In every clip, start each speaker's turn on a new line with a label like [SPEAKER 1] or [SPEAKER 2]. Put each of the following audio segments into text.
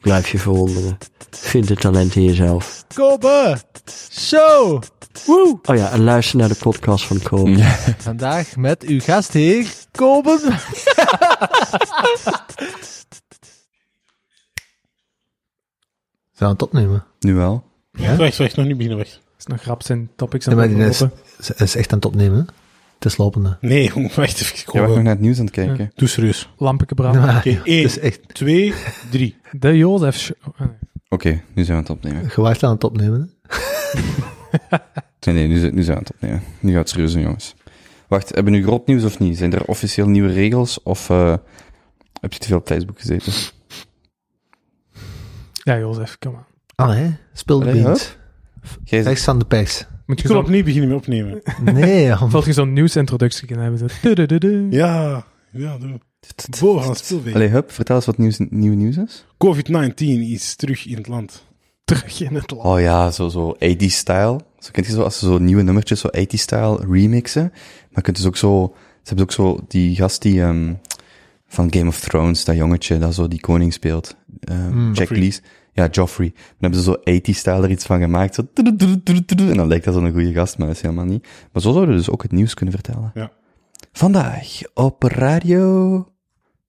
[SPEAKER 1] Blijf je verwonderen. Vind het talent in jezelf.
[SPEAKER 2] Kobe Show. Woe.
[SPEAKER 1] Oh ja, en luister naar de podcast van Cole.
[SPEAKER 2] Vandaag met uw gastheer Kobe. Zijn we het opnemen?
[SPEAKER 3] Nu wel.
[SPEAKER 4] Wacht, wacht, nog niet beginnen, wacht.
[SPEAKER 5] is nog grap zijn topics
[SPEAKER 2] Ja,
[SPEAKER 5] aan
[SPEAKER 2] maar
[SPEAKER 5] het
[SPEAKER 2] die is,
[SPEAKER 5] overlopen.
[SPEAKER 2] is echt aan het opnemen. hè? Het is lopende.
[SPEAKER 4] Nee, jongen, wacht even.
[SPEAKER 3] Jij
[SPEAKER 4] Kom,
[SPEAKER 3] was nog
[SPEAKER 4] eh,
[SPEAKER 3] naar het nieuws aan het kijken.
[SPEAKER 4] Doe serieus.
[SPEAKER 5] Lampetje branden.
[SPEAKER 4] Oké,
[SPEAKER 2] Het
[SPEAKER 4] 1,
[SPEAKER 2] is echt
[SPEAKER 4] 2, 3.
[SPEAKER 5] De Jozef Show. Oh, nee.
[SPEAKER 3] Oké, nu zijn we aan het opnemen.
[SPEAKER 2] gewaagd aan het opnemen. hè?
[SPEAKER 3] Nee, nee, nu, zijn- nu zijn we aan het opnemen. Nu gaat het serieus doen, jongens. Wacht, hebben we nu groot nieuws of niet? Zijn er officieel nieuwe regels of eh, heb je te veel op Facebook gezeten?
[SPEAKER 5] Ja, Jozef, kom maar.
[SPEAKER 2] Allee, speel de
[SPEAKER 3] Allee,
[SPEAKER 2] beans.
[SPEAKER 3] Jij zegt,
[SPEAKER 2] Rechts aan de pers.
[SPEAKER 5] Moet je
[SPEAKER 4] Ik wil
[SPEAKER 5] zo'n,
[SPEAKER 4] opnieuw beginnen met opnemen.
[SPEAKER 2] Nee, Jan.
[SPEAKER 5] valt je zo'n nieuwsintroductie kunnen hebben. Zo. Tudududu.
[SPEAKER 4] Ja, ja, doe. Bohan, speelbeek.
[SPEAKER 3] Allee, hup, vertel eens wat nieuws, nieuw nieuws is.
[SPEAKER 4] COVID-19 is terug in het land.
[SPEAKER 5] Terug in het land.
[SPEAKER 3] Oh ja, zo, zo 80-style. Zo kent je zo, als ze zo nieuwe nummertjes zo 80-style remixen. Maar kunt dus ook zo... Ze hebben ook zo die gast die... ehm, van Game of Thrones, dat jongetje dat zo die koning speelt. Eh, Jack
[SPEAKER 4] Hmm, Joffrey.
[SPEAKER 3] Lees. Ja, Joffrey. Dan hebben ze zo 80-style er iets van gemaakt. Zo, tudududududu. en dan lijkt dat zo'n goede gast, maar dat is helemaal niet. Maar zo zouden we dus ook het nieuws kunnen vertellen.
[SPEAKER 4] Ja.
[SPEAKER 3] Vandaag op radio...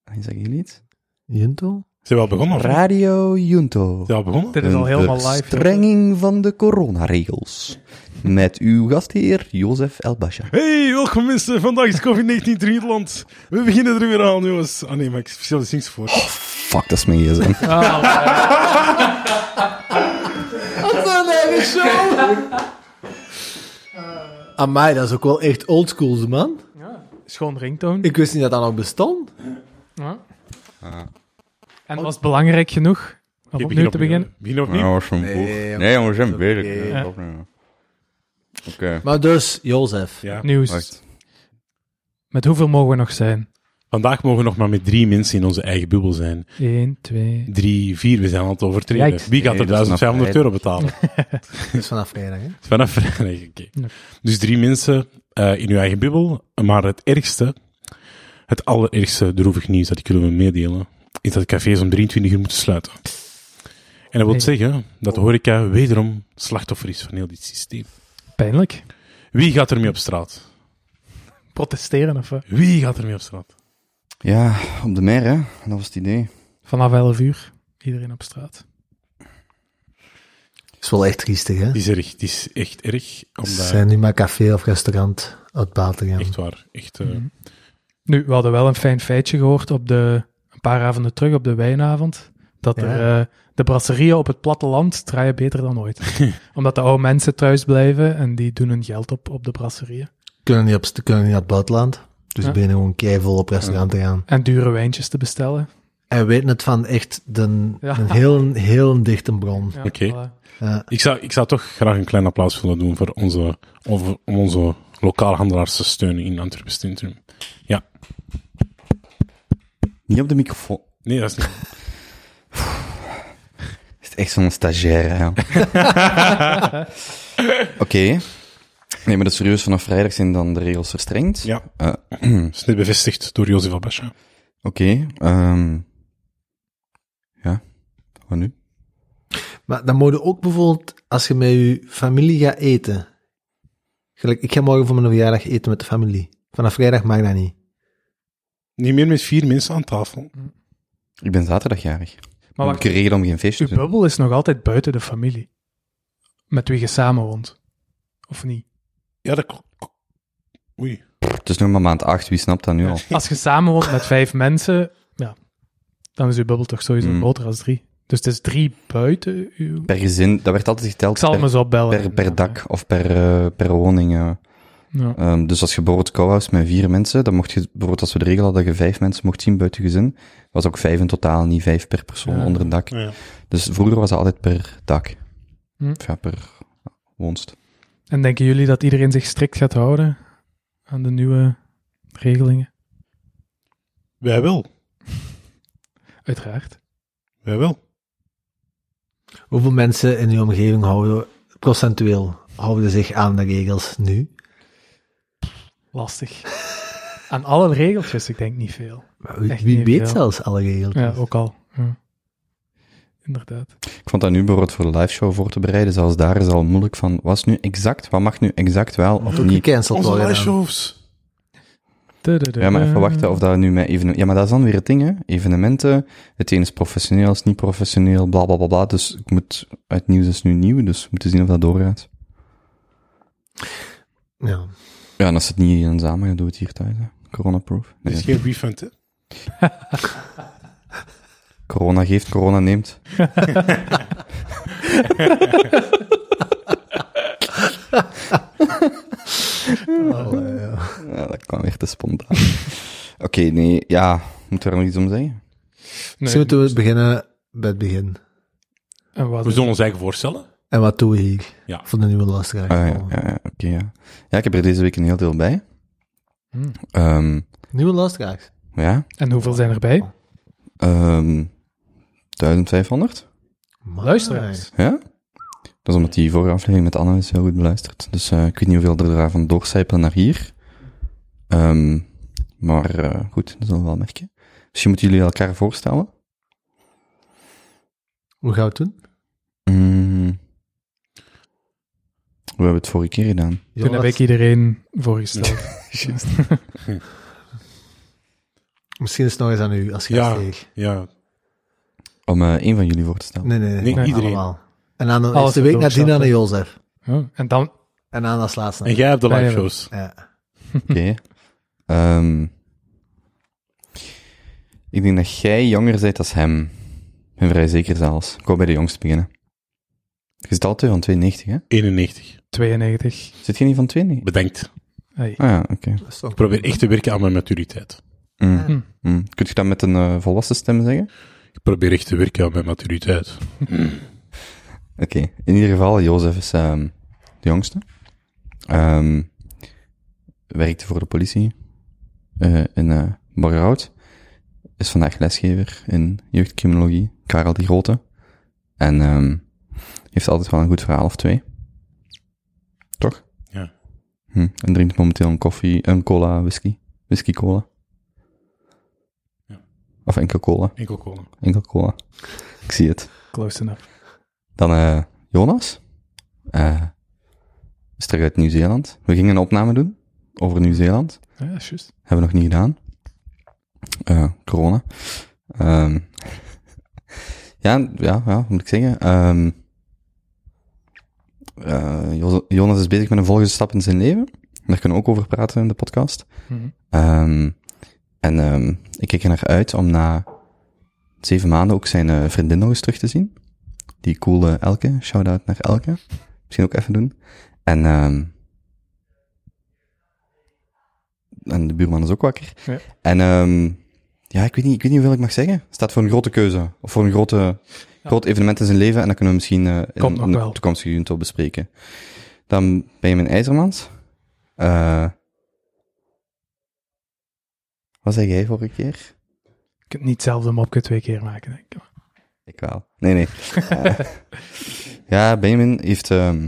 [SPEAKER 3] Ah, Zeggen jullie iets?
[SPEAKER 2] Junto?
[SPEAKER 4] Zijn we al begonnen? Of? niet?
[SPEAKER 3] Radio Junto.
[SPEAKER 4] Zijn we al begonnen?
[SPEAKER 5] Dit is al
[SPEAKER 3] Een
[SPEAKER 5] helemaal live.
[SPEAKER 3] Verstrenging van de coronaregels. Met uw gastheer Jozef Elbasha.
[SPEAKER 4] Hey, welkom mensen. Vandaag is COVID-19 terug in het land. We beginnen er weer aan, jongens. Ah nee, maar ik stel de zings voor.
[SPEAKER 3] Fuck, dat is mijn gsm.
[SPEAKER 2] Amai, dat is ook wel echt oldschool, man.
[SPEAKER 5] Schoon ringtoon.
[SPEAKER 2] Ik wist niet dat dat nog bestond.
[SPEAKER 5] Ja. Ah. En was het belangrijk genoeg om
[SPEAKER 4] Oké,
[SPEAKER 5] opnieuw te beginnen?
[SPEAKER 4] Begin
[SPEAKER 3] Oh.
[SPEAKER 4] opnieuw.
[SPEAKER 2] Nee,
[SPEAKER 3] Nee, jongens, zijn bezig.
[SPEAKER 2] Oké.
[SPEAKER 3] Ja, dat is Oké.
[SPEAKER 2] Maar dus, Jozef.
[SPEAKER 4] Ja.
[SPEAKER 5] Nieuws.
[SPEAKER 3] Wacht.
[SPEAKER 5] Met hoeveel mogen we nog zijn?
[SPEAKER 4] Vandaag mogen we nog maar met drie mensen in onze eigen bubbel zijn.
[SPEAKER 5] 1, 2.
[SPEAKER 4] Drie, vier, we zijn aan het overtreden.
[SPEAKER 5] Yikes.
[SPEAKER 4] Wie gaat
[SPEAKER 3] Nee,
[SPEAKER 4] er
[SPEAKER 3] dat is nog
[SPEAKER 4] 1500
[SPEAKER 3] vrij.
[SPEAKER 4] euro betalen?
[SPEAKER 2] Dat is vanaf vrijdag, hè?
[SPEAKER 4] Vanaf vrijdag, oké.
[SPEAKER 5] Ja.
[SPEAKER 4] Dus drie mensen eh, in uw eigen bubbel. Maar het ergste, het allerergste droevig nieuws dat ik jullie wil meedelen, is dat cafés om 23 uur moeten sluiten. En dat wil
[SPEAKER 5] Nee.
[SPEAKER 4] zeggen dat de horeca wederom slachtoffer is van heel dit systeem.
[SPEAKER 5] Pijnlijk.
[SPEAKER 4] Wie gaat er mee op straat?
[SPEAKER 5] Protesteren of wat?
[SPEAKER 4] Wie gaat er mee op straat?
[SPEAKER 3] Ja, op de mer, hè. Dat was het idee.
[SPEAKER 5] Vanaf 11 uur. Iedereen op straat.
[SPEAKER 2] is wel echt triestig, hè?
[SPEAKER 4] Het is erg, het is echt erg. Omdat,
[SPEAKER 2] Zijn nu maar café of restaurant uit buiten gaan.
[SPEAKER 4] Echt waar, echt... eh,
[SPEAKER 5] Mhm. Nu, we hadden wel een fijn feitje gehoord op de, een paar avonden terug op de wijnavond. Dat
[SPEAKER 2] Ja.
[SPEAKER 5] er, eh, de brasserieën op het platteland draaien beter dan ooit. Omdat de oude mensen thuis blijven en die doen hun geld op op de brasserieën.
[SPEAKER 2] Kunnen niet, op, kunnen niet naar het buitenland. Dus
[SPEAKER 5] Ja.
[SPEAKER 2] beginnen gewoon keivol op restaurant te gaan.
[SPEAKER 5] En dure wijntjes te bestellen.
[SPEAKER 2] En weten het van echt de,
[SPEAKER 5] Ja.
[SPEAKER 2] een heel, heel dichte bron.
[SPEAKER 5] Ja,
[SPEAKER 4] Oké.
[SPEAKER 5] voilà.
[SPEAKER 2] Ja.
[SPEAKER 4] Ik zou, ik zou toch graag een klein applaus willen doen voor onze, over- om onze lokale handelaars te steunen in Antwerpen Centrum.
[SPEAKER 3] Niet op de microfoon.
[SPEAKER 4] Nee, dat is niet...
[SPEAKER 3] Is het echt zo'n stagiair, hè. Oké. Nee, maar dat is serieus. Vanaf vrijdag zijn dan de regels verstrengd.
[SPEAKER 4] Ja.
[SPEAKER 3] Eh,
[SPEAKER 4] Dat is net bevestigd door Jozef Abasha.
[SPEAKER 3] Oké. ehm ja. Wat nu?
[SPEAKER 2] Maar dan moet je ook bijvoorbeeld, als je met je familie gaat eten. Gelijk, ik ga morgen voor mijn verjaardag eten met de familie. Vanaf vrijdag mag dat niet.
[SPEAKER 4] Niet meer met vier mensen aan tafel.
[SPEAKER 3] Ik ben zaterdag jarig.
[SPEAKER 5] Maar
[SPEAKER 3] heb ik
[SPEAKER 5] wacht,
[SPEAKER 3] een reden om geen feestje
[SPEAKER 5] uw
[SPEAKER 3] te doen?
[SPEAKER 5] bubbel is nog altijd buiten de familie. Met wie je samen woont. Of niet?
[SPEAKER 4] Ja, dat klopt. Oei.
[SPEAKER 3] Het is nog maar maand 8, wie snapt dat nu al?
[SPEAKER 5] Als je samen woont met vijf mensen, ja, dan is uw bubbel toch sowieso
[SPEAKER 3] Mm.
[SPEAKER 5] groter als drie. Dus het is drie buiten uw...
[SPEAKER 3] Per gezin, dat werd altijd
[SPEAKER 5] Ik
[SPEAKER 3] geteld
[SPEAKER 5] zal
[SPEAKER 3] per,
[SPEAKER 5] hem eens opbellen.
[SPEAKER 3] per, per dak of per, eh, per woning. eh.
[SPEAKER 5] Ja.
[SPEAKER 3] Ehm, dus als je bijvoorbeeld co-house met vier mensen, dan mocht je, bijvoorbeeld als we de regel hadden dat je vijf mensen mocht zien buiten gezin, was ook vijf in totaal, niet vijf per persoon
[SPEAKER 5] Ja.
[SPEAKER 3] onder een dak.
[SPEAKER 4] Ja.
[SPEAKER 3] Dus vroeger was dat altijd per dak.
[SPEAKER 5] Hm.
[SPEAKER 3] Of ja, per woonst.
[SPEAKER 5] En denken jullie dat iedereen zich strikt gaat houden aan de nieuwe regelingen?
[SPEAKER 4] Wij wel.
[SPEAKER 5] Uiteraard.
[SPEAKER 4] Wij wel.
[SPEAKER 2] Hoeveel mensen in uw omgeving houden, procentueel, houden zich aan de regels nu?
[SPEAKER 5] Lastig. aan alle regeltjes, ik denk niet veel.
[SPEAKER 2] Maar wie
[SPEAKER 5] Echt
[SPEAKER 2] wie
[SPEAKER 5] niet
[SPEAKER 2] weet
[SPEAKER 5] veel.
[SPEAKER 2] zelfs alle regels?
[SPEAKER 5] Ja, ook al. Ja. Inderdaad.
[SPEAKER 3] Ik vond dat nu bijvoorbeeld voor de live show voor te bereiden, zelfs daar is al moeilijk van, was nu exact, wat mag nu exact wel of
[SPEAKER 2] Ook
[SPEAKER 3] niet?
[SPEAKER 2] gecanceld
[SPEAKER 4] Onze
[SPEAKER 2] worden.
[SPEAKER 4] live
[SPEAKER 2] dan.
[SPEAKER 4] shows.
[SPEAKER 5] Tududu.
[SPEAKER 3] Ja, maar even wachten of dat nu met evenementen... Ja, maar dat is dan weer het ding, hè. Evenementen, het een is professioneel, het is niet professioneel, bla, bla, bla, bla. Dus ik moet... Het nieuws is nu nieuw, dus we moeten zien of dat doorgaat.
[SPEAKER 2] Ja.
[SPEAKER 3] Ja, en als het niet in samen gaat, doe het hier thuis, hè. Corona-proof.
[SPEAKER 4] Dit
[SPEAKER 3] Nee,
[SPEAKER 4] is geen refund, hè?
[SPEAKER 3] corona geeft, corona neemt.
[SPEAKER 2] Oh, ja.
[SPEAKER 3] Ja, dat kwam weer te spontaan. Oké, nee, ja... Moet er nog iets om zeggen?
[SPEAKER 2] Misschien
[SPEAKER 5] Nee, dus-
[SPEAKER 2] moeten we beginnen bij het begin.
[SPEAKER 5] en wat
[SPEAKER 4] We zullen ons eigen voorstellen.
[SPEAKER 2] En wat doen we hier?
[SPEAKER 4] Ja.
[SPEAKER 2] Voor de nieuwe luisteraar.
[SPEAKER 3] Ah, ja, ja, ja, oké, ja. Ja, ik heb er deze week een heel deel bij.
[SPEAKER 5] Hmm.
[SPEAKER 3] Ehm,
[SPEAKER 2] Nieuwe luisteraars.
[SPEAKER 3] ja,
[SPEAKER 5] En hoeveel zijn erbij?
[SPEAKER 3] Ehm 1500?
[SPEAKER 2] Maar-
[SPEAKER 5] Luisteraars.
[SPEAKER 3] Ja? Dat is omdat die vorige aflevering met Anna is heel goed beluisterd. Dus eh, ik weet niet hoeveel er daarvan doorcijpelen naar hier. Ehm, maar eh, goed, dat zullen we wel merken. Misschien moeten jullie elkaar voorstellen.
[SPEAKER 2] Hoe gaan we het doen?
[SPEAKER 3] Mm. Hoe hebben we het vorige keer gedaan?
[SPEAKER 5] Toen heb ik iedereen voorgesteld.
[SPEAKER 2] Misschien is het nog eens aan u als je
[SPEAKER 4] Ja.
[SPEAKER 2] het zegt.
[SPEAKER 4] Ja.
[SPEAKER 3] Om eh één van jullie voor te stellen.
[SPEAKER 2] Nee, nee, nee.
[SPEAKER 4] Nee,
[SPEAKER 2] allemaal.
[SPEAKER 4] iedereen.
[SPEAKER 2] En dan
[SPEAKER 5] Alles
[SPEAKER 2] is de week
[SPEAKER 5] wat
[SPEAKER 2] nadien aan
[SPEAKER 5] doorstappen.
[SPEAKER 2] de Jozef.
[SPEAKER 5] Oh, en dan
[SPEAKER 2] En dan als laatste.
[SPEAKER 4] En jij hebt de
[SPEAKER 5] Wij
[SPEAKER 4] live
[SPEAKER 5] hebben-
[SPEAKER 4] shows.
[SPEAKER 2] Ja.
[SPEAKER 3] Oké. Ehm, ik denk dat jij jonger bent als hem. Ik ben vrij zeker zelfs. Ik wou bij de jongste beginnen. Je zit altijd van 92, hè?
[SPEAKER 4] 91.
[SPEAKER 5] 92.
[SPEAKER 3] Zit je niet van 92?
[SPEAKER 4] Bedankt.
[SPEAKER 5] Hey.
[SPEAKER 3] Ah ja, oké.
[SPEAKER 2] Dat is toch-
[SPEAKER 4] Ik probeer echt te werken aan mijn maturiteit.
[SPEAKER 3] Mm,
[SPEAKER 2] Ja.
[SPEAKER 3] mm. Kun je dat met een eh, volwassen stem zeggen?
[SPEAKER 4] Ik probeer echt te werken aan mijn maturiteit.
[SPEAKER 3] Oké. In ieder geval, Jozef is ehm, de jongste. Ehm, werkte voor de politie eh, in eh Borgerhout. Is vandaag lesgever in jeugdcriminologie, Karel de Grote. En ehm, heeft altijd wel een goed verhaal of twee. Toch?
[SPEAKER 4] Ja.
[SPEAKER 3] Hm, en drinkt momenteel een koffie, een cola, whisky. Whisky cola.
[SPEAKER 4] Ja.
[SPEAKER 3] Of enkel cola.
[SPEAKER 4] Enkel cola.
[SPEAKER 3] Enkel cola. Ik zie het.
[SPEAKER 5] Close enough.
[SPEAKER 3] Dan eh, Jonas. Eh, is terug uit Nieuw-Zeeland. We gingen een opname doen over Nieuw-Zeeland.
[SPEAKER 5] Ja, dat is juist.
[SPEAKER 3] Hebben we nog niet gedaan. Eh, corona. Ehm, ja, ja, ja, wat moet ik zeggen. Ehm, eh, Jo- Jonas is bezig met een volgende stap in zijn leven. Daar kunnen we ook over praten in de podcast.
[SPEAKER 5] Mhm.
[SPEAKER 3] Ehm, en ehm, ik kijk er naar uit om na zeven maanden ook zijn eh, vriendin nog eens terug te zien. Die coole Elke. Shout-out naar Elke. Misschien ook even doen. En, ehm, en de buurman is ook wakker.
[SPEAKER 5] Ja.
[SPEAKER 3] En ehm, ja, ik weet, niet, ik weet niet hoeveel ik mag zeggen. Het staat voor een grote keuze. Of voor een grote, groot evenement in zijn leven. En dat kunnen we misschien eh, in,
[SPEAKER 5] Komt nog
[SPEAKER 3] in de
[SPEAKER 5] wel.
[SPEAKER 3] toekomstige junto bespreken. Dan ben je mijn IJzermans. Eh, wat zei jij vorige keer?
[SPEAKER 5] Je kunt niet hetzelfde mopje twee keer maken, denk ik.
[SPEAKER 3] Ik wel. Nee, nee. Eh, ja, Benjamin heeft ehm,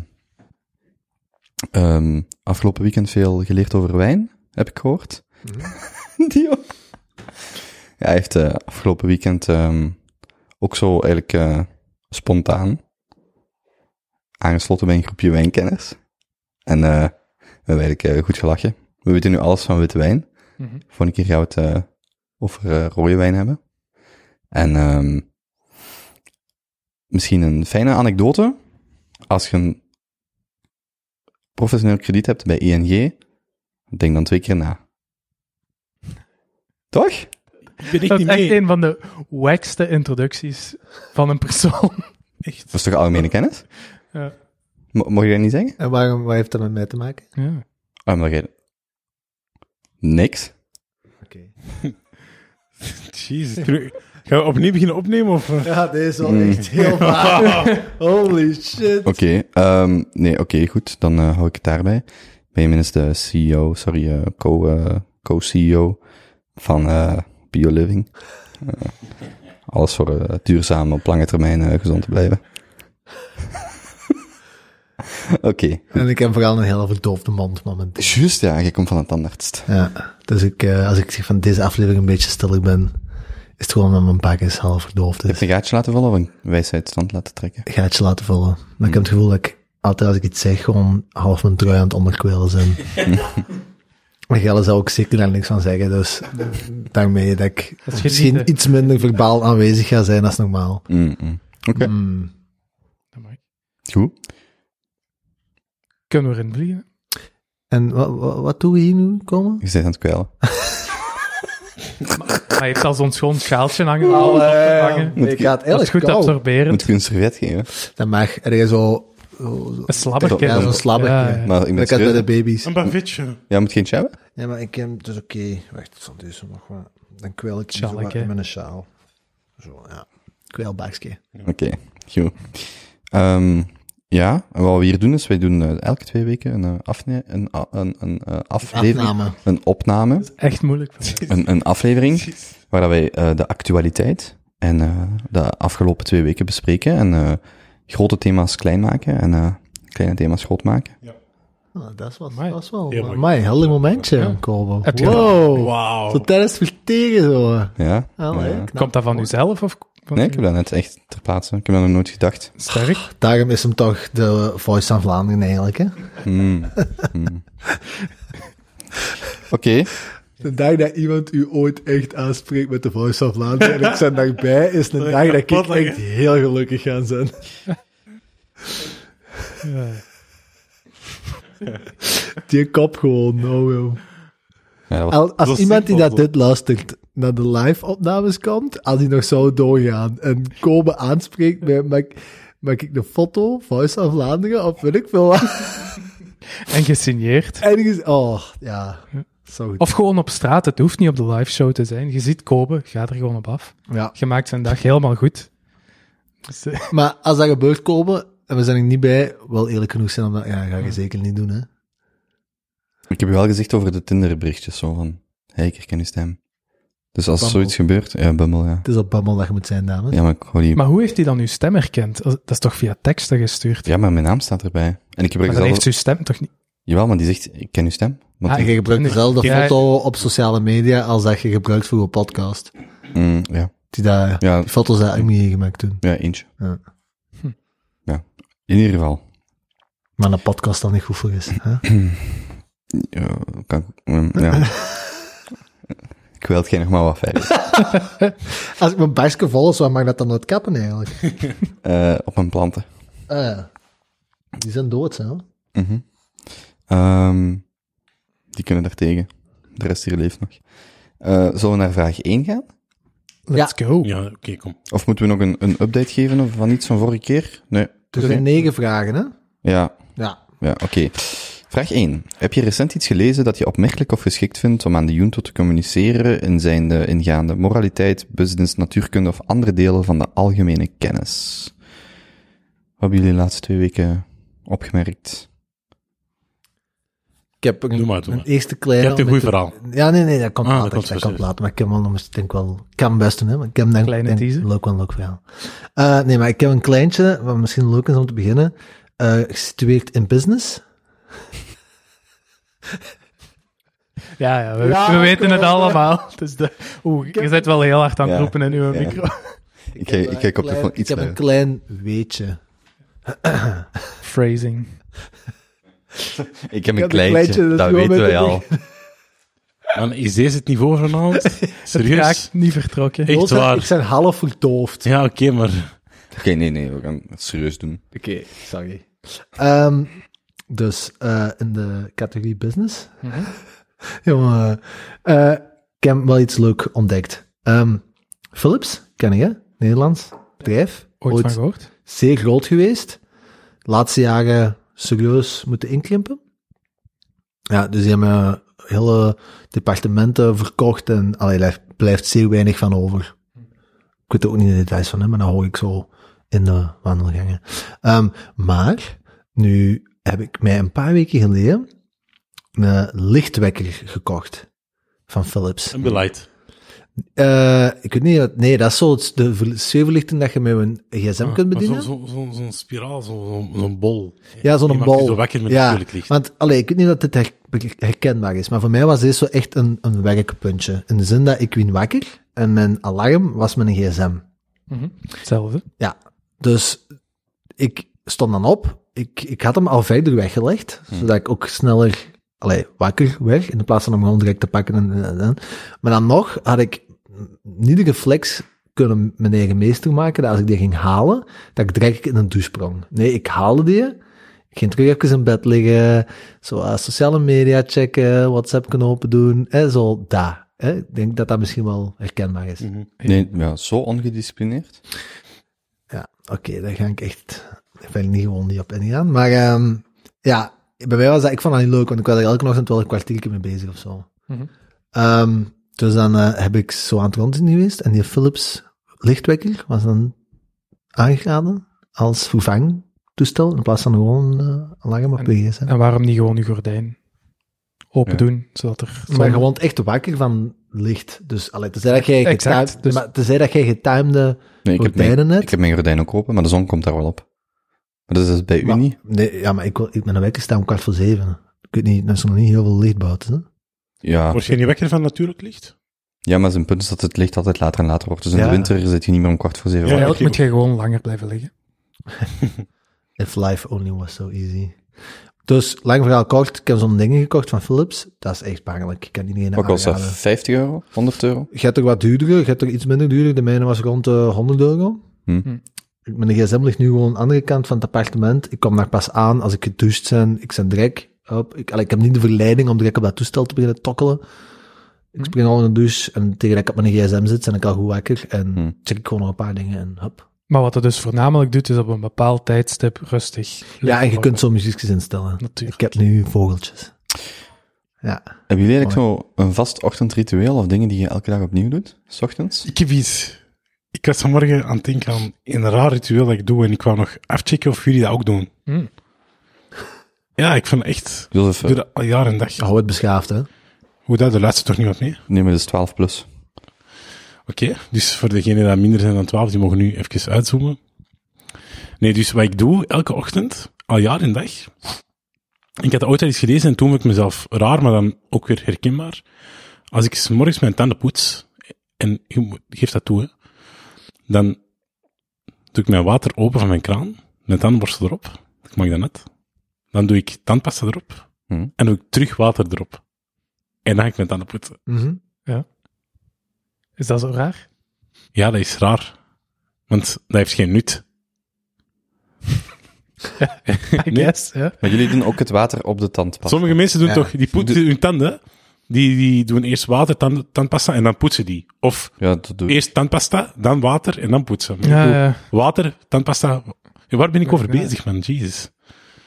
[SPEAKER 3] ehm, afgelopen weekend veel geleerd over wijn, heb ik gehoord.
[SPEAKER 2] Hm?
[SPEAKER 3] Die ook. Ja, hij heeft eh, afgelopen weekend ehm, ook zo eigenlijk eh, spontaan aangesloten bij een groepje wijnkenners. En eh, we hebben eigenlijk eh, goed gelachen. We weten nu alles van witte wijn.
[SPEAKER 5] Mhm.
[SPEAKER 3] Volgende keer gaan we het eh, over eh, rode wijn hebben. En ehm, misschien een fijne anekdote. Als je een professioneel krediet hebt bij ING, denk dan twee keer na. Toch?
[SPEAKER 4] Ik ben echt
[SPEAKER 5] Dat
[SPEAKER 4] niet
[SPEAKER 5] is echt
[SPEAKER 4] mee.
[SPEAKER 5] een van de wackste introducties van een persoon.
[SPEAKER 3] Dat is toch algemene kennis?
[SPEAKER 5] Ja.
[SPEAKER 3] Mo- Mag je dat niet zeggen?
[SPEAKER 2] En waarom, wat heeft dat met mij te maken?
[SPEAKER 5] Ja.
[SPEAKER 3] Ah, maar jij... Niks.
[SPEAKER 2] Oké.
[SPEAKER 4] Jezus. terug- Gaan we opnieuw beginnen opnemen? Of... eh?
[SPEAKER 2] Ja, dit is wel
[SPEAKER 3] Mm.
[SPEAKER 2] echt heel vaag. Holy shit.
[SPEAKER 3] Oké, ehm, nee, oké, goed. Dan eh, hou ik het daarbij. Ik Benjamin is de CEO, sorry, eh, co, eh, co-CEO van eh BioLiving. Eh, alles voor eh, duurzaam op lange termijn eh, gezond te blijven. Oké,
[SPEAKER 2] En ik heb vooral een heel verdoofde mond momenteel.
[SPEAKER 3] juist ja, je komt van een tandarts.
[SPEAKER 2] Ja, dus ik, eh, als ik zeg van deze aflevering een beetje stil ben, is het gewoon omdat mijn pak is half verdoofd.
[SPEAKER 3] Heb
[SPEAKER 2] Dus
[SPEAKER 3] je een gaatje laten vallen of een wijsheidsstand laten trekken?
[SPEAKER 2] ik ga het je laten vallen. Maar ik heb het gevoel dat ik altijd als ik iets zeg, gewoon half mijn trui aan het onderkwelen zijn. Maar Gelle zou ook zeker daar niks van zeggen, dus daarmee dat ik
[SPEAKER 5] is
[SPEAKER 2] misschien
[SPEAKER 5] genieten.
[SPEAKER 2] iets minder verbaal aanwezig ga zijn dan normaal.
[SPEAKER 3] Mm, mm. Oké,
[SPEAKER 2] Mm.
[SPEAKER 5] Dat mag.
[SPEAKER 3] goed.
[SPEAKER 5] Kunnen we erin vliegen?
[SPEAKER 2] En wat, wat, wat doen we hier nu komen?
[SPEAKER 3] Je bent aan het kwijlen.
[SPEAKER 5] Maar hij heeft al zo'n schoon schaaltje hangen. om op te vangen.
[SPEAKER 2] Ik ga het
[SPEAKER 5] Dat is
[SPEAKER 2] erg
[SPEAKER 5] goed te
[SPEAKER 2] koud.
[SPEAKER 5] absorberen.
[SPEAKER 3] Moet ik u een servet geven?
[SPEAKER 2] Dan mag er zo, zo- zo-
[SPEAKER 5] Een slabberke.
[SPEAKER 2] ja, zo'n slabber.
[SPEAKER 5] Ja,
[SPEAKER 2] Ja,
[SPEAKER 5] ja.
[SPEAKER 3] Maar ik ben
[SPEAKER 2] Dat kan bij
[SPEAKER 3] serieus.
[SPEAKER 2] de baby's.
[SPEAKER 4] Een bavitje.
[SPEAKER 3] Jij moet geen tje hebben?
[SPEAKER 2] Ja, maar ik heb het dus oké. Wacht, het stond deze nog wat. Dan kwel ik
[SPEAKER 5] Sjaal,
[SPEAKER 2] zo wat
[SPEAKER 5] hè?
[SPEAKER 2] met een sjaal. Zo, ja. Kwelbakje.
[SPEAKER 3] Oké, goed. Ehm, ja, en wat we hier doen is, wij doen eh, elke twee weken een, eh, afne- een, a- een, een eh, aflevering,
[SPEAKER 2] Afname.
[SPEAKER 3] een opname,
[SPEAKER 5] Echt moeilijk. voor mij.
[SPEAKER 3] een, een aflevering, waar dat wij eh, de actualiteit en eh, de afgelopen twee weken bespreken en eh, grote thema's klein maken en eh, kleine thema's groot maken.
[SPEAKER 2] Ah, dat, was,
[SPEAKER 5] Amai.
[SPEAKER 2] dat was wel
[SPEAKER 4] Heel
[SPEAKER 2] een
[SPEAKER 4] mooi.
[SPEAKER 2] mooi helder momentje,
[SPEAKER 5] Ja.
[SPEAKER 2] Kobo.
[SPEAKER 5] Heb je
[SPEAKER 2] wow.
[SPEAKER 4] Wauw.
[SPEAKER 2] Zo tijdens het verteren zo.
[SPEAKER 3] Ja?
[SPEAKER 2] Ah,
[SPEAKER 3] Ja.
[SPEAKER 2] hè, knap.
[SPEAKER 5] Komt dat van uzelf? Of van
[SPEAKER 3] Nee, ik heb dat net echt ter plaatse. Ik heb dat nog nooit gedacht.
[SPEAKER 5] Sterk.
[SPEAKER 2] Daarom is hem toch de Voice van Vlaanderen eigenlijk, hè?
[SPEAKER 3] Hmm. Hmm. Oké,
[SPEAKER 2] De dag dat iemand u ooit echt aanspreekt met de Voice van Vlaanderen en ik ben daarbij, is een dag dat ik echt heel gelukkig ga zijn.
[SPEAKER 5] Ja.
[SPEAKER 2] Die kop gewoon, oh joh.
[SPEAKER 3] ja, dat was
[SPEAKER 2] Al- als
[SPEAKER 4] Dat is
[SPEAKER 2] iemand die
[SPEAKER 4] simpel,
[SPEAKER 2] dat
[SPEAKER 4] zo.
[SPEAKER 2] dit luistert naar de live-opnames komt, als die nog zou doorgaan en komen aanspreekt, met, maak, maak ik een foto, Voice of Vlaanderen, of weet ik veel wat.
[SPEAKER 5] En gesigneerd.
[SPEAKER 2] Ergens, oh, ja. Zo goed.
[SPEAKER 5] Of gewoon op straat. Het hoeft niet op de live show te zijn. Je ziet Kobe, ga er gewoon op af.
[SPEAKER 2] Ja.
[SPEAKER 5] Je maakt zijn dag helemaal goed. Dus, eh,
[SPEAKER 2] Maar als dat gebeurt komen, en we zijn er niet bij, wel eerlijk genoeg zijn om dat, ja, ga je zeker niet doen, hè.
[SPEAKER 3] Ik heb je wel gezegd over de Tinder-berichtjes, zo van, hey, ik herken je stem. Dus als
[SPEAKER 2] Bumble.
[SPEAKER 3] zoiets gebeurt, ja, Bumble, ja.
[SPEAKER 2] Het is op Bammel dat je moet zijn, dames.
[SPEAKER 3] Ja, maar ik hoor die...
[SPEAKER 5] maar hoe heeft hij dan uw stem herkend? Als- Dat is toch via teksten gestuurd?
[SPEAKER 3] Ja, maar mijn naam staat erbij. En ik heb er
[SPEAKER 5] Maar dan
[SPEAKER 3] zelf...
[SPEAKER 5] heeft uw stem toch niet...
[SPEAKER 3] Jawel, maar die zegt, ik ken uw stem. Want
[SPEAKER 5] Ah,
[SPEAKER 2] En
[SPEAKER 3] ik-
[SPEAKER 2] je gebruikt
[SPEAKER 5] Nee.
[SPEAKER 2] dezelfde
[SPEAKER 5] Ja.
[SPEAKER 2] foto op sociale media als dat je gebruikt voor je podcast.
[SPEAKER 3] Mm, ja.
[SPEAKER 2] Die, daar,
[SPEAKER 3] Ja,
[SPEAKER 2] die foto's daar eigenlijk niet gemaakt toen.
[SPEAKER 3] ja, eentje.
[SPEAKER 2] Ja.
[SPEAKER 5] Hm.
[SPEAKER 3] Ja. In ieder geval.
[SPEAKER 2] Maar een podcast dan niet goed voor is. Hè?
[SPEAKER 3] Ja, kan ik... mm, ja. ik wil het geen nog maar wat verder.
[SPEAKER 2] Als ik mijn barstje vol is, waar mag dat dan uit kappen eigenlijk?
[SPEAKER 3] Eh, op mijn planten.
[SPEAKER 2] Ah, ja. Die zijn dood, hè?
[SPEAKER 3] Mhm. Ehm, die kunnen daartegen. De rest hier leeft nog. Eh, zullen we naar vraag 1 gaan?
[SPEAKER 5] Let's go.
[SPEAKER 4] Ja, oké, kom.
[SPEAKER 3] Of moeten we nog een, een update geven of van iets van vorige keer? Nee.
[SPEAKER 2] Er zijn Dus negen vragen, hè?
[SPEAKER 3] Ja,
[SPEAKER 2] Ja.
[SPEAKER 3] ja oké. Vraag 1. Heb je recent iets gelezen dat je opmerkelijk of geschikt vindt om aan de junto te communiceren in zijn eh, ingaande moraliteit, business, natuurkunde of andere delen van de algemene kennis? Wat hebben jullie de laatste twee weken opgemerkt?
[SPEAKER 2] Ik heb een,
[SPEAKER 4] Doe maar, doe
[SPEAKER 2] een
[SPEAKER 4] maar.
[SPEAKER 2] eerste
[SPEAKER 4] Je
[SPEAKER 2] kleine...
[SPEAKER 4] hebt een goed verhaal.
[SPEAKER 2] Ja, nee, nee, dat komt
[SPEAKER 4] Ah, dat
[SPEAKER 2] later. Dat
[SPEAKER 4] komt
[SPEAKER 2] komt,
[SPEAKER 4] zo zelfs.
[SPEAKER 2] later. Maar ik heb wel, nog eens- ik denk wel, ik kan hem best doen, hè. Maar ik heb denk,
[SPEAKER 5] Kleine
[SPEAKER 2] denk,
[SPEAKER 5] teaser.
[SPEAKER 2] Leuk, wel leuk verhaal. Eh, nee, maar ik heb een kleintje, wat misschien leuk is om te beginnen. Eh, gesitueerd in business.
[SPEAKER 5] Ja, ja, we,
[SPEAKER 2] Ja,
[SPEAKER 5] we weten het
[SPEAKER 2] Kobe.
[SPEAKER 5] allemaal. Dus de, oeh, je bent wel heel hard aan het
[SPEAKER 3] Ja,
[SPEAKER 5] roepen in uw
[SPEAKER 3] ja.
[SPEAKER 5] micro.
[SPEAKER 3] Ik, kijk- ik kijk op de
[SPEAKER 2] Klein-
[SPEAKER 3] van
[SPEAKER 2] Ik
[SPEAKER 3] iets
[SPEAKER 2] heb een
[SPEAKER 3] luider.
[SPEAKER 2] klein weetje.
[SPEAKER 5] Phrasing.
[SPEAKER 3] Ik heb
[SPEAKER 2] ik heb
[SPEAKER 3] een
[SPEAKER 2] een
[SPEAKER 3] kleintje,
[SPEAKER 2] kleintje, dat
[SPEAKER 3] dat
[SPEAKER 2] is gewoon
[SPEAKER 3] weten
[SPEAKER 2] met
[SPEAKER 3] wij
[SPEAKER 2] de
[SPEAKER 3] al.
[SPEAKER 4] Dan is deze het niveau vanavond? Serieus?
[SPEAKER 5] Raakt niet vertrokken.
[SPEAKER 4] Echt
[SPEAKER 2] Rosa,
[SPEAKER 4] waar?
[SPEAKER 2] Ik ben half verdoofd.
[SPEAKER 4] Ja, oké, maar...
[SPEAKER 3] Oké, nee, nee, we gaan het serieus doen.
[SPEAKER 2] Oké, sorry. Ehm, dus eh, in de categorie business.
[SPEAKER 5] Mhm.
[SPEAKER 2] Jongen, eh, ik heb wel iets leuk ontdekt. Ehm, Philips, ken je, hè? Nederlands bedrijf.
[SPEAKER 5] Ooit, van gehoord?
[SPEAKER 2] zeer groot geweest. Laatste jaren serieus moeten inkrimpen. Ja, dus die hebben hele departementen verkocht en allee, daar blijft zeer weinig van over. Ik weet er ook niet de details van, hè, maar dat hoor ik zo in de wandelgangen. Ehm, maar nu heb ik mij een paar weken geleden een lichtwekker gekocht van Philips.
[SPEAKER 4] Een beleid.
[SPEAKER 2] Eh, ik weet niet, dat- nee, dat is zo het- de ver- sfeerverlichting dat je met een gsm kunt bedienen.
[SPEAKER 4] Zo'n Ah, zo, zo'n spiraal, zo'n zo, zo'n bol.
[SPEAKER 2] ja, zo'n
[SPEAKER 4] Die maakt je
[SPEAKER 2] bal.
[SPEAKER 4] Zo wakker met
[SPEAKER 2] ja,
[SPEAKER 4] natuurlijk licht.
[SPEAKER 2] want allee, ik weet niet dat dit her- herkenbaar is, maar voor mij was dit zo echt een, een werkpuntje. In de zin dat ik win wakker en mijn alarm was mijn gsm.
[SPEAKER 5] Hetzelfde.
[SPEAKER 2] Dus ik stond dan op. Ik, ik had hem al verder weggelegd, zodat ik ook sneller allee, wakker werd, in plaats van hem gewoon direct te pakken. En, en- en. Maar dan nog had ik niet de reflex kunnen mijn eigen meester maken, dat als ik die ging halen, dat ik direct in een douche sprong. Nee, ik haalde die, ik ging terug even in bed liggen, zo eh, sociale media checken, WhatsApp kunnen open doen, hè, zo daar. Hè. Ik denk dat dat misschien wel herkenbaar is.
[SPEAKER 3] Nee, ja, zo ongedisciplineerd.
[SPEAKER 2] Ja, oké, daar ga ik echt daar ben ik niet gewoon niet op ingaan. Maar ehm, ja, bij mij was dat, ik vond dat niet leuk, want ik was er elke ochtend wel een kwartiertje mee bezig of zo.
[SPEAKER 5] Mhm.
[SPEAKER 2] Ehm, dus dan eh, heb ik zo aan het rondzien geweest en die Philips lichtwekker was dan aangeraden als vervangtoestel in plaats van gewoon eh alarm op gsm.
[SPEAKER 5] En waarom niet gewoon je gordijn open
[SPEAKER 3] Ja.
[SPEAKER 5] doen, zodat er...
[SPEAKER 2] Maar
[SPEAKER 5] zon-
[SPEAKER 2] gewoon echt wakker van licht. Dus allee, tenzij dat jij
[SPEAKER 5] Exact,
[SPEAKER 2] getimed,
[SPEAKER 5] dus-
[SPEAKER 2] maar tenzij dat jij getimede
[SPEAKER 3] Nee, ik heb, mijn,
[SPEAKER 2] gordijnen
[SPEAKER 3] ik heb mijn gordijn ook open, maar de zon komt daar wel op. Maar dat is dus bij u
[SPEAKER 2] Maar-
[SPEAKER 3] niet.
[SPEAKER 2] Nee, ja, maar ik, wil- ik ben wekker staan om kwart voor zeven. Ik weet niet, er is nog niet heel veel licht buiten. Hè? Ah.
[SPEAKER 3] Ja.
[SPEAKER 4] Word je niet wakker van natuurlijk licht?
[SPEAKER 3] ja, maar zijn punt is dat het licht altijd later en later wordt. Dus in
[SPEAKER 2] Ja.
[SPEAKER 3] de winter zit je niet meer om kwart voor zeven
[SPEAKER 4] Ja,
[SPEAKER 3] wakker.
[SPEAKER 5] Eigenlijk moet je gewoon langer blijven liggen.
[SPEAKER 2] If life only was so easy. Dus, lang verhaal kort, ik heb zo'n dingen gekocht van Philips. Dat is echt pijnlijk. Ik kan iedereen
[SPEAKER 3] Wat kost dat?
[SPEAKER 2] aanraden.
[SPEAKER 3] 50 euro? 100 euro?
[SPEAKER 2] Je hebt er wat duurdere, je hebt er iets minder duurder. De mijne was rond de 100 euro.
[SPEAKER 3] Hm.
[SPEAKER 5] Hm.
[SPEAKER 2] Mijn gsm ligt nu gewoon aan de andere kant van het appartement. Ik kom daar pas aan als ik gedoucht ben. Ik ben direct op. Ik, allee, ik heb niet de verleiding om direct op dat toestel te beginnen tokkelen. Ik spring al in de douche en tegen dat ik op mijn gsm zit, ben ik al goed wakker. En
[SPEAKER 3] Hm.
[SPEAKER 2] check ik gewoon nog een paar dingen en hop.
[SPEAKER 5] Maar wat het dus voornamelijk doet, is op een bepaald tijdstip rustig.
[SPEAKER 2] Ja, en je kunt zo muziekjes instellen. Ik
[SPEAKER 5] Natuurlijk.
[SPEAKER 2] heb nu vogeltjes. Ja.
[SPEAKER 3] Hebben jullie eigenlijk zo een vast ochtendritueel of dingen die je elke dag opnieuw doet? S ochtends?
[SPEAKER 4] Ik heb iets. Ik was vanmorgen aan het denken aan een raar ritueel dat ik doe en ik wou nog afchecken of jullie dat ook doen.
[SPEAKER 5] Hmm.
[SPEAKER 4] Ja, ik vind echt...
[SPEAKER 3] Jozef,
[SPEAKER 4] Ik doe dat al jaar en dag.
[SPEAKER 2] Hou het beschaafd, hè.
[SPEAKER 4] Hoe dat, de laatste toch niemand mee?
[SPEAKER 3] neem maar dus 12 plus.
[SPEAKER 4] Oké, dus voor degenen die minder zijn dan 12, die mogen nu even uitzoomen. Nee, dus wat ik doe elke ochtend, al jaar en dag. Ik had dat ooit al eens gelezen en toen vond ik mezelf raar, maar dan ook weer herkenbaar. Als ik 's morgens mijn tanden poets, en je moet- geef dat toe, hè, dan doe ik mijn water open van mijn kraan, mijn tandenborstel erop. Ik maak dat net. Dan doe ik tandpasta erop
[SPEAKER 3] Hm.
[SPEAKER 4] en doe ik terug water erop. En dan ga ik mijn tanden poetsen.
[SPEAKER 2] Mhm.
[SPEAKER 5] Is dat zo raar?
[SPEAKER 4] Ja, dat is raar. Want dat heeft geen nut.
[SPEAKER 5] I
[SPEAKER 4] Nee.
[SPEAKER 5] guess, ja.
[SPEAKER 3] Maar jullie doen ook het water op de tandpasta.
[SPEAKER 4] Sommige mensen doen
[SPEAKER 2] Ja.
[SPEAKER 4] toch, die poetsen hun tanden. Die, die doen eerst water, tand, tandpasta en dan poetsen die. Of
[SPEAKER 3] Ja, dat doe ik.
[SPEAKER 4] eerst tandpasta, dan water en dan poetsen. Maar
[SPEAKER 5] Ja,
[SPEAKER 4] ik doe
[SPEAKER 5] ja.
[SPEAKER 4] Water, tandpasta. Ja, Waar ben ik over
[SPEAKER 5] Ja.
[SPEAKER 4] bezig, man? Jezus.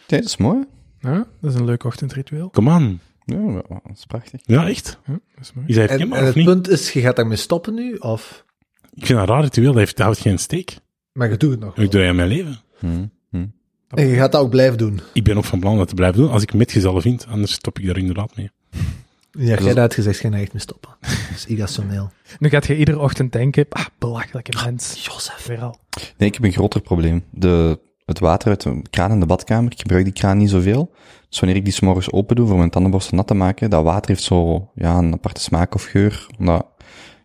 [SPEAKER 3] Nee, dat is mooi.
[SPEAKER 5] Ja, dat is een leuk ochtendritueel.
[SPEAKER 4] Come on.
[SPEAKER 3] Ja, wel, dat is prachtig.
[SPEAKER 4] Ja, echt.
[SPEAKER 5] Ja, dat is mooi.
[SPEAKER 4] Is hij
[SPEAKER 2] En, en
[SPEAKER 4] herkenbaar of
[SPEAKER 2] het
[SPEAKER 4] niet?
[SPEAKER 2] punt is, je gaat daarmee stoppen nu, of...
[SPEAKER 4] Ik vind dat raar ritueel, dat, heeft, dat houdt geen steek.
[SPEAKER 2] Maar je doet het nog. wel.
[SPEAKER 4] Ik doe dat in mijn leven.
[SPEAKER 3] Hm,
[SPEAKER 2] Hmm,
[SPEAKER 3] hm.
[SPEAKER 2] En je gaat dat ook blijven doen.
[SPEAKER 4] Ik ben ook van plan om dat te blijven doen als ik metgezellen vind. Anders stop ik daar inderdaad mee.
[SPEAKER 2] Ja,
[SPEAKER 3] Dus
[SPEAKER 2] jij
[SPEAKER 3] als-
[SPEAKER 2] dat had gezegd, ga je nou echt mee stoppen. Dat is irrationeel.
[SPEAKER 5] Nu gaat je iedere ochtend denken, ah, belachelijke mens.
[SPEAKER 2] Jozef.
[SPEAKER 5] Weer al.
[SPEAKER 3] Nee, ik heb een groter probleem. De, het water uit de kraan in de badkamer, ik gebruik die kraan niet zoveel. Dus wanneer ik die s'morgens open doe voor mijn tandenborstel nat te maken, dat water heeft zo ja, een aparte smaak of geur. Omdat,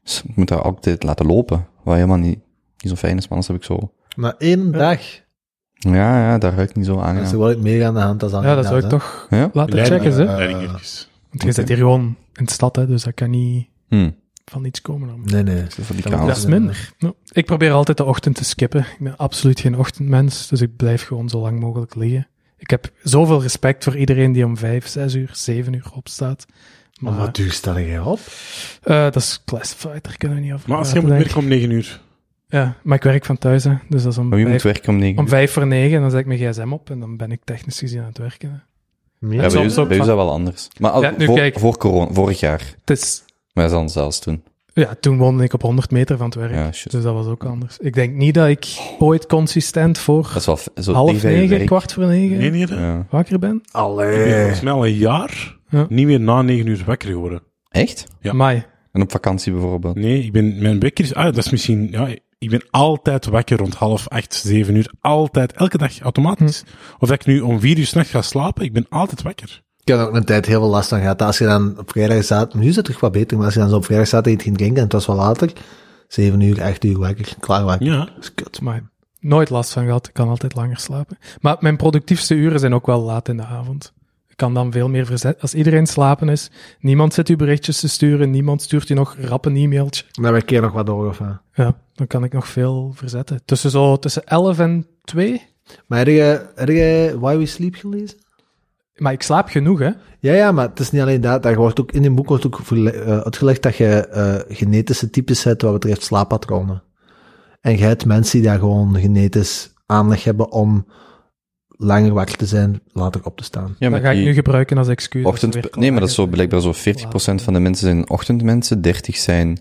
[SPEAKER 3] dus ik moet dat altijd laten lopen. Wat helemaal niet, niet zo fijn is, maar anders heb ik zo...
[SPEAKER 2] Maar één dag,
[SPEAKER 3] Ja, ja, dat ruikt niet zo
[SPEAKER 2] dat is
[SPEAKER 3] aangenaam.
[SPEAKER 2] er wel meer aan de hand als aan
[SPEAKER 5] Ja, dat zou ik toch
[SPEAKER 3] Ja?
[SPEAKER 5] laten
[SPEAKER 4] Leiding-
[SPEAKER 5] checken, hè.
[SPEAKER 2] eh,
[SPEAKER 4] leiding even.
[SPEAKER 5] Want je zit hier gewoon in de stad, hè, dus dat kan niet
[SPEAKER 3] Hm.
[SPEAKER 5] van iets komen. normaal.
[SPEAKER 2] Nee, nee.
[SPEAKER 3] Dus van die
[SPEAKER 2] Dat
[SPEAKER 3] kraan.
[SPEAKER 5] Dat is minder. Nou, ik probeer altijd de ochtend te skippen. Ik ben absoluut geen ochtendmens, dus ik blijf gewoon zo lang mogelijk liggen. Ik heb zoveel respect voor iedereen die om vijf, zes uur, zeven uur opstaat. Maar
[SPEAKER 2] Maar wat duur stel jij op?
[SPEAKER 5] eh, dat is classified, daar kunnen we niet over
[SPEAKER 4] Maar als jij
[SPEAKER 5] praten,
[SPEAKER 4] moet
[SPEAKER 5] denk
[SPEAKER 4] werken om 9 uur.
[SPEAKER 5] ik. Ja, maar ik werk van thuis, hè, dus dat is om
[SPEAKER 3] Maar wie Oh, moet
[SPEAKER 5] vijf,
[SPEAKER 3] werken om negen
[SPEAKER 5] om
[SPEAKER 3] uur?
[SPEAKER 5] vijf voor negen. En dan zet ik mijn gsm op en dan ben ik technisch gezien aan het werken. hè.
[SPEAKER 3] Ja, bij, u,
[SPEAKER 5] soms ook
[SPEAKER 3] bij u is
[SPEAKER 5] van-
[SPEAKER 3] dat wel anders. Maar al-
[SPEAKER 5] Ja, nu
[SPEAKER 3] voor,
[SPEAKER 5] kijk.
[SPEAKER 3] voor corona, vorig jaar.
[SPEAKER 5] Het is,
[SPEAKER 3] Maar dat is dan zelfs toen.
[SPEAKER 5] ja, toen woonde ik op 100 meter van het werk,
[SPEAKER 3] Ja, shit.
[SPEAKER 5] dus dat was ook anders. Ik denk niet dat ik ooit consistent
[SPEAKER 3] Dat
[SPEAKER 5] voor
[SPEAKER 3] is wel f- zo
[SPEAKER 5] half
[SPEAKER 3] tegen je
[SPEAKER 5] negen,
[SPEAKER 3] werk.
[SPEAKER 5] kwart voor negen
[SPEAKER 4] Nee, nee, dat-
[SPEAKER 3] Ja.
[SPEAKER 5] wakker ben.
[SPEAKER 3] Eh.
[SPEAKER 4] Ik ben volgens mij al een jaar
[SPEAKER 5] Ja.
[SPEAKER 4] niet meer na negen uur wakker geworden.
[SPEAKER 3] Echt?
[SPEAKER 4] Ja.
[SPEAKER 5] Amai.
[SPEAKER 3] En op vakantie bijvoorbeeld.
[SPEAKER 4] Nee, ik ben, mijn wekker is, ah, dat is misschien, ja, ik ben altijd wakker rond half acht, zeven uur. Altijd, elke dag, automatisch.
[SPEAKER 3] Hm.
[SPEAKER 4] Of dat ik nu om vier uur 's nachts ga slapen, ik ben altijd wakker.
[SPEAKER 2] Ik heb er ook een tijd heel veel last van gehad. Als je dan op vrijdag zat, nu is het toch wat beter, maar als je dan zo op vrijdag zat en je het ging drinken en het was wel later, 7 uur, 8 uur wakker, klaar wakker.
[SPEAKER 4] Ja.
[SPEAKER 2] Dat is kut.
[SPEAKER 5] Amai. Nooit last van gehad. Ik kan altijd langer slapen. Maar mijn productiefste uren zijn ook wel laat in de avond. Ik kan dan veel meer verzetten. Als iedereen slapen is, niemand zit u berichtjes te sturen, niemand stuurt u nog rap een e-mailtje.
[SPEAKER 2] Dan heb ik keer nog wat door of wat.
[SPEAKER 5] Ja, dan kan ik nog veel verzetten. Tussen, zo, tussen 11 en 2.
[SPEAKER 2] Maar heb je, heb je Why We Sleep gelezen?
[SPEAKER 5] Maar ik slaap genoeg, hè?
[SPEAKER 2] Ja, ja, maar het is niet alleen dat. Daar wordt ook, in een boek wordt ook verle- eh, uitgelegd dat je eh, genetische types hebt wat betreft slaappatronen. En je hebt mensen die daar gewoon genetisch aanleg hebben om langer wakker te zijn, later op te staan.
[SPEAKER 3] Ja,
[SPEAKER 5] dat ga ik nu gebruiken als excuus. als we weer
[SPEAKER 3] ochtend, nee, maar dat is zo
[SPEAKER 5] klagen
[SPEAKER 3] blijkbaar zo 40%
[SPEAKER 5] zijn.
[SPEAKER 3] van de mensen zijn ochtendmensen, 30 zijn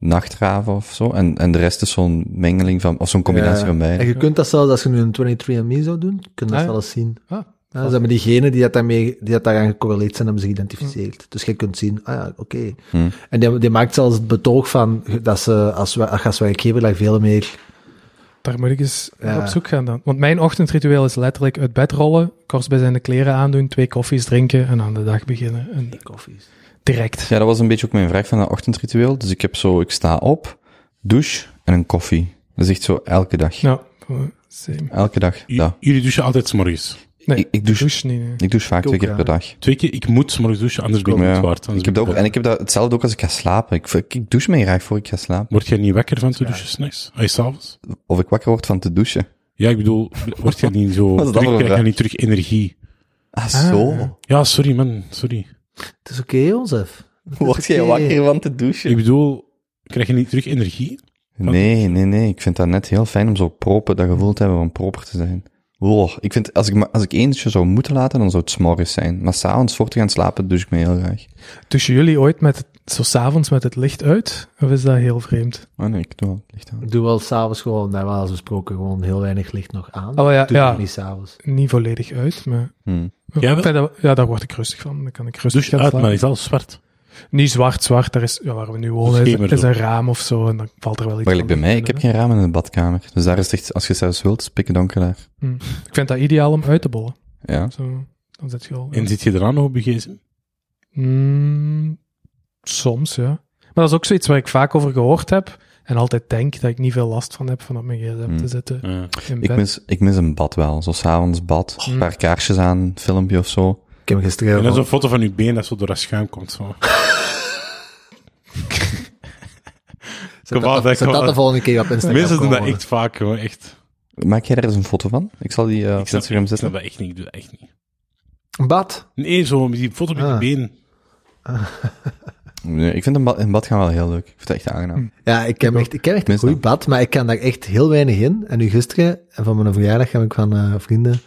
[SPEAKER 3] nachtraven of zo. En, en de rest is zo'n mengeling van, of zo'n combinatie
[SPEAKER 2] Ja.
[SPEAKER 3] van
[SPEAKER 2] En
[SPEAKER 3] beide.
[SPEAKER 2] je kunt dat zelfs als je nu een 23andMe zou doen, kun je dat
[SPEAKER 5] Ah, ja.
[SPEAKER 2] wel eens zien.
[SPEAKER 5] Ah,
[SPEAKER 2] Ja, dus hebben diegenen die dat, daarmee, die dat daaraan gecorreleerd zijn, hebben zich geïdentificeerd. Dus je kunt zien, ah ja, oké.
[SPEAKER 3] Hm.
[SPEAKER 2] En die, die maakt zelfs het betoog van dat ze als, we, als werkgever daar veel meer...
[SPEAKER 5] Daar moet ik eens
[SPEAKER 2] Ja.
[SPEAKER 5] op zoek gaan dan. Want mijn ochtendritueel is letterlijk uit bed rollen, kortsbijzijnde kleren aandoen, twee koffies drinken en aan de dag beginnen. En
[SPEAKER 2] Koffies.
[SPEAKER 5] direct.
[SPEAKER 3] Ja, dat was een beetje ook mijn vraag van dat ochtendritueel. Dus ik heb zo, ik sta op, douche en een koffie. Dat is echt zo elke dag.
[SPEAKER 5] Nou, eh, same.
[SPEAKER 3] Elke dag,
[SPEAKER 4] J-
[SPEAKER 3] ja.
[SPEAKER 4] Jullie douchen altijd 's morgens.
[SPEAKER 5] Nee,
[SPEAKER 3] ik, ik,
[SPEAKER 5] douche,
[SPEAKER 3] douche,
[SPEAKER 5] niet. nee.
[SPEAKER 3] ik douche vaak
[SPEAKER 2] Ik ook,
[SPEAKER 3] twee keer
[SPEAKER 2] ja.
[SPEAKER 3] per dag.
[SPEAKER 4] Twee keer, ik moet 's morgens douchen, anders ben ik
[SPEAKER 3] Ja.
[SPEAKER 4] niet waard.
[SPEAKER 3] Ik heb dat ook, en ik heb dat hetzelfde ook als ik ga slapen. Ik, ik, ik douche mij graag voor ik ga slapen.
[SPEAKER 4] Word jij niet wakker van te douchen s'nachts? Ah, je s'avonds?
[SPEAKER 3] Of ik wakker word van te douchen.
[SPEAKER 4] Ja, ik bedoel, word jij niet zo,
[SPEAKER 3] Wat is dat
[SPEAKER 4] terug,
[SPEAKER 3] voor
[SPEAKER 4] krijg
[SPEAKER 3] vraag?
[SPEAKER 4] je niet terug energie?
[SPEAKER 3] Ah, zo.
[SPEAKER 4] Ja, sorry man, sorry.
[SPEAKER 2] Het is oké, Jozef.
[SPEAKER 3] Word jij
[SPEAKER 2] oké.
[SPEAKER 3] wakker van te douchen?
[SPEAKER 4] Ik bedoel, krijg je niet terug energie?
[SPEAKER 3] Nee, nee, nee. Ik vind dat net heel fijn om zo proper, dat gevoel te hebben om proper te zijn. Wow. Ik vind, als ik, ma- als ik eentje zou moeten laten, dan zou het 's morgens zijn. Maar s'avonds voor te gaan slapen, douche ik me heel graag.
[SPEAKER 5] Douchen jullie ooit met het, zo s'avonds met het licht uit? Of is dat heel vreemd?
[SPEAKER 3] Oh nee, ik doe al het licht aan.
[SPEAKER 2] Ik doe wel s'avonds gewoon, daar was besproken, gewoon heel weinig licht nog aan.
[SPEAKER 3] Ah,
[SPEAKER 5] Oh ja,
[SPEAKER 2] doe
[SPEAKER 5] ja.
[SPEAKER 2] ik niet s'avonds.
[SPEAKER 5] Niet volledig uit, maar...
[SPEAKER 3] Hmm.
[SPEAKER 4] Jij wel?
[SPEAKER 5] Ik vind dat- ja, daar word ik rustig van. Dan kan ik rustig
[SPEAKER 4] Douche
[SPEAKER 5] gaan
[SPEAKER 4] uit, maar
[SPEAKER 5] slapen.
[SPEAKER 4] het is al zwart.
[SPEAKER 5] Niet zwart-zwart, daar is, ja, waar we nu wonen, is,
[SPEAKER 4] schemer
[SPEAKER 5] is
[SPEAKER 4] zo.
[SPEAKER 5] een raam of zo, en dan valt er wel iets
[SPEAKER 3] Maar gelijk bij
[SPEAKER 5] van
[SPEAKER 3] mij, ik heb
[SPEAKER 5] binnen, hè.
[SPEAKER 3] geen ramen in de badkamer. Dus daar is het echt, als je zelfs wilt, pikken donker daar.
[SPEAKER 5] Ik vind dat ideaal om uit te bollen.
[SPEAKER 3] Ja.
[SPEAKER 5] Zo, dan zit je al...
[SPEAKER 4] En zit je eraan nog op BGSM?
[SPEAKER 5] Mm, soms, ja. Maar dat is ook zoiets waar ik vaak over gehoord heb. En altijd denk dat ik niet veel last van heb van op mijn gsm
[SPEAKER 3] Mm.
[SPEAKER 5] te zitten
[SPEAKER 4] Ja.
[SPEAKER 5] in
[SPEAKER 3] Ik
[SPEAKER 5] bed.
[SPEAKER 3] mis, ik mis een bad wel. Zo s'avonds bad, een
[SPEAKER 5] Hmm.
[SPEAKER 3] paar kaarsjes aan, een filmpje of zo.
[SPEAKER 2] Ik heb gisteren...
[SPEAKER 4] En dat is een foto van uw been dat zo door dat schuim komt. Zo.
[SPEAKER 2] zet
[SPEAKER 4] Kom
[SPEAKER 2] dat,
[SPEAKER 4] op, hè,
[SPEAKER 2] zet
[SPEAKER 4] kom
[SPEAKER 2] dat
[SPEAKER 4] op.
[SPEAKER 2] de volgende keer op Instagram.
[SPEAKER 4] Mensen doen dat
[SPEAKER 2] komen.
[SPEAKER 4] echt vaak, hoor. Echt.
[SPEAKER 3] Maak jij daar eens een foto van? Ik zal die eh, op
[SPEAKER 4] Ik snap,
[SPEAKER 3] Instagram
[SPEAKER 4] ik snap
[SPEAKER 3] zetten.
[SPEAKER 4] dat echt niet, ik doe dat echt niet.
[SPEAKER 2] Bad.
[SPEAKER 4] Nee, zo met die foto met
[SPEAKER 2] Ah.
[SPEAKER 4] je been.
[SPEAKER 3] Nee, ik vind een bad, een bad gaan wel heel leuk. Ik vind het echt aangenaam.
[SPEAKER 2] Ja, ik ken echt, ik ken echt een
[SPEAKER 3] Mis
[SPEAKER 2] goed
[SPEAKER 3] dat.
[SPEAKER 2] bad, maar ik kan daar echt heel weinig in. En nu gisteren, en van mijn verjaardag, heb ik van eh, vrienden...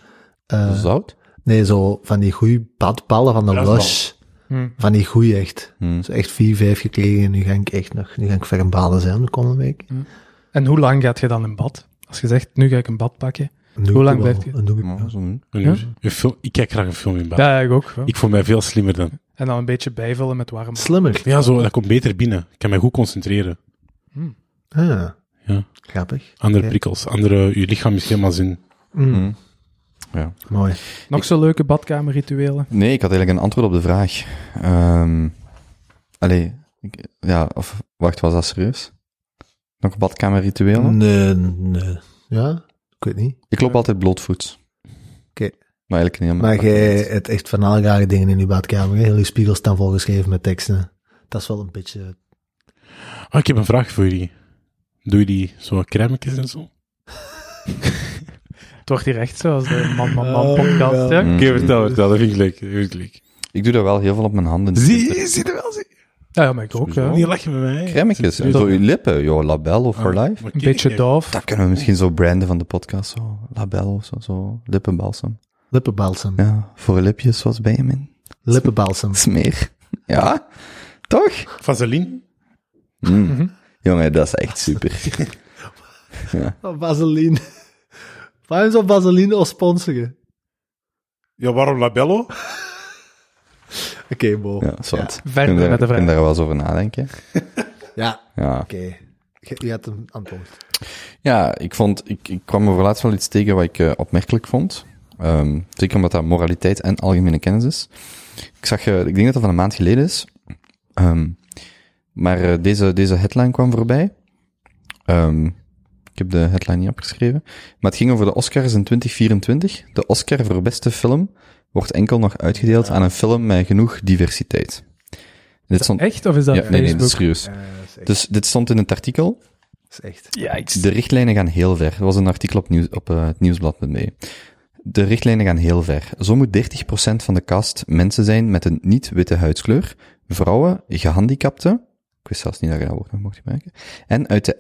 [SPEAKER 2] eh,
[SPEAKER 3] Zout?
[SPEAKER 2] Nee, zo van die goeie badballen van de
[SPEAKER 4] Bruisbal.
[SPEAKER 2] Lush.
[SPEAKER 5] Hmm.
[SPEAKER 2] Van die goeie echt.
[SPEAKER 3] Hmm.
[SPEAKER 2] Zo echt vier, vijf gekregen en nu ga ik echt nog, nu ga ik ver baden zijn de komende week.
[SPEAKER 5] En hoe lang gaat je dan in bad? Als je zegt, nu ga ik een bad pakken.
[SPEAKER 2] Een doe
[SPEAKER 5] Hoe
[SPEAKER 2] ik
[SPEAKER 5] lang
[SPEAKER 2] wel,
[SPEAKER 5] blijft je?
[SPEAKER 2] een doe ik wel.
[SPEAKER 3] Ja, zo doen.
[SPEAKER 4] Een
[SPEAKER 5] Ja?
[SPEAKER 4] uur. Een film- ik kijk graag een film in bad.
[SPEAKER 5] Ja, ik ook. ja.
[SPEAKER 4] Ik voel mij veel slimmer dan.
[SPEAKER 5] En dan een beetje bijvullen met warm.
[SPEAKER 2] Slimmer.
[SPEAKER 4] Ja, zo, dat komt beter binnen. Ik kan mij goed concentreren.
[SPEAKER 2] Ah,
[SPEAKER 4] Ja.
[SPEAKER 2] grappig.
[SPEAKER 4] Andere
[SPEAKER 2] Oké.
[SPEAKER 4] prikkels, andere, je lichaam is helemaal zin.
[SPEAKER 2] Mm,
[SPEAKER 3] Hmm.
[SPEAKER 2] Mooi.
[SPEAKER 5] Nog zo'n leuke badkamerrituelen.
[SPEAKER 3] Nee, ik had eigenlijk een antwoord op de vraag. Ehm allee, ik- ja, of wacht, was dat serieus? Nog badkamerrituelen?
[SPEAKER 2] Nee, nee. Ja, ik weet niet.
[SPEAKER 3] Ik loop altijd blootvoets.
[SPEAKER 2] Oké.
[SPEAKER 3] Maar eigenlijk niet helemaal.
[SPEAKER 2] Maar jij hebt echt van alle rare dingen in je badkamer. hè? Heel je spiegels staan volgeschreven met teksten. Dat is wel een beetje...
[SPEAKER 4] Ah, ik heb een vraag voor jullie. Doe je die zo crèmetjes en zo?
[SPEAKER 5] Het wordt hier echt zoals de man man man
[SPEAKER 2] Oh,
[SPEAKER 5] podcast.
[SPEAKER 2] ja.
[SPEAKER 5] hè?
[SPEAKER 3] Mm.
[SPEAKER 4] vertel, dat vind ik leuk. Dat vind ik leuk.
[SPEAKER 3] Ik doe dat wel heel veel op mijn handen.
[SPEAKER 4] Zie, zie je wel, zie
[SPEAKER 5] Ja, ja, maar ik ook. ja.
[SPEAKER 4] Niet lachen met mij. Ah,
[SPEAKER 3] Kremmetjes,
[SPEAKER 4] Doe dat.
[SPEAKER 3] zo je lippen, joh, label of for life.
[SPEAKER 4] Oké,
[SPEAKER 5] Een beetje
[SPEAKER 4] ja.
[SPEAKER 5] doof.
[SPEAKER 3] Dat kunnen we misschien zo branden van de podcast, zo. Label of zo, zo. Lippenbalsem.
[SPEAKER 2] Lippenbalsem.
[SPEAKER 3] Ja, voor lipjes zoals Benjamin.
[SPEAKER 2] Lippenbalsem.
[SPEAKER 3] Smeer. Ja, toch?
[SPEAKER 4] Vaseline?
[SPEAKER 3] Mm. Jongen, dat is echt super.
[SPEAKER 2] Oh, Vaseline. Waarom zou Vaseline ons sponsoren?
[SPEAKER 4] Ja, waarom labello?
[SPEAKER 2] bo.
[SPEAKER 3] Ja, zwart.
[SPEAKER 5] verder
[SPEAKER 3] kun
[SPEAKER 5] met
[SPEAKER 3] daar,
[SPEAKER 5] de vraag.
[SPEAKER 3] kun daar wel eens over nadenken.
[SPEAKER 2] Ja,
[SPEAKER 3] Ja.
[SPEAKER 2] oké. Je, je hebt een antwoord.
[SPEAKER 3] Ja, ik, vond, ik, ik kwam over laatst wel iets tegen wat ik eh, opmerkelijk vond. Ehm, zeker omdat dat moraliteit en algemene kennis is. Ik zag, eh, ik denk dat dat van een maand geleden is. Ehm, maar eh, deze, deze headline kwam voorbij. Ehm, ik heb de headline niet opgeschreven. Maar het ging over de Oscars in 2024. De Oscar voor beste film wordt enkel nog uitgedeeld aan een film met genoeg diversiteit. Dit stond,
[SPEAKER 5] Echt? Of is
[SPEAKER 3] ja,
[SPEAKER 5] dat
[SPEAKER 3] nee, nee,
[SPEAKER 5] Facebook?
[SPEAKER 3] dit is serieus.
[SPEAKER 2] Eh, dat is echt.
[SPEAKER 3] Dus dit stond in het artikel.
[SPEAKER 2] dat is echt.
[SPEAKER 3] De richtlijnen gaan heel ver. Er was een artikel op, nieuws, op eh, het nieuwsblad met mee. De richtlijnen gaan heel ver. Zo moet 30% van de cast mensen zijn met een niet-witte huidskleur, vrouwen, gehandicapten, ik wist zelfs niet dat je dat woord nog mocht gebruiken, en uit de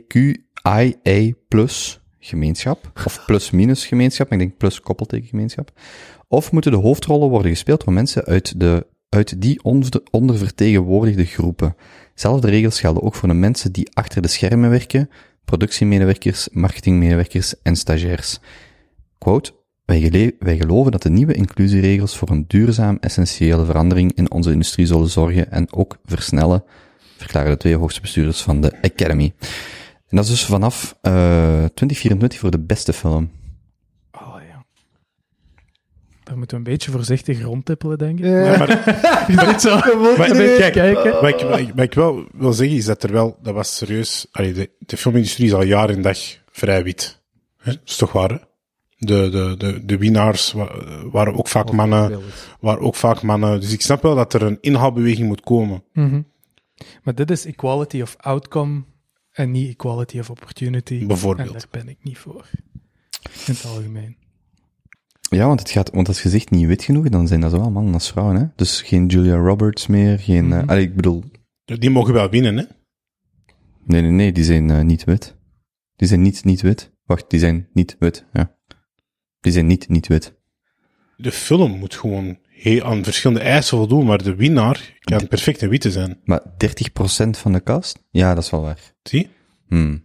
[SPEAKER 3] LGBTQIA plus gemeenschap, of plus-minus gemeenschap, maar ik denk plus koppelteken gemeenschap, of moeten de hoofdrollen worden gespeeld door mensen uit, de, uit die onder- ondervertegenwoordigde groepen. Zelfde regels gelden ook voor de mensen die achter de schermen werken, productiemedewerkers, marketingmedewerkers en stagiairs. Quote, wij, gele- wij geloven dat de nieuwe inclusieregels voor een duurzaam essentiële verandering in onze industrie zullen zorgen en ook versnellen, verklaren de twee hoogste bestuurders van de Academy. En dat is dus vanaf eh 2024 voor de beste film.
[SPEAKER 5] Oh, ja. Daar moeten we een beetje voorzichtig rondtippelen, denk ik.
[SPEAKER 4] Ja, maar,
[SPEAKER 5] Niet zo.
[SPEAKER 4] maar-
[SPEAKER 5] Even
[SPEAKER 4] kijk,
[SPEAKER 5] kijken.
[SPEAKER 4] Wat ik, wat ik- wat ik wel wil zeggen is dat er wel, dat was serieus, allee, de, de filmindustrie is al jaar en dag vrij wit. Hè? Dat is toch waar, hè? De, de, de, de winnaars wa- waren ook vaak mannen, waren ook vaak mannen. Dus ik snap wel dat er een inhaalbeweging moet komen.
[SPEAKER 5] Mhm. Maar dit is equality of outcome en niet equality of opportunity.
[SPEAKER 4] Bijvoorbeeld.
[SPEAKER 5] En daar ben ik niet voor. In het algemeen.
[SPEAKER 3] Ja, want het gaat, want als gezicht niet wit genoeg, dan zijn dat zowel mannen als vrouwen, hè. Dus geen Julia Roberts meer, geen, eh,
[SPEAKER 5] Mhm.
[SPEAKER 3] allee, ik bedoel,
[SPEAKER 4] Die mogen wel winnen, hè?
[SPEAKER 3] nee, nee, nee, die zijn eh, niet wit. Die zijn niet, niet wit. Wacht, die zijn niet wit, ja. Die zijn niet, niet wit.
[SPEAKER 4] De film moet gewoon heel, aan verschillende eisen voldoen, maar de winnaar kan perfect een witte zijn.
[SPEAKER 3] Maar 30% van de kast? Ja, dat is wel waar.
[SPEAKER 4] Zie?
[SPEAKER 3] Hmm.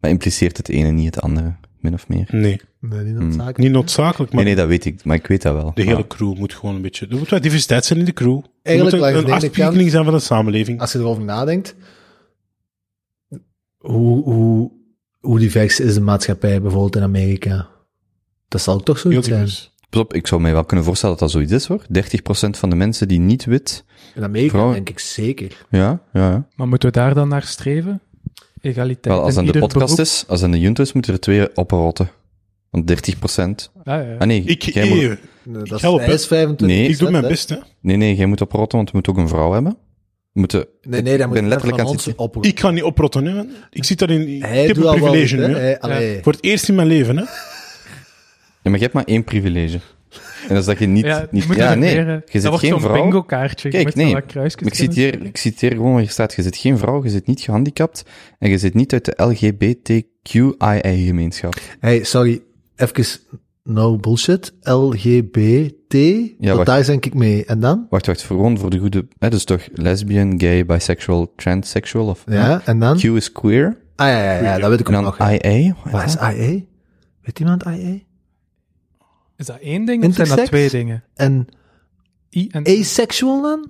[SPEAKER 3] Maar impliceert het ene niet het andere, min of meer? Hmm.
[SPEAKER 4] Nee.
[SPEAKER 2] Nee,
[SPEAKER 3] Mm.
[SPEAKER 2] niet
[SPEAKER 3] Hm.
[SPEAKER 2] noodzakelijk.
[SPEAKER 4] Niet noodzakelijk, maar
[SPEAKER 3] nee, nee, dat weet ik, maar ik weet dat wel.
[SPEAKER 4] de hele crew moet gewoon een beetje... Er moet wat diversiteit zijn in de crew. Er
[SPEAKER 2] Eigenlijk
[SPEAKER 4] moet
[SPEAKER 2] langs
[SPEAKER 4] een,
[SPEAKER 2] de
[SPEAKER 4] een
[SPEAKER 2] ene kant-
[SPEAKER 4] afspiegeling zijn van de samenleving.
[SPEAKER 2] Als je erover nadenkt, hoe, hoe, hoe divers is de maatschappij bijvoorbeeld in Amerika? Dat zal toch
[SPEAKER 4] Heel
[SPEAKER 2] zoiets zijn.
[SPEAKER 4] divers.
[SPEAKER 3] Pas op, ik zou mij wel kunnen voorstellen dat dat zoiets is, hoor. 30% van de mensen die niet wit...
[SPEAKER 2] In Amerika
[SPEAKER 3] Vrouwen-
[SPEAKER 2] denk ik zeker.
[SPEAKER 3] Ja, ja, ja.
[SPEAKER 5] Maar moeten we daar dan naar streven? Egaliteit.
[SPEAKER 3] Wel, als
[SPEAKER 5] in
[SPEAKER 3] aan de
[SPEAKER 5] ieder
[SPEAKER 3] podcast
[SPEAKER 5] beroep?
[SPEAKER 3] is, als aan de junta is, moeten er twee oprotten. Want 30
[SPEAKER 5] Ja, ja, ja.
[SPEAKER 3] Ah nee,
[SPEAKER 4] Ik,
[SPEAKER 3] jij moet-
[SPEAKER 4] eh,
[SPEAKER 2] Nee, Dat
[SPEAKER 4] Ik
[SPEAKER 2] is,
[SPEAKER 4] help,
[SPEAKER 2] hij is 25
[SPEAKER 3] Nee.
[SPEAKER 4] ik doe mijn best, hè.
[SPEAKER 3] nee, nee, jij moet oprotten, want we moeten ook een vrouw hebben. We moeten...
[SPEAKER 2] Nee, nee,
[SPEAKER 3] ik
[SPEAKER 2] dat moet
[SPEAKER 3] ben letterlijk
[SPEAKER 2] van
[SPEAKER 3] aan het
[SPEAKER 2] ons
[SPEAKER 3] zitten.
[SPEAKER 2] oproepen.
[SPEAKER 4] Ik ga niet oprotten, hè. man. Ik zit daar in
[SPEAKER 2] Hij
[SPEAKER 4] ik heb
[SPEAKER 2] doet
[SPEAKER 4] een
[SPEAKER 2] al wel
[SPEAKER 4] privilege
[SPEAKER 2] goed,
[SPEAKER 4] nu,
[SPEAKER 2] hè.
[SPEAKER 4] hè.
[SPEAKER 2] Hij- allee.
[SPEAKER 4] Voor het eerst in mijn leven, hè.
[SPEAKER 3] Ja, maar je hebt maar één privilege. En dat is dat je niet...
[SPEAKER 5] Ja,
[SPEAKER 3] niet...
[SPEAKER 5] moet
[SPEAKER 3] ja
[SPEAKER 5] er
[SPEAKER 3] nee,
[SPEAKER 5] meer, eh,
[SPEAKER 3] je
[SPEAKER 5] dat
[SPEAKER 3] zit
[SPEAKER 5] wordt
[SPEAKER 3] geen
[SPEAKER 5] zo'n
[SPEAKER 3] vrouw.
[SPEAKER 5] bingo kaartje.
[SPEAKER 3] Kijk, nee, Ik
[SPEAKER 5] zit
[SPEAKER 3] citeer, ik citeer gewoon waar je staat. Je zit geen vrouw, je zit niet gehandicapt en je zit niet uit de LGBTQIA-gemeenschap.
[SPEAKER 2] Hey, sorry, even no bullshit. LGBT,
[SPEAKER 3] wacht.
[SPEAKER 2] dat daar denk ik mee. En dan?
[SPEAKER 3] Wacht, wacht, voor gewoon voor de goede... Hè, dus toch lesbian, gay, bisexual, transsexual of...
[SPEAKER 2] Ja, en dan?
[SPEAKER 3] Q is queer.
[SPEAKER 2] Ah ja, ja, ja, dat weet ik ook
[SPEAKER 3] En dan
[SPEAKER 2] nog. ja.
[SPEAKER 3] IA. wat is
[SPEAKER 2] Wat is
[SPEAKER 3] dat?
[SPEAKER 2] IA? Weet iemand IA?
[SPEAKER 5] Is dat één ding of zijn dat
[SPEAKER 2] Intersex?
[SPEAKER 5] twee dingen?
[SPEAKER 2] En
[SPEAKER 5] I en
[SPEAKER 2] asexual dan?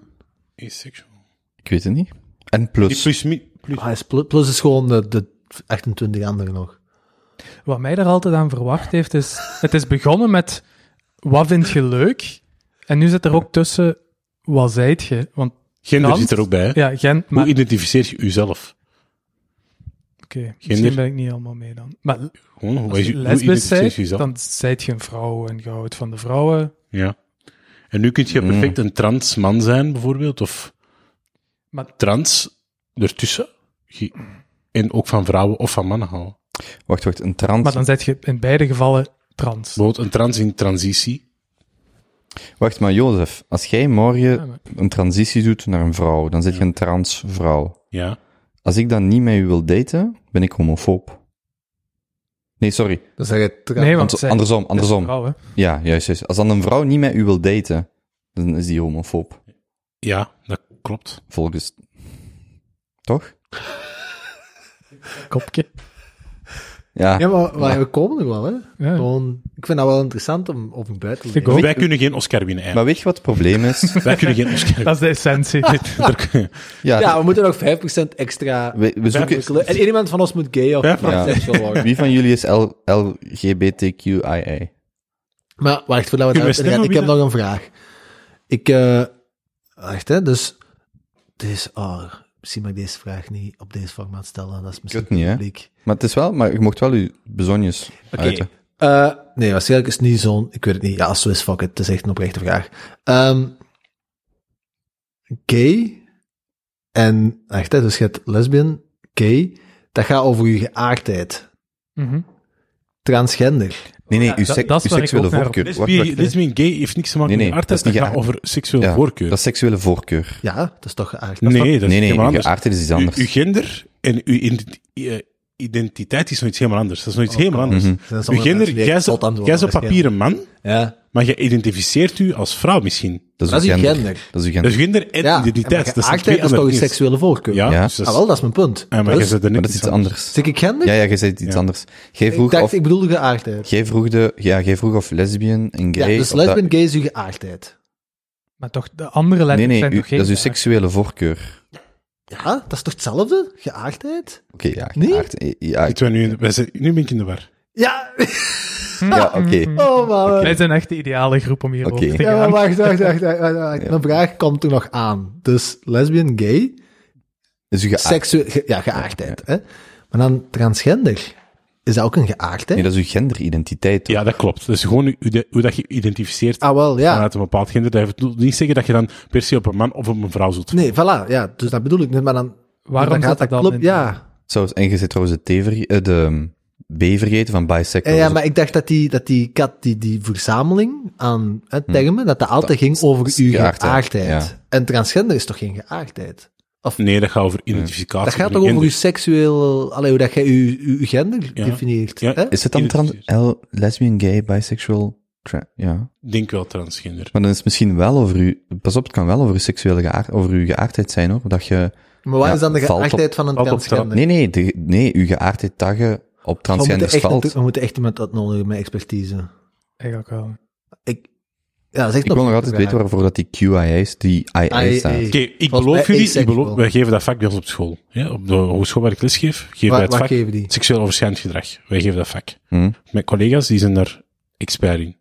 [SPEAKER 4] Asexual.
[SPEAKER 3] Ik weet het niet. En
[SPEAKER 4] Die
[SPEAKER 3] plus.
[SPEAKER 4] plus, mi- plus.
[SPEAKER 2] Ah, is pl- plus is gewoon de, de 28 anderen nog.
[SPEAKER 5] Wat mij daar altijd aan verwacht heeft, is... Het is begonnen met... Wat vind je leuk? En nu zit er ook tussen... Wat zijt je? Want
[SPEAKER 4] Gender
[SPEAKER 5] Trans?
[SPEAKER 4] zit er ook bij, hè.
[SPEAKER 5] ja, Gent... Maar,
[SPEAKER 4] Hoe identificeer je jezelf?
[SPEAKER 5] oké, misschien
[SPEAKER 4] Gender?
[SPEAKER 5] ben ik niet allemaal mee dan. Maar
[SPEAKER 4] Gewoon, hoe,
[SPEAKER 5] als
[SPEAKER 4] is-
[SPEAKER 5] je
[SPEAKER 4] hoe
[SPEAKER 5] lesbisch
[SPEAKER 4] identificeer je
[SPEAKER 5] bent,
[SPEAKER 4] jezelf?
[SPEAKER 5] dan zijt je een vrouw en je houdt van de vrouwen.
[SPEAKER 4] Ja. En nu kun je
[SPEAKER 5] Mm.
[SPEAKER 4] perfect een trans man zijn, bijvoorbeeld, of
[SPEAKER 5] Maar-
[SPEAKER 4] trans ertussen. Je- En ook van vrouwen of van mannen houden.
[SPEAKER 3] Wacht, wacht, een trans.
[SPEAKER 5] Maar dan zijt je in beide gevallen trans.
[SPEAKER 4] Bijvoorbeeld een trans in transitie.
[SPEAKER 3] Wacht, maar Jozef, als jij
[SPEAKER 5] Ja, maar-
[SPEAKER 3] morgen een transitie doet naar een vrouw, dan zit je een trans vrouw.
[SPEAKER 4] Ja.
[SPEAKER 3] Als ik dan niet met u wil daten, ben ik homofoob. Nee, sorry.
[SPEAKER 2] Dan zeg je tra-
[SPEAKER 5] Nee, want
[SPEAKER 3] Ant-
[SPEAKER 5] zij-
[SPEAKER 3] andersom,
[SPEAKER 5] zij is een
[SPEAKER 3] andersom.
[SPEAKER 5] vrouw, hè.
[SPEAKER 3] Ja, juist, juist. Als dan een vrouw niet met u wil daten, dan is die homofoob.
[SPEAKER 4] Ja, dat klopt.
[SPEAKER 3] Volgens. Toch?
[SPEAKER 5] Kopje.
[SPEAKER 3] Ja,
[SPEAKER 2] Ja, maar, maar we komen nog wel, hè.
[SPEAKER 5] Ja.
[SPEAKER 2] Gewoon, ik vind dat wel interessant om, om buiten te
[SPEAKER 5] Ik
[SPEAKER 2] leggen.
[SPEAKER 5] ook.
[SPEAKER 4] Wij kunnen geen Oscar winnen,
[SPEAKER 3] maar
[SPEAKER 4] eigenlijk.
[SPEAKER 3] weet je wat het probleem is?
[SPEAKER 4] Wij kunnen geen Oscar winnen.
[SPEAKER 5] Dat is de essentie.
[SPEAKER 4] Daar-
[SPEAKER 3] Ja,
[SPEAKER 2] Ja, we moeten nog 5% extra...
[SPEAKER 3] we, we zoeken...
[SPEAKER 2] En één iemand van ons moet gay of
[SPEAKER 4] Ja.
[SPEAKER 2] transsexual worden.
[SPEAKER 3] Wie van jullie is L, LGBTQIA?
[SPEAKER 2] Maar wacht, voordat we
[SPEAKER 4] Kunnen we
[SPEAKER 2] daarop ingaan,
[SPEAKER 4] stemmen,
[SPEAKER 2] ik heb
[SPEAKER 4] Wiener?
[SPEAKER 2] nog een vraag. Ik, eh wacht hè, dus, dit is, oh, misschien mag ik deze vraag niet op deze formaat stellen, dat is misschien
[SPEAKER 3] weet niet, hè.
[SPEAKER 2] publiek.
[SPEAKER 3] Maar het is wel, maar je mocht wel je bezonjes
[SPEAKER 2] Oké.
[SPEAKER 3] uiten.
[SPEAKER 2] Eh, nee, waarschijnlijk is het niet zo'n, ik weet het niet, ja, als het zo is, fuck it, het is echt een oprechte vraag. Ehm gay en, wacht hè, dus je hebt lesbian, gay, dat gaat over je geaardheid.
[SPEAKER 5] Mhm.
[SPEAKER 2] Transgender.
[SPEAKER 3] Nee, nee, uw,
[SPEAKER 5] dat-
[SPEAKER 3] sek-
[SPEAKER 5] dat is
[SPEAKER 3] uw
[SPEAKER 5] waar ik
[SPEAKER 3] seksuele
[SPEAKER 5] ook naar
[SPEAKER 3] voorkeur. Wacht,
[SPEAKER 4] Lesbian,
[SPEAKER 3] wacht, hè.
[SPEAKER 4] lesbian gay heeft niks te maken
[SPEAKER 3] Nee, nee,
[SPEAKER 4] met
[SPEAKER 3] dat is
[SPEAKER 4] aardheid.
[SPEAKER 3] niet
[SPEAKER 4] Dat gaat
[SPEAKER 3] geaard.
[SPEAKER 4] over seksuele
[SPEAKER 3] Ja,
[SPEAKER 4] voorkeur.
[SPEAKER 3] Dat is seksuele voorkeur.
[SPEAKER 2] Ja, dat is toch geaard.
[SPEAKER 4] nee, dat is
[SPEAKER 3] nee, nee,
[SPEAKER 4] helemaal
[SPEAKER 3] uw
[SPEAKER 4] anders.
[SPEAKER 3] geaardheid is iets
[SPEAKER 4] Uw,
[SPEAKER 3] anders.
[SPEAKER 4] uw gender en uw ident- eh, identiteit is nog iets helemaal anders. Dat is nog iets helemaal anders.
[SPEAKER 3] Mhm.
[SPEAKER 2] Dat is
[SPEAKER 4] Uw
[SPEAKER 2] allemaal
[SPEAKER 4] gender,
[SPEAKER 2] mensen die
[SPEAKER 4] jij
[SPEAKER 2] echt zot aan
[SPEAKER 4] zo-
[SPEAKER 2] het
[SPEAKER 4] jij is op
[SPEAKER 2] worden
[SPEAKER 4] papier een man,
[SPEAKER 2] waarschijnlijk. Ja.
[SPEAKER 4] maar je identificeert u als vrouw misschien.
[SPEAKER 3] Dat is,
[SPEAKER 2] Dat
[SPEAKER 3] uw
[SPEAKER 2] is uw
[SPEAKER 3] gender.
[SPEAKER 2] gender.
[SPEAKER 3] Dat is uw
[SPEAKER 4] Dat
[SPEAKER 3] gender.
[SPEAKER 4] is gender en
[SPEAKER 2] maar
[SPEAKER 4] identiteit. Dat zijn
[SPEAKER 2] geaardheid
[SPEAKER 4] twee
[SPEAKER 2] is toch
[SPEAKER 4] andere
[SPEAKER 2] een
[SPEAKER 4] dingen.
[SPEAKER 2] seksuele voorkeur?
[SPEAKER 4] Ja,
[SPEAKER 3] Ja.
[SPEAKER 4] dus dat is-
[SPEAKER 2] Ah, wel, dat is mijn punt.
[SPEAKER 4] Ah, maar
[SPEAKER 2] Dus-
[SPEAKER 4] jij zit er
[SPEAKER 3] Maar
[SPEAKER 4] net
[SPEAKER 3] dat is iets
[SPEAKER 4] aan.
[SPEAKER 3] anders.
[SPEAKER 2] Zeg ik gender?
[SPEAKER 3] Ja, ja, jij zei iets
[SPEAKER 4] Ja.
[SPEAKER 3] anders. Jij
[SPEAKER 2] ik
[SPEAKER 3] vroeg,
[SPEAKER 2] dacht,
[SPEAKER 3] of,
[SPEAKER 2] ik bedoelde geaardheid.
[SPEAKER 3] jij, vroeg de, ja, jij vroeg of lesbian en
[SPEAKER 2] Ja,
[SPEAKER 3] gay...
[SPEAKER 2] dus
[SPEAKER 3] of dat-
[SPEAKER 2] lesbian, gay is uw geaardheid.
[SPEAKER 5] Maar toch, de andere letters
[SPEAKER 3] Nee, nee,
[SPEAKER 5] zijn
[SPEAKER 3] uw-
[SPEAKER 5] toch geen...
[SPEAKER 3] dat is uw seksuele voorkeur.
[SPEAKER 2] Ja, Ah, dat is toch hetzelfde? Geaardheid?
[SPEAKER 3] Oké, ja.
[SPEAKER 2] Nee?
[SPEAKER 3] geaard- eh, ja, ik-
[SPEAKER 4] Zitten wij nu, in de- wij zijn- nu ben ik in de war.
[SPEAKER 2] Ja!
[SPEAKER 3] ja, oké.
[SPEAKER 2] Oh, maar...
[SPEAKER 5] Wij zijn echt de ideale groep om hierover
[SPEAKER 3] Oké.
[SPEAKER 5] te
[SPEAKER 2] Ja,
[SPEAKER 5] gaan.
[SPEAKER 2] maar wacht, wacht, wacht. wacht, wacht, wacht. Mijn vraag komt er nog aan. Dus lesbian, gay,
[SPEAKER 3] Dus uw geaard-
[SPEAKER 2] seksueel... ge- ja, geaardheid. Hè? Maar dan transgender. Is dat ook een geaardheid?
[SPEAKER 3] Nee, dat is uw genderidentiteit.
[SPEAKER 4] Ja, dat klopt. Dat is gewoon hoe, de- hoe dat je identificeert
[SPEAKER 2] Ah, wel, ja.
[SPEAKER 4] vanuit een bepaald gender. Dat wil niet zeggen dat je dan per se op een man of op een vrouw zult
[SPEAKER 2] Nee, voilà. Ja, dus dat bedoel ik niet. Maar dan...
[SPEAKER 5] Waarom
[SPEAKER 2] dan
[SPEAKER 5] zat dat dan
[SPEAKER 2] klopt,
[SPEAKER 5] in?
[SPEAKER 2] Ja.
[SPEAKER 3] Zo, en je zit trouwens de, T verge- eh, de um, B vergeten van
[SPEAKER 2] Ja,
[SPEAKER 3] bisexual. Dus
[SPEAKER 2] ja, maar ik dacht dat die, dat die kat, die, die verzameling aan hè, termen, dat dat altijd ging over
[SPEAKER 3] is
[SPEAKER 2] uw
[SPEAKER 3] geaardheid,
[SPEAKER 2] geaardheid.
[SPEAKER 3] ja.
[SPEAKER 2] En transgender is toch geen geaardheid?
[SPEAKER 4] Nee, dat gaat over identificatie.
[SPEAKER 2] Dat gaat
[SPEAKER 4] van
[SPEAKER 2] toch over uw
[SPEAKER 4] gender.
[SPEAKER 2] seksueel... Allee, hoe dat jij uw, uw gender
[SPEAKER 4] Ja.
[SPEAKER 2] definieert.
[SPEAKER 4] Ja.
[SPEAKER 2] hè?
[SPEAKER 3] Is het dan trans... L, lesbian, gay, bisexual, tra- Ja.
[SPEAKER 4] Ik denk wel transgender.
[SPEAKER 3] Maar dan is het misschien wel over uw... Pas op, het kan wel over uw seksuele geaard, over uw geaardheid zijn, hoor. Dat je...
[SPEAKER 2] Maar wat
[SPEAKER 3] Ja,
[SPEAKER 2] is dan de
[SPEAKER 3] valt op-
[SPEAKER 2] geaardheid van een
[SPEAKER 4] valt op tra-
[SPEAKER 2] transgender?
[SPEAKER 3] Nee, nee, de, nee, uw geaardheid dat je op
[SPEAKER 2] we, moeten
[SPEAKER 3] transgenders
[SPEAKER 2] echt
[SPEAKER 3] valt.
[SPEAKER 2] natu- we moeten echt iemand uitnodigen met expertise.
[SPEAKER 5] Eigenlijk wel.
[SPEAKER 2] Ik, ja, dat is echt
[SPEAKER 3] Ik wil nog altijd weten waarvoor dat die QIA is, die IA
[SPEAKER 2] IA.
[SPEAKER 3] staat.
[SPEAKER 4] Oké, ik
[SPEAKER 2] Volgens
[SPEAKER 4] beloof
[SPEAKER 2] mij
[SPEAKER 4] jullie, ik
[SPEAKER 2] asexual.
[SPEAKER 4] beloof, wij geven dat vak bij ons op school. Ja, op de hogeschool waar ik lesgeef, geven wij
[SPEAKER 2] Wat,
[SPEAKER 4] het
[SPEAKER 2] wat
[SPEAKER 4] vak
[SPEAKER 2] geven die?
[SPEAKER 4] seksueel overschrijdend gedrag. Wij geven dat vak.
[SPEAKER 3] Hm?
[SPEAKER 4] Mijn collega's die zijn daar expert in.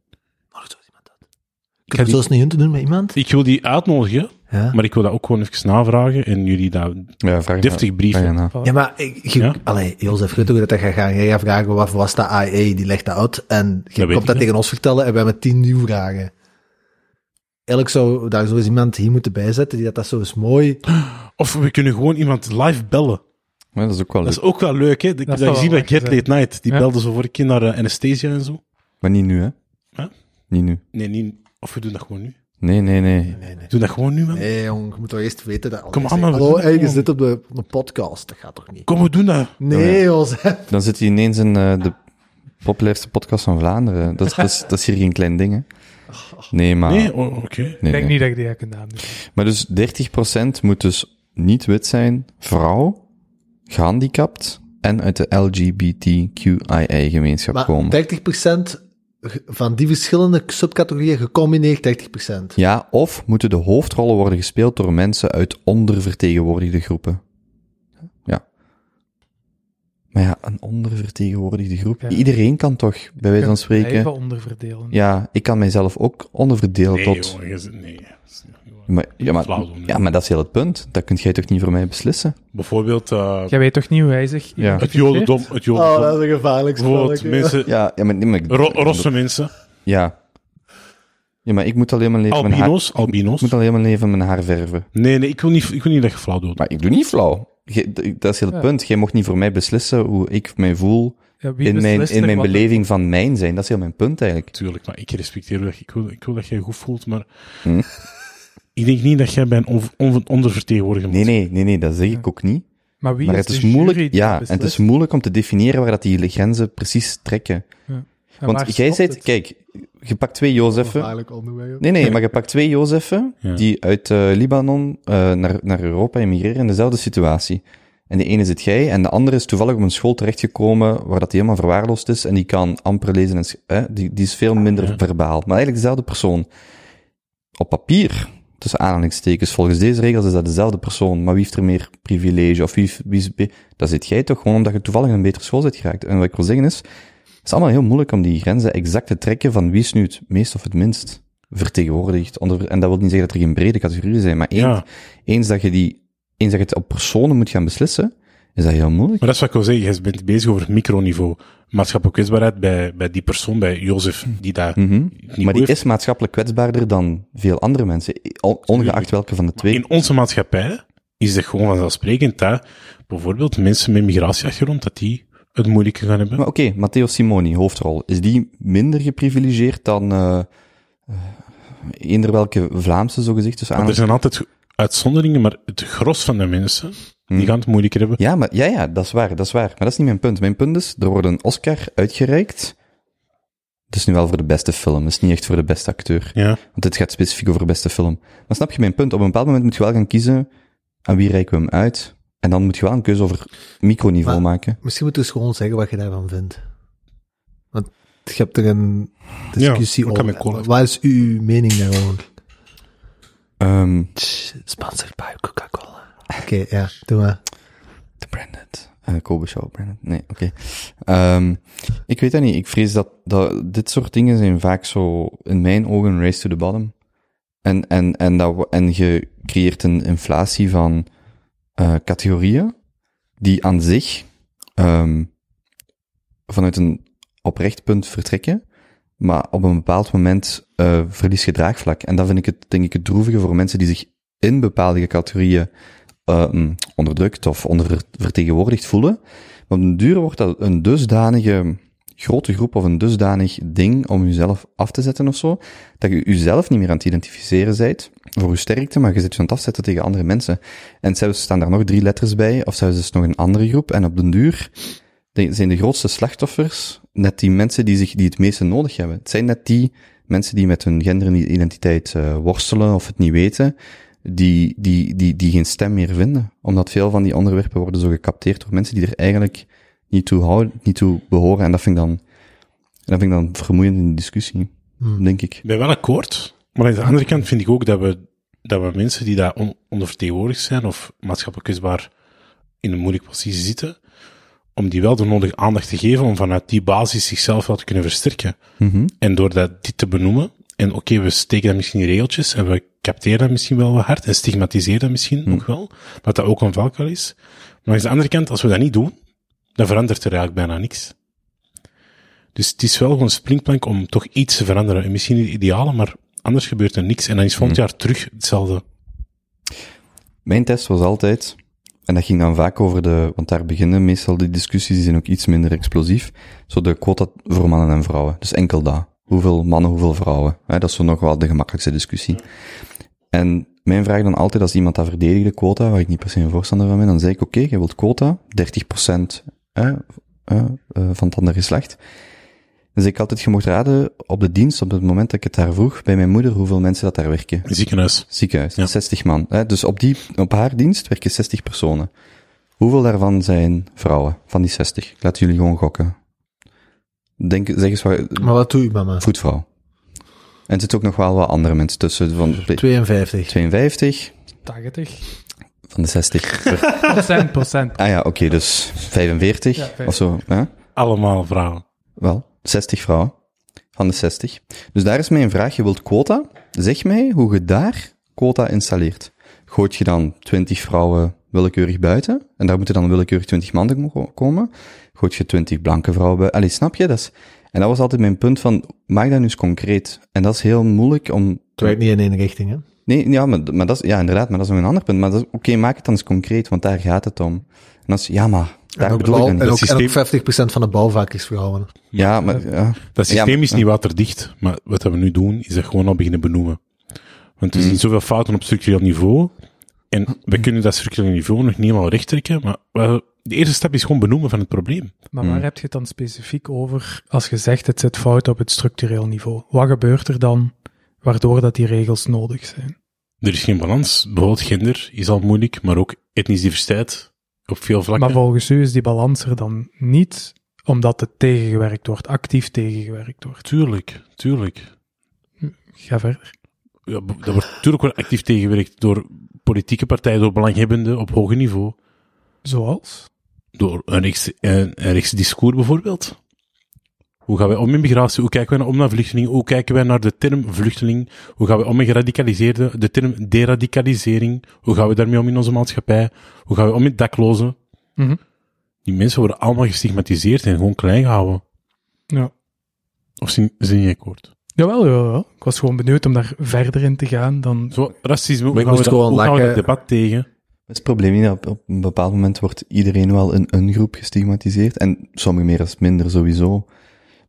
[SPEAKER 2] Ik heb
[SPEAKER 4] die-
[SPEAKER 2] zoals niet hun te doen met iemand.
[SPEAKER 4] Ik wil die uitnodigen,
[SPEAKER 2] Ja,
[SPEAKER 4] maar ik wil dat ook gewoon even navragen en jullie dat
[SPEAKER 3] Ja, vraag
[SPEAKER 4] deftig
[SPEAKER 3] vraag
[SPEAKER 4] brieven.
[SPEAKER 3] na.
[SPEAKER 2] ja maar... Ik, je,
[SPEAKER 4] Ja?
[SPEAKER 2] Allee, Jozef, je weet hoe dat dat gaat gaan. Jij gaat vragen, wat was dat IA? Die legt dat uit. En je
[SPEAKER 4] weet ik,
[SPEAKER 2] komt dat
[SPEAKER 4] hè.
[SPEAKER 2] tegen ons vertellen en we hebben tien nieuwe vragen. Eigenlijk zou daar zo eens iemand hier moeten bijzetten die dat, dat zo eens mooi...
[SPEAKER 4] Of we kunnen gewoon iemand live bellen.
[SPEAKER 3] Ja, dat is ook wel
[SPEAKER 4] Dat
[SPEAKER 3] leuk.
[SPEAKER 4] is ook wel leuk, hè? Ik heb
[SPEAKER 5] zou
[SPEAKER 4] dat
[SPEAKER 5] wel
[SPEAKER 4] gezien bij
[SPEAKER 5] lekker
[SPEAKER 4] Get Late Night. Die
[SPEAKER 5] Ja.
[SPEAKER 4] belden zo voor een keer naar eh, Anesthesia en zo.
[SPEAKER 3] Maar niet nu, hè?
[SPEAKER 4] Huh?
[SPEAKER 3] Niet nu.
[SPEAKER 4] Nee, niet, of we doen dat gewoon nu.
[SPEAKER 3] Nee, nee, nee.
[SPEAKER 4] Doe dat gewoon nu, man.
[SPEAKER 2] Nee, jong, je moet toch eerst weten dat...
[SPEAKER 4] Kom aan,
[SPEAKER 2] Zeg,
[SPEAKER 4] man, we
[SPEAKER 2] Hallo,
[SPEAKER 4] doen het
[SPEAKER 2] hey, je
[SPEAKER 4] gewoon.
[SPEAKER 2] zit op de, op de podcast. Dat gaat toch niet?
[SPEAKER 4] Kom, we doen dat.
[SPEAKER 2] Nee, Jozef.
[SPEAKER 3] Dan zit hij ineens in eh, de populairste podcast van Vlaanderen. Dat, is- dat, is, dat is hier geen klein ding, hè? Nee, maar...
[SPEAKER 4] Nee, oh, oké.
[SPEAKER 3] Ah. nee,
[SPEAKER 5] Ik denk
[SPEAKER 3] nee.
[SPEAKER 5] niet dat ik die heb kunnen aandoen.
[SPEAKER 3] Maar dus 30% moet dus niet wit zijn, vrouw, gehandicapt en uit de LGBTQIA-gemeenschap
[SPEAKER 2] Maar
[SPEAKER 3] komen.
[SPEAKER 2] 30% ge- van die verschillende subcategorieën gecombineerd 30%.
[SPEAKER 3] Ja, of moeten de hoofdrollen worden gespeeld door mensen uit ondervertegenwoordigde groepen. Ja. Maar ja, een ondervertegenwoordigde groep.
[SPEAKER 5] Ja.
[SPEAKER 3] Iedereen kan toch, bij wijze van
[SPEAKER 5] Even
[SPEAKER 3] spreken.
[SPEAKER 5] onderverdelen.
[SPEAKER 3] Ja, ik kan mijzelf ook onderverdelen
[SPEAKER 4] Nee,
[SPEAKER 3] tot.
[SPEAKER 4] jongen, je zit- nee. dat is niet goed.
[SPEAKER 3] Maar, ja, maar,
[SPEAKER 4] Flauw doen, hè.
[SPEAKER 3] ja, maar dat is heel het punt. Dat kunt jij toch niet voor mij beslissen?
[SPEAKER 4] Bijvoorbeeld eh,
[SPEAKER 5] Jij weet toch niet hoe hij zich
[SPEAKER 4] het
[SPEAKER 5] identificeert?
[SPEAKER 4] jodendom. Het jodendom.
[SPEAKER 2] Oh, dat is een gevaarlijk
[SPEAKER 4] bijvoorbeeld
[SPEAKER 2] spel.
[SPEAKER 4] mensen,
[SPEAKER 3] Ja, ja maar, nee, maar ik-
[SPEAKER 4] ro- rosse mensen,
[SPEAKER 3] Ja. Ja, maar ik moet alleen mijn leven mijn haar,
[SPEAKER 4] albino's. albino's.
[SPEAKER 3] ik moet alleen mijn leven mijn haar verven.
[SPEAKER 4] Nee, nee, ik wil niet, ik wil niet dat je flauw doet.
[SPEAKER 3] Maar ik doe niet flauw. Jij- d- dat is heel het punt. Jij mocht niet voor mij beslissen hoe ik mij voel
[SPEAKER 5] Ja, wie
[SPEAKER 3] in mijn,
[SPEAKER 5] beslist
[SPEAKER 3] in
[SPEAKER 5] er
[SPEAKER 3] mijn
[SPEAKER 5] wat?
[SPEAKER 3] beleving van mijn zijn. Dat is heel mijn punt eigenlijk.
[SPEAKER 4] Tuurlijk, maar ik respecteer dat. Ik wil, ik wil dat jij je goed voelt, maar...
[SPEAKER 3] Hm.
[SPEAKER 4] Ik denk niet dat jij bij een on- on- ondervertegenwoordiger
[SPEAKER 3] Nee,
[SPEAKER 4] moet.
[SPEAKER 3] nee, nee, nee, dat zeg ik ook niet.
[SPEAKER 5] Maar wie
[SPEAKER 3] Maar
[SPEAKER 5] is
[SPEAKER 3] het is
[SPEAKER 5] de jury
[SPEAKER 3] moeilijk,
[SPEAKER 5] die
[SPEAKER 3] ja, en
[SPEAKER 5] beslist?
[SPEAKER 3] het is moeilijk om te definiëren waar dat die grenzen precies trekken.
[SPEAKER 5] En waar
[SPEAKER 3] Want jij
[SPEAKER 5] stopt
[SPEAKER 3] zegt,
[SPEAKER 5] het?
[SPEAKER 3] kijk, je pakt twee Jozeffen.
[SPEAKER 2] Gevaarlijk onderwerp.
[SPEAKER 3] Nee, nee, maar je pakt twee Jozeffen
[SPEAKER 4] Ja.
[SPEAKER 3] die uit eh, Libanon eh, naar, naar Europa emigreren in dezelfde situatie. En de ene zit jij, en de andere is toevallig op een school terechtgekomen waar dat die helemaal verwaarloosd is en die kan amper lezen en sch- hè, die, die is veel minder
[SPEAKER 4] Ah, Ja.
[SPEAKER 3] verbaal. Maar eigenlijk dezelfde persoon. Op papier, tussen aanhalingstekens, volgens deze regels is dat dezelfde persoon, maar wie heeft er meer privilege of wie, heeft- wie is... be- Dat zit jij toch gewoon omdat je toevallig in een betere school zit geraakt. En wat ik wil zeggen is, het is allemaal heel moeilijk om die grenzen exact te trekken van wie is nu het meest of het minst vertegenwoordigd. Onder- En dat wil niet zeggen dat er geen brede categorieën zijn, maar één
[SPEAKER 4] Ja.
[SPEAKER 3] eens dat je die, eens dat je het op personen moet gaan beslissen, is dat heel moeilijk.
[SPEAKER 4] Maar dat is wat ik wil zeggen. Je bent bezig over microniveau. Maatschappelijke kwetsbaarheid bij, bij die persoon, bij Jozef, die daar
[SPEAKER 3] Mhm.
[SPEAKER 4] niet
[SPEAKER 3] Maar die
[SPEAKER 4] goed heeft.
[SPEAKER 3] is maatschappelijk kwetsbaarder dan veel andere mensen, on- ongeacht welke van de twee.
[SPEAKER 4] In onze maatschappij is het gewoon vanzelfsprekend dat bijvoorbeeld mensen met migratieachtergrond, dat die het moeilijker gaan hebben.
[SPEAKER 3] Maar oké, Matteo Simoni, hoofdrol. Is die minder geprivilegeerd dan eh eh, eender welke Vlaamse, zogezegd? Dus
[SPEAKER 4] Want
[SPEAKER 3] aan...
[SPEAKER 4] er zijn altijd uitzonderingen, maar het gros van de mensen, die
[SPEAKER 3] Hmm.
[SPEAKER 4] gaan het moeilijker hebben.
[SPEAKER 3] Ja, maar, ja, ja, dat is waar, dat is waar. Maar dat is niet mijn punt. Mijn punt is, er wordt een Oscar uitgereikt. Het is nu wel voor de beste film, het is niet echt voor de beste acteur.
[SPEAKER 4] Ja.
[SPEAKER 3] Want dit gaat specifiek over beste film. Maar snap je mijn punt? Op een bepaald moment moet je wel gaan kiezen aan wie reiken we hem uit. En dan moet je wel een keuze over microniveau
[SPEAKER 2] Maar-
[SPEAKER 3] maken.
[SPEAKER 2] Misschien moet je eens gewoon zeggen wat je daarvan vindt. Want je hebt er een discussie
[SPEAKER 4] Ja, ik kan met
[SPEAKER 2] over.
[SPEAKER 4] cola.
[SPEAKER 2] Wat is uw mening daarover?
[SPEAKER 3] Ehm
[SPEAKER 2] Sponsored by Coca-Cola. Oké, ja, doe maar.
[SPEAKER 3] de branded. eh Kobe Show, branded. Nee, oké. Ehm, ik weet dat niet. Ik vrees dat, dat dit soort dingen zijn vaak zo, in mijn ogen, een race to the bottom. En, en, en, dat, we- en je creëert een inflatie van eh, categorieën die aan zich ehm, vanuit een oprecht punt vertrekken, maar op een bepaald moment eh, verlies je draagvlak. En dat vind ik het, denk ik, het droevige voor mensen die zich in bepaalde categorieën ehm, onderdrukt of ondervertegenwoordigd voelen. Maar op den duur wordt dat een dusdanige grote groep of een dusdanig ding om jezelf af te zetten of zo, dat je jezelf niet meer aan het identificeren bent voor je sterkte, maar je zit je aan het afzetten tegen andere mensen. En zelfs staan daar nog drie letters bij, of zelfs is nog een andere groep, en op den duur de- zijn de grootste slachtoffers net die mensen die, zich, die het meeste nodig hebben. Het zijn net die mensen die met hun genderidentiteit eh, worstelen of het niet weten, die, die, die, die geen stem meer vinden. Omdat veel van die onderwerpen worden zo gecapteerd door mensen die er eigenlijk niet toe, houden, niet toe behoren. En dat vind ik dan, dat vind ik dan vermoeiend in de discussie, denk ik.
[SPEAKER 4] Ik ben wel akkoord, maar aan de andere kant vind ik ook dat we, dat we mensen die daar on- ondervertegenwoordigd zijn of maatschappelijk kwetsbaar in een moeilijke positie zitten, om die wel de nodige aandacht te geven om vanuit die basis zichzelf wel te kunnen versterken. En door dat, dit te benoemen, en oké, we steken dat misschien in regeltjes en we capteren dat misschien wel wat hard en stigmatiseren dat misschien ook wel, dat dat ook een valkuil is. Maar aan de andere kant, als we dat niet doen, dan verandert er eigenlijk bijna niks. Dus het is wel gewoon een springplank om toch iets te veranderen. En misschien niet het ideale, maar anders gebeurt er niks. En dan is volgend jaar terug hetzelfde.
[SPEAKER 3] Mijn test was altijd, en dat ging dan vaak over de, want daar beginnen meestal de discussies, die zijn ook iets minder explosief, zo de quota voor mannen en vrouwen. Dus enkel dat. Hoeveel mannen, hoeveel vrouwen. Hè, dat is zo nog wel de gemakkelijkste discussie. En mijn vraag dan altijd, als iemand dat verdedigde, quota, waar ik niet per se een voorstander van ben, dan zei ik, oké, jij wilt quota, 30% hè, eh, eh, van het andere geslacht. Dus ik altijd, je mocht raden, op de dienst, op het moment dat ik het daar vroeg, bij mijn moeder, hoeveel mensen dat daar werken
[SPEAKER 4] Ziekenhuis.
[SPEAKER 3] ziekenhuis,
[SPEAKER 4] Ja.
[SPEAKER 3] 60 man. Hè? Dus op, die, op haar dienst werken 60 personen. Hoeveel daarvan zijn vrouwen van die 60? Ik laat jullie gewoon gokken. Denk, zeg eens wat,
[SPEAKER 2] Maar wat doe je bij me?
[SPEAKER 3] voetvrouw. En er zitten ook nog wel wat andere mensen tussen, van de
[SPEAKER 2] 52.
[SPEAKER 3] 52,
[SPEAKER 5] 80.
[SPEAKER 3] van de 60.
[SPEAKER 5] Procent, procent.
[SPEAKER 3] ah ja, oké, dus 45
[SPEAKER 5] Ja, 50.
[SPEAKER 3] of zo. Hè?
[SPEAKER 4] Allemaal vrouwen.
[SPEAKER 3] Wel, 60 vrouwen van de 60. Dus daar is mijn vraag. Je wilt quota. Zeg mij hoe je daar quota installeert. Gooit je dan 20 vrouwen willekeurig buiten? En daar moeten dan willekeurig 20 mannen ko- komen. Gooit je 20 blanke vrouwen buiten? Allee, snap je? Dat is, en dat was altijd mijn punt van, maak dat nu eens concreet. En dat is heel moeilijk om...
[SPEAKER 2] Het werkt niet in één richting, hè?
[SPEAKER 3] Nee, ja, maar, maar dat is, ja, inderdaad, maar dat is nog een ander punt. Maar dat is, oké, maak het dan eens concreet, want daar gaat het om. En als, ja, maar, daar
[SPEAKER 2] En ook,
[SPEAKER 3] bedoel ik
[SPEAKER 2] bouw-
[SPEAKER 3] dan niet.
[SPEAKER 2] en ook,
[SPEAKER 4] Het
[SPEAKER 2] en ook
[SPEAKER 4] systeem-
[SPEAKER 2] 50% van de bouwvakkers vrouwen.
[SPEAKER 3] Ja, maar, ja.
[SPEAKER 4] Dat systeem
[SPEAKER 3] Ja, maar-
[SPEAKER 4] is niet waterdicht, maar wat we nu doen, is dat gewoon al beginnen benoemen. Want
[SPEAKER 3] Hmm.
[SPEAKER 4] we zien zoveel fouten op structureel niveau, en we kunnen dat structureel niveau nog niet helemaal rechttrekken, maar we- de eerste stap is gewoon benoemen van het probleem.
[SPEAKER 5] Maar
[SPEAKER 3] Mm.
[SPEAKER 5] waar heb je het dan specifiek over als je zegt het zit fout op het structureel niveau? Wat gebeurt er dan waardoor dat die regels nodig zijn?
[SPEAKER 4] Er is geen balans. Bijvoorbeeld gender is al moeilijk, maar ook etnische diversiteit, op veel vlakken.
[SPEAKER 5] Maar volgens u is die balans er dan niet, omdat het tegengewerkt wordt, actief tegengewerkt wordt.
[SPEAKER 4] Tuurlijk, tuurlijk.
[SPEAKER 5] Ga verder.
[SPEAKER 4] Ja, b- dat wordt natuurlijk wel actief tegengewerkt door politieke partijen, door belanghebbenden op hoger niveau.
[SPEAKER 5] Zoals?
[SPEAKER 4] Door een rechts, een, een rechts discours bijvoorbeeld. Hoe gaan wij om met migratie? Hoe kijken wij naar om naar vluchtelingen? Hoe kijken wij naar de term vluchteling? Hoe gaan wij om met geradicaliseerden? De term deradicalisering? Hoe gaan we daarmee om in onze maatschappij? Hoe gaan we om met daklozen?
[SPEAKER 5] Mhm.
[SPEAKER 4] Die mensen worden allemaal gestigmatiseerd en gewoon klein gehouden.
[SPEAKER 5] Ja.
[SPEAKER 4] Of zijn, zijn niet akkoord?
[SPEAKER 5] Jawel, jawel, jawel. Ik was gewoon benieuwd om daar verder in te gaan dan...
[SPEAKER 4] Zo, racisme,
[SPEAKER 2] Maar
[SPEAKER 4] hoe
[SPEAKER 2] ik
[SPEAKER 4] gaan, we
[SPEAKER 2] moest
[SPEAKER 4] dat,
[SPEAKER 2] gewoon
[SPEAKER 4] hoe gaan we dat
[SPEAKER 2] lachen.
[SPEAKER 4] debat tegen?
[SPEAKER 3] Dat is het probleem niet. Op, op een bepaald moment wordt iedereen wel in een groep gestigmatiseerd. En sommigen meer als minder sowieso.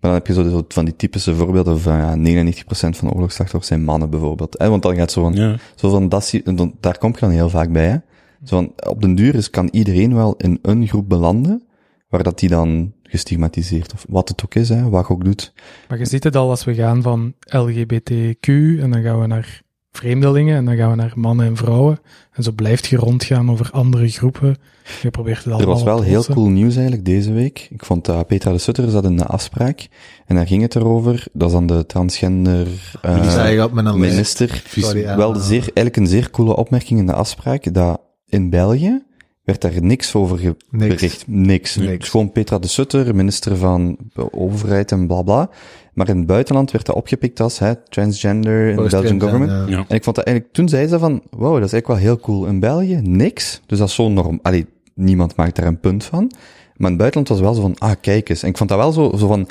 [SPEAKER 3] Maar dan heb je zo, zo van die typische voorbeelden van ja, 99% van de oorlogsslachtoffers zijn mannen bijvoorbeeld. hè. want dan gaat zo van,
[SPEAKER 4] Ja.
[SPEAKER 3] zo van dat, zie- dan- daar kom je dan heel vaak bij. Hè? Zo van, op den duur is, kan iedereen wel in een groep belanden, waar dat die dan gestigmatiseerd, of wat het ook is, hè, wat je ook doet.
[SPEAKER 5] Maar je ziet het al als we gaan van LGBTQ en dan gaan we naar vreemdelingen en dan gaan we naar mannen en vrouwen. En zo blijft je rondgaan over andere groepen. Je probeert het
[SPEAKER 3] Er
[SPEAKER 5] allemaal
[SPEAKER 3] was wel
[SPEAKER 5] te
[SPEAKER 3] heel
[SPEAKER 5] lossen.
[SPEAKER 3] cool nieuws eigenlijk deze week. Ik vond eh, Petra de Sutter zat in de afspraak. En daar ging het erover. Dat is dan de transgender eh,
[SPEAKER 2] Ah, Die zei ik op mijn lijst.
[SPEAKER 3] minister.
[SPEAKER 2] Sorry, ja.
[SPEAKER 3] Wel zeer, eigenlijk een zeer coole opmerking in de afspraak. Dat in België werd daar niks over ge-
[SPEAKER 2] Niks.
[SPEAKER 3] bericht. Niks.
[SPEAKER 2] Niks.
[SPEAKER 3] Het is gewoon Petra de Sutter, minister van overheid en bla bla. Maar in het buitenland werd dat opgepikt als hè, transgender in de Belgian government.
[SPEAKER 2] Oh, Ja.
[SPEAKER 4] Ja.
[SPEAKER 3] En ik vond dat eigenlijk, toen zei ze van, wow, dat is eigenlijk wel heel cool. In België, niks. Dus dat is zo'n norm. Allee, niemand maakt daar een punt van. Maar in het buitenland was het wel zo van, ah, kijk eens. En ik vond dat wel zo, zo van, oké,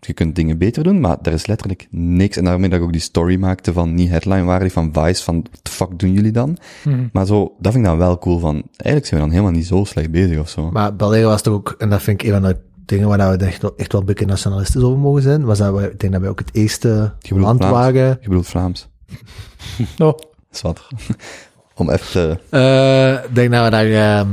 [SPEAKER 3] je kunt dingen beter doen, maar er is letterlijk niks. En daarmee dat ik ook die story maakte van, niet headline-waardig, van Vice, van, what the fuck doen jullie dan?
[SPEAKER 5] Mhm.
[SPEAKER 3] Maar zo, dat vind ik dan wel cool van, eigenlijk zijn we dan helemaal niet zo slecht bezig of zo.
[SPEAKER 2] Maar België was toch ook, en dat vind ik een van de dingen waar we echt wel, echt wel een beetje nationalisten over mogen zijn, was dat we, ik denk dat wij ook het eerste
[SPEAKER 3] Je bedoelt
[SPEAKER 2] land
[SPEAKER 3] Vlaams.
[SPEAKER 2] waren.
[SPEAKER 3] Je bedoelt Vlaams.
[SPEAKER 5] Oh,
[SPEAKER 3] Dat is wat. Om even te,
[SPEAKER 2] Eh, Ik denk dat we daar, ehm,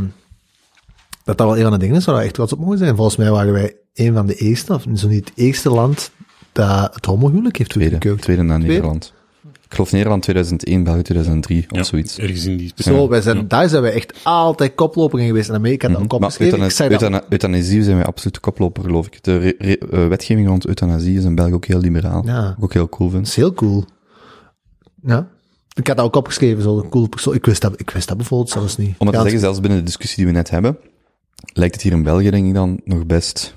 [SPEAKER 2] dat dat wel een van de dingen is waar we echt trots op mogen zijn. Volgens mij waren wij een van de eerste, of zo niet het eerste land dat het homohuwelijk heeft
[SPEAKER 3] tweede,
[SPEAKER 2] goedgekeurd.
[SPEAKER 3] tweede naar
[SPEAKER 2] Tweede?
[SPEAKER 3] Nederland. Ik geloof Nederland 2001, België 2003, of
[SPEAKER 4] Ja,
[SPEAKER 3] zoiets.
[SPEAKER 4] Ergens in die
[SPEAKER 2] Zo, wij zijn,
[SPEAKER 4] Ja.
[SPEAKER 2] daar zijn wij echt altijd koplopers in geweest. In Amerika dan
[SPEAKER 3] Maar
[SPEAKER 2] koplopers. Ik
[SPEAKER 3] euthana-
[SPEAKER 2] zei dat
[SPEAKER 3] euthana- euthanasie zijn wij absoluut de koploper, geloof ik. De re- re- eh, wetgeving rond euthanasie is in België ook heel liberaal.
[SPEAKER 2] Ja.
[SPEAKER 3] Wat ik ook heel cool
[SPEAKER 2] Dat
[SPEAKER 3] vind.
[SPEAKER 2] is heel cool. Ja. Ik had dat ook opgeschreven, zo'n cool persoon. Ik wist dat, ik wist dat bijvoorbeeld zelfs niet.
[SPEAKER 3] Om het te
[SPEAKER 2] Ja,
[SPEAKER 3] zeggen, zelfs binnen de discussie die we net hebben, lijkt het hier in België, denk ik dan, nog best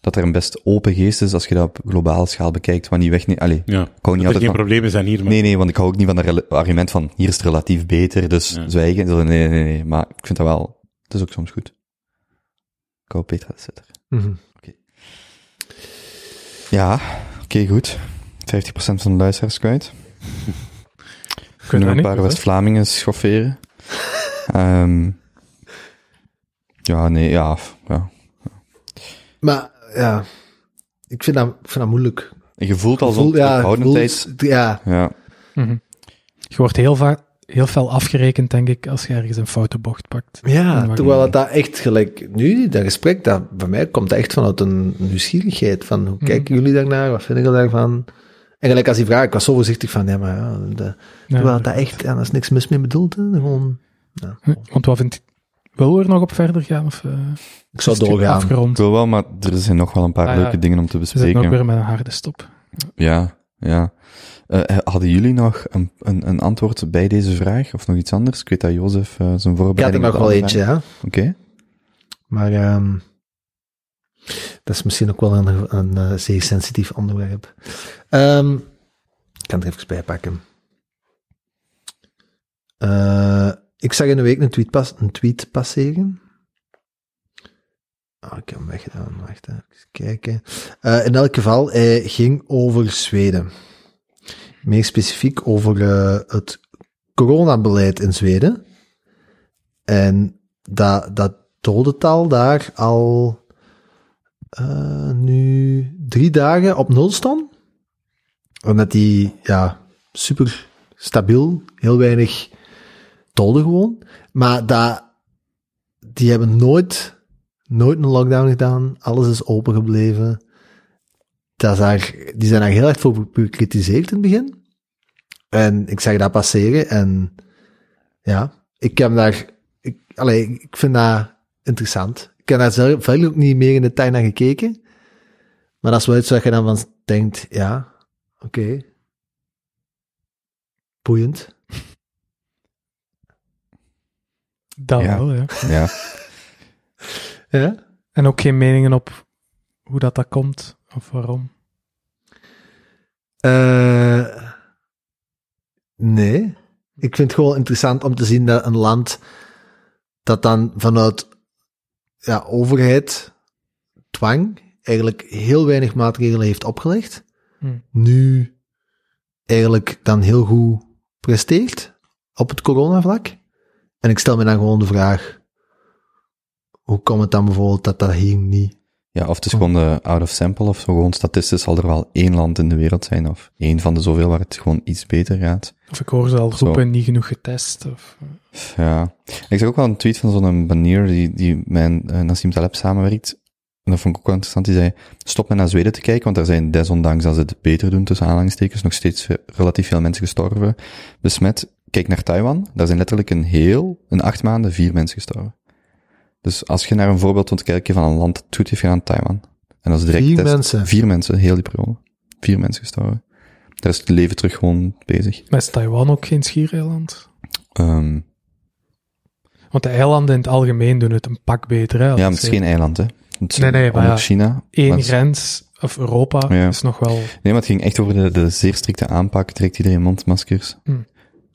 [SPEAKER 3] dat er een best open geest is als je dat op globale schaal bekijkt, wat niet weg... Nee, allee,
[SPEAKER 4] Ja.
[SPEAKER 3] ik hou niet
[SPEAKER 4] Dat er
[SPEAKER 3] altijd
[SPEAKER 4] geen
[SPEAKER 3] van...
[SPEAKER 4] problemen zijn hier, maar
[SPEAKER 3] Nee, nee, want ik hou ook niet van het rela- argument van hier is het relatief beter, dus
[SPEAKER 4] Ja.
[SPEAKER 3] zwijgen. Zo, Nee, nee, nee, maar ik vind dat wel... Het is ook soms goed. Ik hou Petra de Sutter.
[SPEAKER 2] mhm.
[SPEAKER 3] Ja, oké, goed. 50% van de luisteraars kwijt.
[SPEAKER 5] kunnen
[SPEAKER 3] nog
[SPEAKER 5] we niet.
[SPEAKER 3] een paar
[SPEAKER 5] dus, hè?
[SPEAKER 3] West-Vlamingen schofferen. Ehm, ja, nee, ja. f- ja.
[SPEAKER 2] Maar ja, ik vind dat, ik vind dat moeilijk.
[SPEAKER 3] En Je voelt al zo'n
[SPEAKER 2] Voel- ja,
[SPEAKER 3] terughoudendheid.
[SPEAKER 2] voelt- ja,
[SPEAKER 3] Ja,
[SPEAKER 5] Mhm. Je wordt heel vaak heel fel afgerekend, denk ik, als je ergens een foute bocht pakt.
[SPEAKER 2] ja,
[SPEAKER 5] Waar-
[SPEAKER 2] terwijl het daar echt gelijk nu, dat gesprek, dat bij mij komt dat echt vanuit een nieuwsgierigheid. Van hoe kijken jullie daarnaar? Wat vinden jullie daarvan? En gelijk als die vraag, ik was zo voorzichtig van, ja, maar ja, de-
[SPEAKER 5] Ja.
[SPEAKER 2] terwijl dat echt, ja, daar is niks mis mee bedoeld. Hè, gewoon, ja.
[SPEAKER 5] Hm, Want wat vindt... Wil we er nog op verder gaan? Of, eh,
[SPEAKER 2] Ik zou
[SPEAKER 5] is het
[SPEAKER 2] doorgaan.
[SPEAKER 3] ik
[SPEAKER 5] Afgerond.
[SPEAKER 3] wil wel, maar er zijn nog wel een paar
[SPEAKER 5] Ah, ja.
[SPEAKER 3] leuke dingen om te
[SPEAKER 5] We zitten ook
[SPEAKER 3] bespreken.
[SPEAKER 5] weer met een harde stop.
[SPEAKER 3] Ja, ja. Eh, hadden jullie nog een, een, een antwoord bij deze vraag? Of nog iets anders? Ik weet dat Jozef eh, zijn
[SPEAKER 2] Ik had er
[SPEAKER 3] voorbereiding...
[SPEAKER 2] nog
[SPEAKER 3] op de
[SPEAKER 2] wel
[SPEAKER 3] andere
[SPEAKER 2] eentje, hè.
[SPEAKER 3] vraag- Oké.
[SPEAKER 2] Maar ehm, dat is misschien ook wel een, een eh, zeer sensitief onderwerp. Ehm, ik kan het er even bij pakken. Eh, ik zag in de week een tweet, pas, een tweet passeren. Ah, ik heb hem weggedaan. Wacht, hè. even kijken. Eh, in elk geval, hij ging over Zweden. Meer specifiek over eh, het coronabeleid in Zweden. En dat, dat dodental daar al eh, nu drie dagen op nul staan. Omdat die ja, super stabiel, heel weinig doden gewoon. Maar dat, die hebben nooit, nooit een lockdown gedaan. Alles is open gebleven. Dat is daar, die zijn daar heel erg voor bekritiseerd in het begin. En ik zag dat passeren en ja, ik heb daar ik, allee, ik vind dat interessant. Ik heb daar zelf verder ook niet meer in detail naar gekeken. Maar dat is wel iets waar je dan van denkt, ja, oké. Boeiend.
[SPEAKER 5] Dat
[SPEAKER 3] Ja.
[SPEAKER 5] wel, ja.
[SPEAKER 3] Ja.
[SPEAKER 2] Ja?
[SPEAKER 5] En ook geen meningen op hoe dat, dat komt of waarom.
[SPEAKER 2] Eh, nee. Ik vind het gewoon interessant om te zien dat een land dat dan vanuit ja, overheid, dwang, eigenlijk heel weinig maatregelen heeft opgelegd,
[SPEAKER 5] Hmm.
[SPEAKER 2] nu eigenlijk dan heel goed presteert op het coronavlak. En ik stel me dan gewoon de vraag, hoe komt het dan bijvoorbeeld dat dat hier niet...
[SPEAKER 3] ja, of het is gewoon de out of sample of zo. Gewoon statistisch zal er wel één land in de wereld zijn of één van de zoveel waar het gewoon iets beter gaat.
[SPEAKER 5] Of ik hoor ze al roepen, niet genoeg getest. Of, eh.
[SPEAKER 3] Ja. Ik zag ook wel een tweet van zo'n banier die, die mijn eh, Nassim Taleb samenwerkt. En dat vond ik ook wel interessant. Die zei, stop met naar Zweden te kijken, want daar zijn desondanks dat ze het beter doen, tussen aanhalingstekens, nog steeds eh, relatief veel mensen gestorven. Besmet, kijk naar Taiwan. Daar zijn letterlijk een heel, in acht maanden, vier mensen gestorven. Dus als je naar een voorbeeld wilt kijken van een land dat het goed heeft gedaan, Taiwan. En dat is direct
[SPEAKER 2] Vier
[SPEAKER 3] test-
[SPEAKER 2] mensen.
[SPEAKER 3] Vier mensen, heel die periode. Vier mensen gestorven. Daar is het leven terug gewoon bezig.
[SPEAKER 5] maar is Taiwan ook geen schiereiland?
[SPEAKER 3] Ehm,
[SPEAKER 5] Want de eilanden in het algemeen doen het een pak beter. Hè, als
[SPEAKER 3] ja, maar
[SPEAKER 5] het
[SPEAKER 3] het is
[SPEAKER 5] zegt.
[SPEAKER 3] geen eiland, hè. Het is
[SPEAKER 5] Nee, nee, maar
[SPEAKER 3] onder
[SPEAKER 5] ja,
[SPEAKER 3] China. maar
[SPEAKER 5] Eén
[SPEAKER 3] het is-
[SPEAKER 5] grens, of Europa,
[SPEAKER 3] Ja.
[SPEAKER 5] is nog wel...
[SPEAKER 3] Nee, maar het ging echt over de, de zeer strikte aanpak. Direct iedereen mondmaskers.
[SPEAKER 5] Hmm.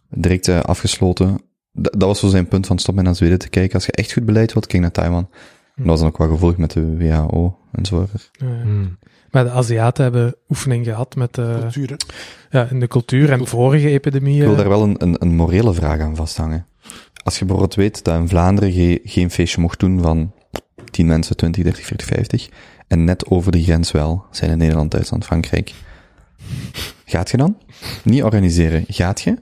[SPEAKER 3] Direct eh, afgesloten. Da- dat was zo zijn punt van stop met naar Zweden te kijken. Als je echt goed beleid wilt, kijk naar Taiwan.
[SPEAKER 5] Hmm.
[SPEAKER 3] En Dat was dan ook wel gevolg met de WHO enzovoort.
[SPEAKER 5] eh, Maar de Aziaten hebben oefening gehad met eh, ja, in de cultuur en vorige
[SPEAKER 3] Ik
[SPEAKER 5] epidemieën.
[SPEAKER 3] wil daar wel een, een, een morele vraag aan vasthangen. Als je bijvoorbeeld weet dat in Vlaanderen ge- geen feestje mocht doen van 10 mensen, 20, 30, 40, 50. En net over de grens wel zijn in Nederland, Duitsland, Frankrijk. Gaat je dan? Niet organiseren. Gaat je?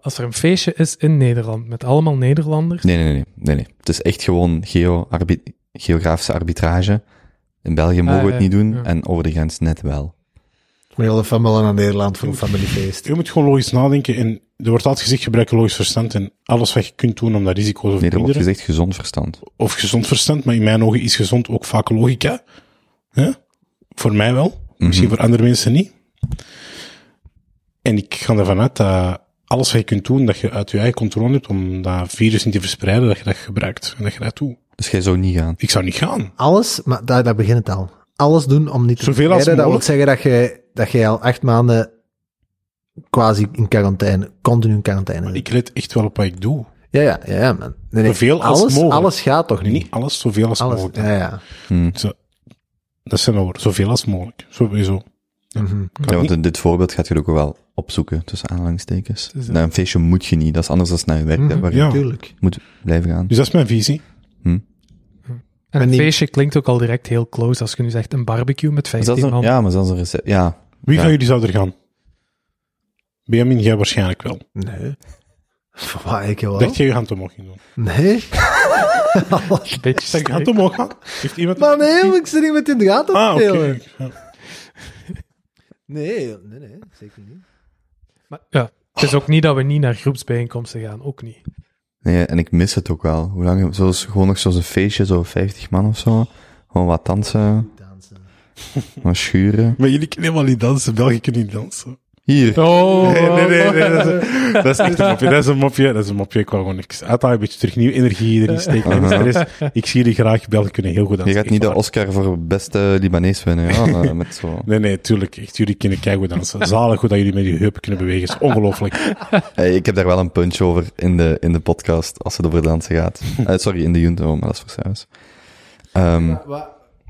[SPEAKER 5] Als er een feestje is in Nederland met allemaal Nederlanders,
[SPEAKER 3] Nee, nee, nee. nee, nee. Het is echt gewoon geo arbi- geografische arbitrage. In België mogen we
[SPEAKER 5] Ah, ja,
[SPEAKER 3] het niet doen
[SPEAKER 5] ja.
[SPEAKER 3] en over de grens net wel.
[SPEAKER 2] Maar heel de familie naar Nederland voor een familiefeest.
[SPEAKER 4] Je moet gewoon logisch nadenken. En er wordt altijd gezegd, gebruik je logisch verstand en alles wat je kunt doen om dat risico te
[SPEAKER 3] Nee, er wordt
[SPEAKER 4] verminderen.
[SPEAKER 3] gezegd gezond verstand.
[SPEAKER 4] of gezond verstand, maar in mijn ogen is gezond ook vaak logica. Hè? Voor mij wel, misschien voor andere mensen niet. En ik ga ervan uit dat alles wat je kunt doen, dat je uit je eigen controle hebt om dat virus niet te verspreiden, dat je dat gebruikt en dat je dat doet.
[SPEAKER 3] Dus jij zou niet gaan.
[SPEAKER 4] Ik zou niet gaan.
[SPEAKER 2] Alles, maar daar, daar begint het al. Alles doen om niet te
[SPEAKER 4] Zoveel als
[SPEAKER 2] verspreiden. Dat
[SPEAKER 4] mogelijk.
[SPEAKER 2] wil zeggen dat je, dat je al acht maanden quasi in quarantaine, continu in quarantaine zit.
[SPEAKER 4] Ik let echt wel op wat ik doe.
[SPEAKER 2] Ja, ja, ja, ja, man. Nee, nee.
[SPEAKER 4] Zoveel als
[SPEAKER 2] alles,
[SPEAKER 4] mogelijk.
[SPEAKER 2] alles gaat toch niet?
[SPEAKER 4] Niet alles zoveel als
[SPEAKER 2] alles,
[SPEAKER 4] mogelijk.
[SPEAKER 2] ja, ja.
[SPEAKER 3] Hm.
[SPEAKER 4] Dat zijn wel woorden. Zoveel als mogelijk. Sowieso.
[SPEAKER 2] Mhm.
[SPEAKER 4] Kan
[SPEAKER 3] Ja, want
[SPEAKER 4] niet.
[SPEAKER 3] in dit voorbeeld gaat je er ook wel opzoeken, tussen aanhalingstekens.
[SPEAKER 5] is, eh,
[SPEAKER 3] Naar een feestje moet je niet. Dat is anders dan naar je werk,
[SPEAKER 2] Mhm.
[SPEAKER 3] hè, waar je
[SPEAKER 4] Ja.
[SPEAKER 2] Tuurlijk.
[SPEAKER 3] moet blijven gaan.
[SPEAKER 4] Dus dat is mijn visie.
[SPEAKER 5] En een
[SPEAKER 2] En die-
[SPEAKER 5] feestje klinkt ook al direct heel close als je nu zegt een barbecue met
[SPEAKER 3] Maar zelfs
[SPEAKER 5] 15
[SPEAKER 3] een,
[SPEAKER 5] man.
[SPEAKER 3] ja, maar zelfs een recept. Ja,
[SPEAKER 4] Wie
[SPEAKER 3] Ja.
[SPEAKER 4] van jullie zou er gaan? Benjamin, jij waarschijnlijk wel.
[SPEAKER 2] Nee. Voor mij, ik wel.
[SPEAKER 4] Dat je je hand omhoog ging doen.
[SPEAKER 2] Nee.
[SPEAKER 5] Beetje
[SPEAKER 4] Zeg je hand omhoog gaan? Heeft iemand...
[SPEAKER 2] Maar nee, maar ik zit niet met in de gaten
[SPEAKER 4] ah, oké.
[SPEAKER 2] spelen.
[SPEAKER 4] Ja.
[SPEAKER 2] Nee, nee, nee, zeker niet.
[SPEAKER 5] Maar, ja, het is ook niet dat we niet naar groepsbijeenkomsten gaan, ook niet.
[SPEAKER 3] Nee, en ik mis het ook wel. Hoe lang, zoals, gewoon nog zo'n feestje, zo'n 50 man of zo. Gewoon wat dansen,
[SPEAKER 2] Dansen.
[SPEAKER 3] wat schuren.
[SPEAKER 4] Maar jullie kunnen helemaal niet dansen. België kunnen niet dansen.
[SPEAKER 3] Hier,
[SPEAKER 5] Oh,
[SPEAKER 4] Nee, nee, nee. nee, dat, is, dat is echt een mopje. Dat is een mopje. Dat is een mopje. Ik wou gewoon niks uitdagen. Een beetje terug nieuwe energie erin steken. en stress. Ik zie jullie graag. België kunnen heel goed dansen.
[SPEAKER 3] Je gaat
[SPEAKER 4] Echt
[SPEAKER 3] niet de
[SPEAKER 4] waar.
[SPEAKER 3] Oscar voor beste Libanees winnen, ja, eh, met zo.
[SPEAKER 4] Nee, nee, tuurlijk. Echt, jullie kunnen keigoed dansen. Zalig goed dat jullie met je heupen kunnen bewegen. is ongelooflijk.
[SPEAKER 3] Hey, ik heb daar wel een punch over in de, in de podcast, als het over dansen gaat. Eh, sorry, in de Junto, maar dat is voor Saus. Ehm,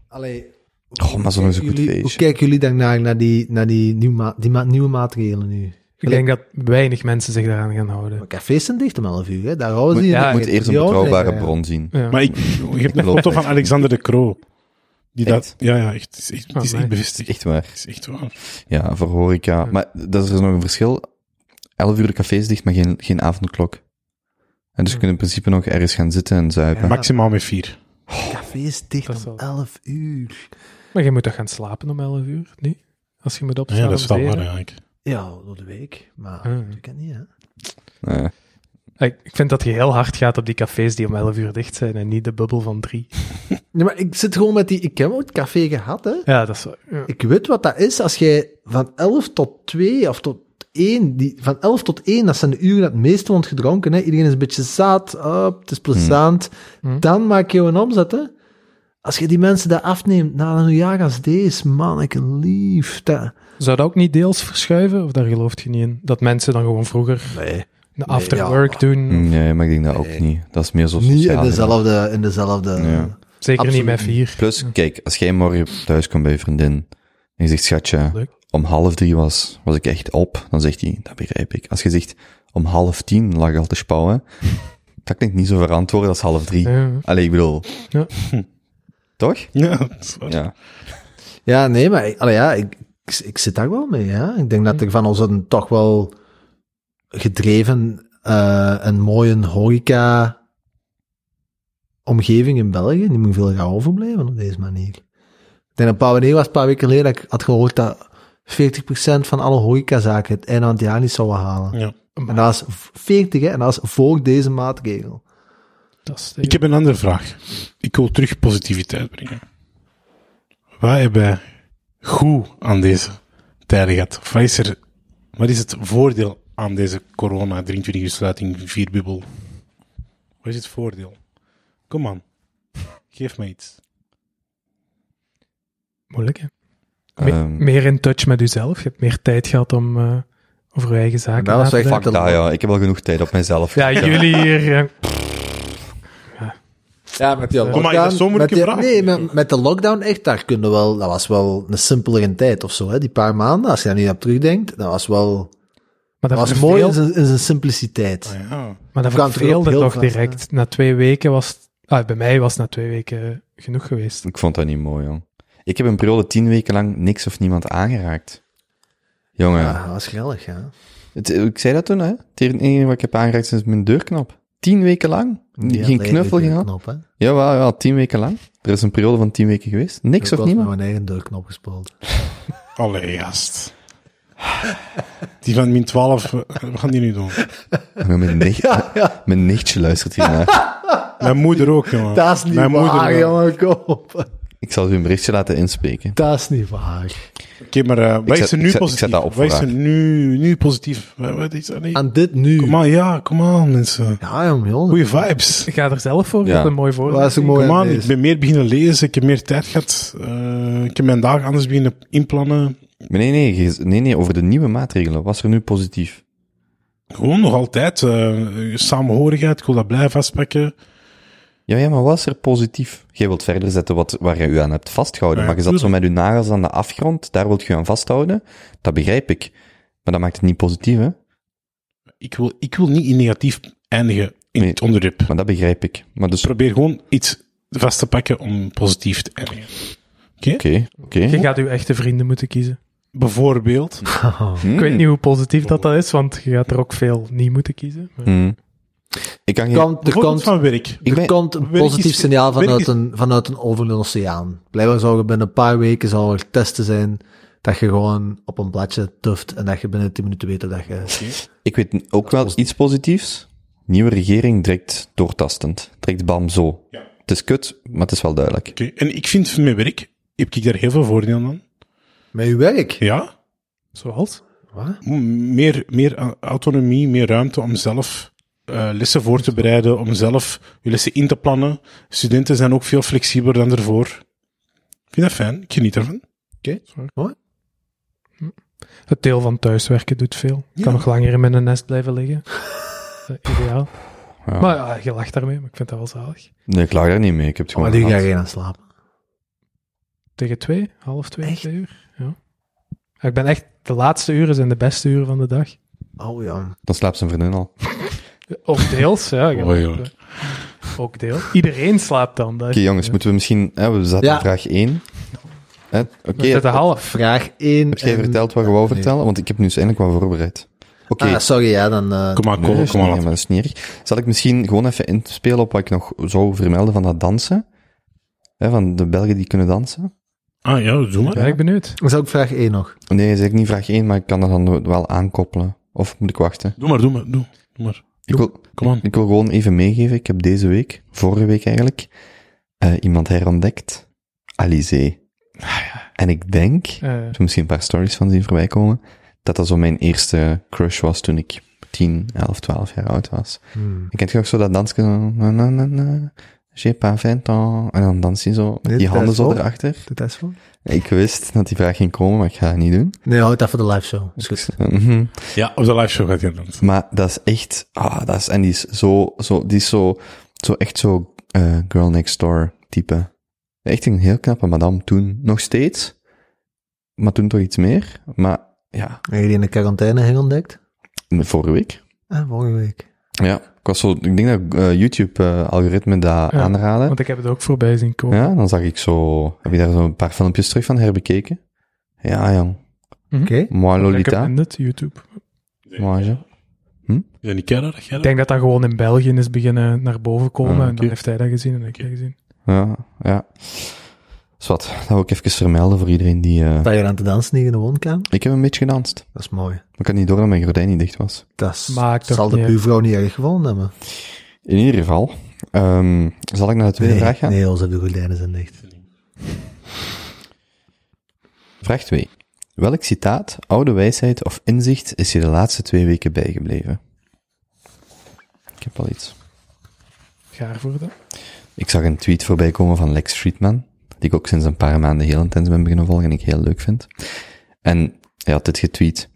[SPEAKER 2] Allee.
[SPEAKER 3] Goh, maar zo'n is een goed
[SPEAKER 2] jullie, Hoe
[SPEAKER 3] feestje.
[SPEAKER 2] kijken jullie dan naar, naar die, naar die, nieuwe, ma- die ma- nieuwe maatregelen nu?
[SPEAKER 5] Ik denk dat weinig mensen zich daaraan gaan houden.
[SPEAKER 2] Maar cafés zijn dicht om 11 uur, hè? Daar houden ze
[SPEAKER 3] moet,
[SPEAKER 2] je.
[SPEAKER 5] ja,
[SPEAKER 3] moet eerst een
[SPEAKER 2] ja,
[SPEAKER 3] betrouwbare
[SPEAKER 2] ja, ja.
[SPEAKER 3] bron zien.
[SPEAKER 5] Ja.
[SPEAKER 4] Maar ik, je hebt een
[SPEAKER 3] geloof
[SPEAKER 4] foto
[SPEAKER 3] echt.
[SPEAKER 4] van Alexander de Croo. Die dat,
[SPEAKER 3] Echt?
[SPEAKER 4] ja, ja, echt. Het is echt, het is
[SPEAKER 5] Amai.
[SPEAKER 4] echt bevestigd.
[SPEAKER 3] Echt waar.
[SPEAKER 4] Het is echt waar.
[SPEAKER 3] Ja, voor horeca. Maar dat is er nog een verschil. 11 uur de cafés dicht, maar geen, geen avondklok. En dus je kunt in principe nog ergens gaan zitten en zuipen.
[SPEAKER 4] Maximaal met vier.
[SPEAKER 2] Cafés dicht
[SPEAKER 5] Dat is
[SPEAKER 2] om
[SPEAKER 5] wel-
[SPEAKER 2] 11 uur.
[SPEAKER 5] Maar je moet toch gaan slapen om 11 uur, niet? Als je moet opstaan.
[SPEAKER 4] Ja, dat is
[SPEAKER 5] om
[SPEAKER 4] wel waar
[SPEAKER 5] zeven.
[SPEAKER 4] eigenlijk.
[SPEAKER 2] Ja, door de week. Maar
[SPEAKER 5] Ah.
[SPEAKER 2] ik ken niet, hè?
[SPEAKER 3] Eh,
[SPEAKER 5] Ik ik vind dat je heel hard gaat op die cafés die om 11 uur dicht zijn en niet de bubbel van drie.
[SPEAKER 2] Nee, maar ik zit gewoon met die... Ik heb ooit café gehad, hè.
[SPEAKER 5] Ja, dat is waar. Ja.
[SPEAKER 2] Ik weet wat dat is als jij van 11 tot 2 of tot 1, die, van 11 tot 1, dat zijn de uren dat het meeste wordt gedronken. Hè. Iedereen is een beetje zat, op, het is plezant.
[SPEAKER 5] Hmm.
[SPEAKER 2] Dan maak je een omzet. Hè. Als je die mensen dat afneemt na een jaar als deze, manneke lief. Dat,
[SPEAKER 5] Zou dat ook niet deels verschuiven? Of daar gelooft je niet in? Dat mensen dan gewoon vroeger
[SPEAKER 2] nee,
[SPEAKER 5] een after
[SPEAKER 2] ja.
[SPEAKER 5] work doen?
[SPEAKER 4] Mm.
[SPEAKER 3] Nee, Mm, maar ik denk dat ook niet. Dat is meer zo
[SPEAKER 2] niet in
[SPEAKER 3] sociaal.
[SPEAKER 2] dezelfde... In dezelfde
[SPEAKER 3] Ja.
[SPEAKER 5] Zeker
[SPEAKER 2] absoluut
[SPEAKER 5] niet met vier.
[SPEAKER 3] Plus, kijk, als jij morgen thuis komt bij je vriendin en je zegt, schatje,
[SPEAKER 5] Leuk.
[SPEAKER 3] om half drie was, was ik echt op, dan zegt hij, dat begrijp ik. Als je zegt, om half tien lag ik al te spouwen, dat klinkt niet zo verantwoord als half drie.
[SPEAKER 5] Ja.
[SPEAKER 3] Allee, ik bedoel...
[SPEAKER 5] Ja.
[SPEAKER 3] Toch?
[SPEAKER 4] Ja, dat is waar.
[SPEAKER 3] Ja.
[SPEAKER 2] Ja, nee, maar ik- allee, ja, ik, ik, ik zit daar wel mee. Ja. Ik denk dat er van ons een toch wel gedreven eh en mooie horeca-omgeving in België, die moet veel gaan overblijven op deze manier. Ik denk dat een paar, wanneer was het, een paar weken geleden, dat ik had gehoord dat 40% van alle horecazaken het einde aan het jaar niet zouden halen.
[SPEAKER 4] Ja.
[SPEAKER 2] En dat is v- 40, hè, en dat is voor deze maatregel.
[SPEAKER 5] Dat is
[SPEAKER 4] Ik heb een andere vraag. Ik wil terug positiviteit brengen. Wat hebben wij goed aan deze tijden gehad? Of wat is, er, wat is het voordeel aan deze corona 23 uur sluiting, vierbubbel? Wat is het voordeel? Kom aan. Geef me iets.
[SPEAKER 5] moeilijk, hè? Me-
[SPEAKER 3] Ehm,
[SPEAKER 5] meer in touch met uzelf. Je hebt meer tijd gehad om eh, over je eigen zaken
[SPEAKER 2] Nou,
[SPEAKER 5] na
[SPEAKER 2] dat
[SPEAKER 5] te
[SPEAKER 2] is echt
[SPEAKER 5] denken.
[SPEAKER 3] fuck dat, ja. Ik heb al genoeg tijd op mijzelf.
[SPEAKER 5] Ja, jullie hier... eh,
[SPEAKER 2] Ja, met die
[SPEAKER 4] maar is dat zo'n
[SPEAKER 2] met
[SPEAKER 4] moeilijke
[SPEAKER 2] die-
[SPEAKER 4] vraag?
[SPEAKER 2] Nee, met, met de lockdown echt, daar kunnen wel, dat was wel een simpelere tijd of zo, hè, die paar maanden. Als je daar nu op terugdenkt, dat was wel, dat
[SPEAKER 5] maar dat
[SPEAKER 2] was
[SPEAKER 5] was
[SPEAKER 2] mooi in zijn, in zijn simpliciteit.
[SPEAKER 4] Ah, ja.
[SPEAKER 5] Maar dat
[SPEAKER 2] Kan het
[SPEAKER 5] verveelde
[SPEAKER 2] heel
[SPEAKER 5] toch
[SPEAKER 2] vast,
[SPEAKER 5] direct. Na twee weken was... het- Ah, bij mij was het na twee weken genoeg geweest.
[SPEAKER 3] Ik vond dat niet mooi, jong. Ik heb een periode tien weken lang niks of niemand aangeraakt. Jongen,
[SPEAKER 2] Ja, dat was grillig, ja.
[SPEAKER 3] het- ik zei dat toen, hè. Het enige wat ik heb aangeraakt is mijn deurknop. Tien weken lang.
[SPEAKER 2] Die
[SPEAKER 3] geen
[SPEAKER 2] had eigen
[SPEAKER 3] knuffel, geen hand.
[SPEAKER 2] deurknop, hè. Ik
[SPEAKER 3] Jawel, jawel, tien weken lang. Er is een periode van tien weken geweest. Niks
[SPEAKER 2] heb
[SPEAKER 3] of
[SPEAKER 2] wel met
[SPEAKER 3] niemand.
[SPEAKER 2] mijn eigen deurknop gespeeld.
[SPEAKER 4] Allee, gast. Die van min 12, eh, wat gaan die nu doen?
[SPEAKER 3] Maar Mijn, nicht, mijn nichtje luistert hiernaar.
[SPEAKER 4] Mijn moeder ook, jongen.
[SPEAKER 2] Dat is niet
[SPEAKER 4] Mijn moeder
[SPEAKER 2] waar,
[SPEAKER 4] wel.
[SPEAKER 2] jongen, kom op.
[SPEAKER 3] Ik zal u een berichtje laten inspreken.
[SPEAKER 2] Dat is niet waar.
[SPEAKER 4] Oké, maar eh wij
[SPEAKER 3] zet-
[SPEAKER 4] zijn
[SPEAKER 3] ik
[SPEAKER 4] nu
[SPEAKER 3] zet- ik
[SPEAKER 4] positief.
[SPEAKER 3] zet dat op
[SPEAKER 4] Wij
[SPEAKER 3] vandaag.
[SPEAKER 4] zijn nu, nu positief. Wat- Wat is dat? Nee.
[SPEAKER 2] Aan dit nu.
[SPEAKER 4] Kom aan, ja, kom aan, mensen.
[SPEAKER 2] Ja, jongen, jongen.
[SPEAKER 4] eh, Goeie vibes.
[SPEAKER 5] Ik ga er zelf voor.
[SPEAKER 3] Ja.
[SPEAKER 5] Dat is een mooi voorbeeld.
[SPEAKER 2] Dat is een mooi
[SPEAKER 4] Kom aan,
[SPEAKER 2] aan
[SPEAKER 4] ik
[SPEAKER 2] deze.
[SPEAKER 4] ben meer beginnen lezen, ik heb meer tijd gehad, eh, ik heb mijn dagen anders beginnen inplannen.
[SPEAKER 3] Maar nee, nee, ge- nee, nee, over de nieuwe maatregelen. Was er nu positief?
[SPEAKER 4] Gewoon nog altijd, eh, samenhorigheid, ik wil dat blijven vastpakken.
[SPEAKER 3] Ja, ja, maar was er positief? Jij wilt verder zetten wat, waar je je aan hebt vastgehouden.
[SPEAKER 4] Ja,
[SPEAKER 3] maar je zat zo met je nagels aan de afgrond, daar wilt je je aan vasthouden. Dat begrijp ik. Maar dat maakt het niet positief, hè?
[SPEAKER 4] Ik wil, ik wil niet in negatief eindigen in
[SPEAKER 3] Nee.
[SPEAKER 4] het onderwerp.
[SPEAKER 3] Maar dat begrijp ik. Maar dus, oké,
[SPEAKER 4] Probeer gewoon iets vast te pakken om positief te eindigen.
[SPEAKER 3] oké.
[SPEAKER 5] Je gaat je echte vrienden moeten kiezen.
[SPEAKER 4] Bijvoorbeeld,
[SPEAKER 5] Ik
[SPEAKER 3] Hmm.
[SPEAKER 5] weet niet hoe positief dat, dat is, want je gaat er ook veel niet moeten kiezen. Maar-
[SPEAKER 3] Hmm. Ik kan geen...
[SPEAKER 2] Komt- Er
[SPEAKER 4] bijvoorbeeld
[SPEAKER 2] komt,
[SPEAKER 4] van werk.
[SPEAKER 3] Ik
[SPEAKER 2] er
[SPEAKER 3] ben-
[SPEAKER 2] komt een
[SPEAKER 4] werk is-
[SPEAKER 2] positief signaal
[SPEAKER 4] werk
[SPEAKER 2] vanuit
[SPEAKER 4] is-
[SPEAKER 2] een, vanuit een over een oceaan. Blijkbaar zou je binnen een paar weken zal er testen zijn dat je gewoon op een bladje tuft en dat je binnen 10 minuten weet of dat je...
[SPEAKER 3] Ik weet n- ook wel iets positiefs. Nieuwe regering direct doortastend. Direct bam, zo.
[SPEAKER 4] Ja.
[SPEAKER 3] Het is kut, maar het is wel duidelijk.
[SPEAKER 4] Oké, En ik vind van mijn werk, heb ik daar heel veel voordeel aan.
[SPEAKER 2] Met je werk?
[SPEAKER 4] Ja,
[SPEAKER 5] Zoals?
[SPEAKER 2] Wat?
[SPEAKER 4] M- meer, meer a- autonomie, meer ruimte om zelf eh, lessen voor te bereiden, om zelf je lessen in te plannen. Studenten zijn ook veel flexibeler dan ervoor. Ik vind dat fijn, ik geniet ervan.
[SPEAKER 5] Het deel van thuiswerken doet veel. Ik
[SPEAKER 4] Ja.
[SPEAKER 5] kan nog langer in mijn nest blijven liggen. Eh, ideaal.
[SPEAKER 3] Ja.
[SPEAKER 5] Maar ja, je lacht daarmee, maar ik vind dat wel zalig.
[SPEAKER 3] Nee, ik lag daar niet mee. Ik heb het
[SPEAKER 2] Maar
[SPEAKER 3] gewoon
[SPEAKER 2] nu ga
[SPEAKER 3] gehad.
[SPEAKER 2] je aan slapen.
[SPEAKER 5] Tegen twee, half twee,
[SPEAKER 2] Echt?
[SPEAKER 5] twee uur. Ja. Ja, Ik ben echt, de laatste uren zijn de beste uren van de dag.
[SPEAKER 2] Oh ja.
[SPEAKER 3] Dan slaapt zijn vriendin al. Oké,
[SPEAKER 5] Ook deels, ja. ik heb-
[SPEAKER 4] Oei, oei.
[SPEAKER 5] ook deels. Iedereen slaapt dan. Dat is-
[SPEAKER 3] jongens,
[SPEAKER 5] ja.
[SPEAKER 3] moeten we misschien... Hè, we zaten
[SPEAKER 2] Ja.
[SPEAKER 3] op vraag 1. Oké,
[SPEAKER 5] We zitten half.
[SPEAKER 2] Vraag 1.
[SPEAKER 3] heb jij verteld wat je wou vertellen? Want ik heb nu eens eindelijk wat voorbereid. Oké,
[SPEAKER 2] Ah, sorry, ja, dan... eh,
[SPEAKER 4] Kom maar,
[SPEAKER 3] Nee,
[SPEAKER 4] kom,
[SPEAKER 3] dat is
[SPEAKER 4] kom
[SPEAKER 3] niet-
[SPEAKER 4] maar.
[SPEAKER 3] maar dat is niet erg. Zal ik misschien gewoon even inspelen op wat ik nog zou vermelden van dat dansen? Hè, van de Belgen die kunnen dansen?
[SPEAKER 4] Ah ja, doe maar.
[SPEAKER 5] Ja, ik ben benieuwd.
[SPEAKER 2] Dan zal ik vraag 1 nog.
[SPEAKER 3] Nee, dat is eigenlijk niet vraag 1, maar ik kan dat dan wel aankoppelen. Of moet ik wachten?
[SPEAKER 4] Doe maar, doe maar, doe, doe maar.
[SPEAKER 3] Ik wil,
[SPEAKER 4] Kom aan.
[SPEAKER 3] ik wil gewoon even meegeven. Ik heb deze week, vorige week eigenlijk, eh, iemand herontdekt. Alizé. Ah, En ik denk, ik
[SPEAKER 5] Eh,
[SPEAKER 3] heb misschien een paar stories van zien voorbij komen, dat dat zo mijn eerste crush was toen ik 10, 11, 12 jaar oud was.
[SPEAKER 2] Hmm.
[SPEAKER 3] En kent je ook zo dat dansje? zo, Na, na, na, na, j'ai pas vingt ans. En dan dans je zo, met
[SPEAKER 2] Dit
[SPEAKER 3] die handen
[SPEAKER 2] is
[SPEAKER 3] zo
[SPEAKER 2] wel-
[SPEAKER 3] erachter.
[SPEAKER 2] Doet dat eens voor?
[SPEAKER 3] Ik wist dat die vraag ging komen, maar ik ga het niet doen.
[SPEAKER 2] Nee, houd dat voor de live show. Is goed.
[SPEAKER 3] Mhm.
[SPEAKER 4] Ja, op de live show gaat hij dan.
[SPEAKER 3] Maar dat is echt, ah, dat is, en die is zo, zo, die is zo, zo echt zo, eh, girl next door type. Echt een heel knappe madame toen. Nog steeds. Maar toen toch iets meer. Maar ja,
[SPEAKER 2] Heb je die in de quarantaine herontdekt?
[SPEAKER 3] vorige week.
[SPEAKER 2] Ah, volgende week.
[SPEAKER 3] Ja, ik was zo, ik denk dat eh, YouTube eh, algoritme dat
[SPEAKER 5] Ja,
[SPEAKER 3] aanraden.
[SPEAKER 5] want ik heb het ook voorbij zien komen.
[SPEAKER 3] Ja, dan zag ik zo, heb je daar zo een paar filmpjes terug van herbekeken? Ja, jong.
[SPEAKER 2] Oké.
[SPEAKER 3] Moi
[SPEAKER 5] Ik heb
[SPEAKER 3] Lolita.
[SPEAKER 5] in het YouTube.
[SPEAKER 3] Moi, je.
[SPEAKER 4] Is dat niet kennen dat jij
[SPEAKER 5] Ik
[SPEAKER 4] dat-
[SPEAKER 5] denk dat dat gewoon in België is beginnen naar boven komen.
[SPEAKER 3] Ah,
[SPEAKER 5] en dan
[SPEAKER 3] oké.
[SPEAKER 5] heeft hij dat gezien en ik heb dat gezien.
[SPEAKER 3] Ja, ja. Zwat, dat wil ik even vermelden voor iedereen die... eh,
[SPEAKER 2] Dat je aan te dansen hier in de woonkamer.
[SPEAKER 3] Ik heb een beetje gedanst.
[SPEAKER 2] Dat is mooi.
[SPEAKER 3] Maar ik had niet door dat mijn gordijn niet dicht was.
[SPEAKER 2] Dat is-
[SPEAKER 5] Maakt toch
[SPEAKER 2] zal de
[SPEAKER 5] niet
[SPEAKER 2] buurvrouw niet erg gevonden hebben.
[SPEAKER 3] In ieder geval, ehm, zal ik naar de tweede vraag gaan?
[SPEAKER 2] nee, onze gordijnen zijn dicht.
[SPEAKER 3] Vraag 2. Welk citaat, oude wijsheid of inzicht is je de laatste twee weken bijgebleven? Ik heb al iets.
[SPEAKER 5] Gaar voor dat.
[SPEAKER 3] Ik zag een tweet voorbij komen van Lex Friedman, die ik ook sinds een paar maanden heel intens ben beginnen volgen en ik heel leuk vind. En hij had dit getweet.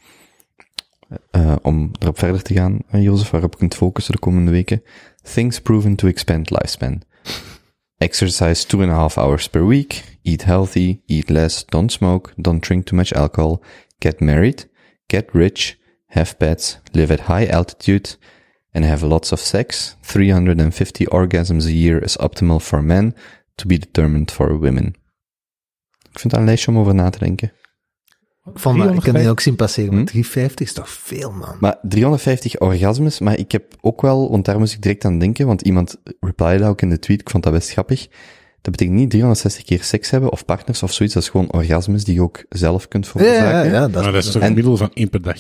[SPEAKER 3] eh, om erop verder te gaan, eh, Jozef, waarop je kunt focussen de komende weken. Things proven to expand lifespan. Exercise two and a half hours per week. Eat healthy. Eat less. Don't smoke. Don't drink too much alcohol. Get married. Get rich. Have pets. Live at high altitude. and have lots of sex. 350 orgasms a year is optimal for men, to be determined for women. Ik vind dat een lijstje om over na te denken.
[SPEAKER 2] Ik, vond dat- ik kan die Hmm?
[SPEAKER 5] 350.
[SPEAKER 2] ook zien passeren, maar
[SPEAKER 3] Hm?
[SPEAKER 2] 350 is toch veel, man.
[SPEAKER 3] Maar 350 orgasmes, maar ik heb ook wel, want daar moest ik direct aan denken, want iemand replied ook in de tweet, ik vond dat best grappig. Dat betekent niet 360 keer seks hebben of partners of zoiets, dat is gewoon orgasmes die je ook zelf kunt
[SPEAKER 2] ja,
[SPEAKER 3] veroorzaken.
[SPEAKER 2] ja, ja, Ah, dat
[SPEAKER 4] Maar
[SPEAKER 2] is
[SPEAKER 4] dat is toch
[SPEAKER 3] En-
[SPEAKER 4] een middel van één per dag.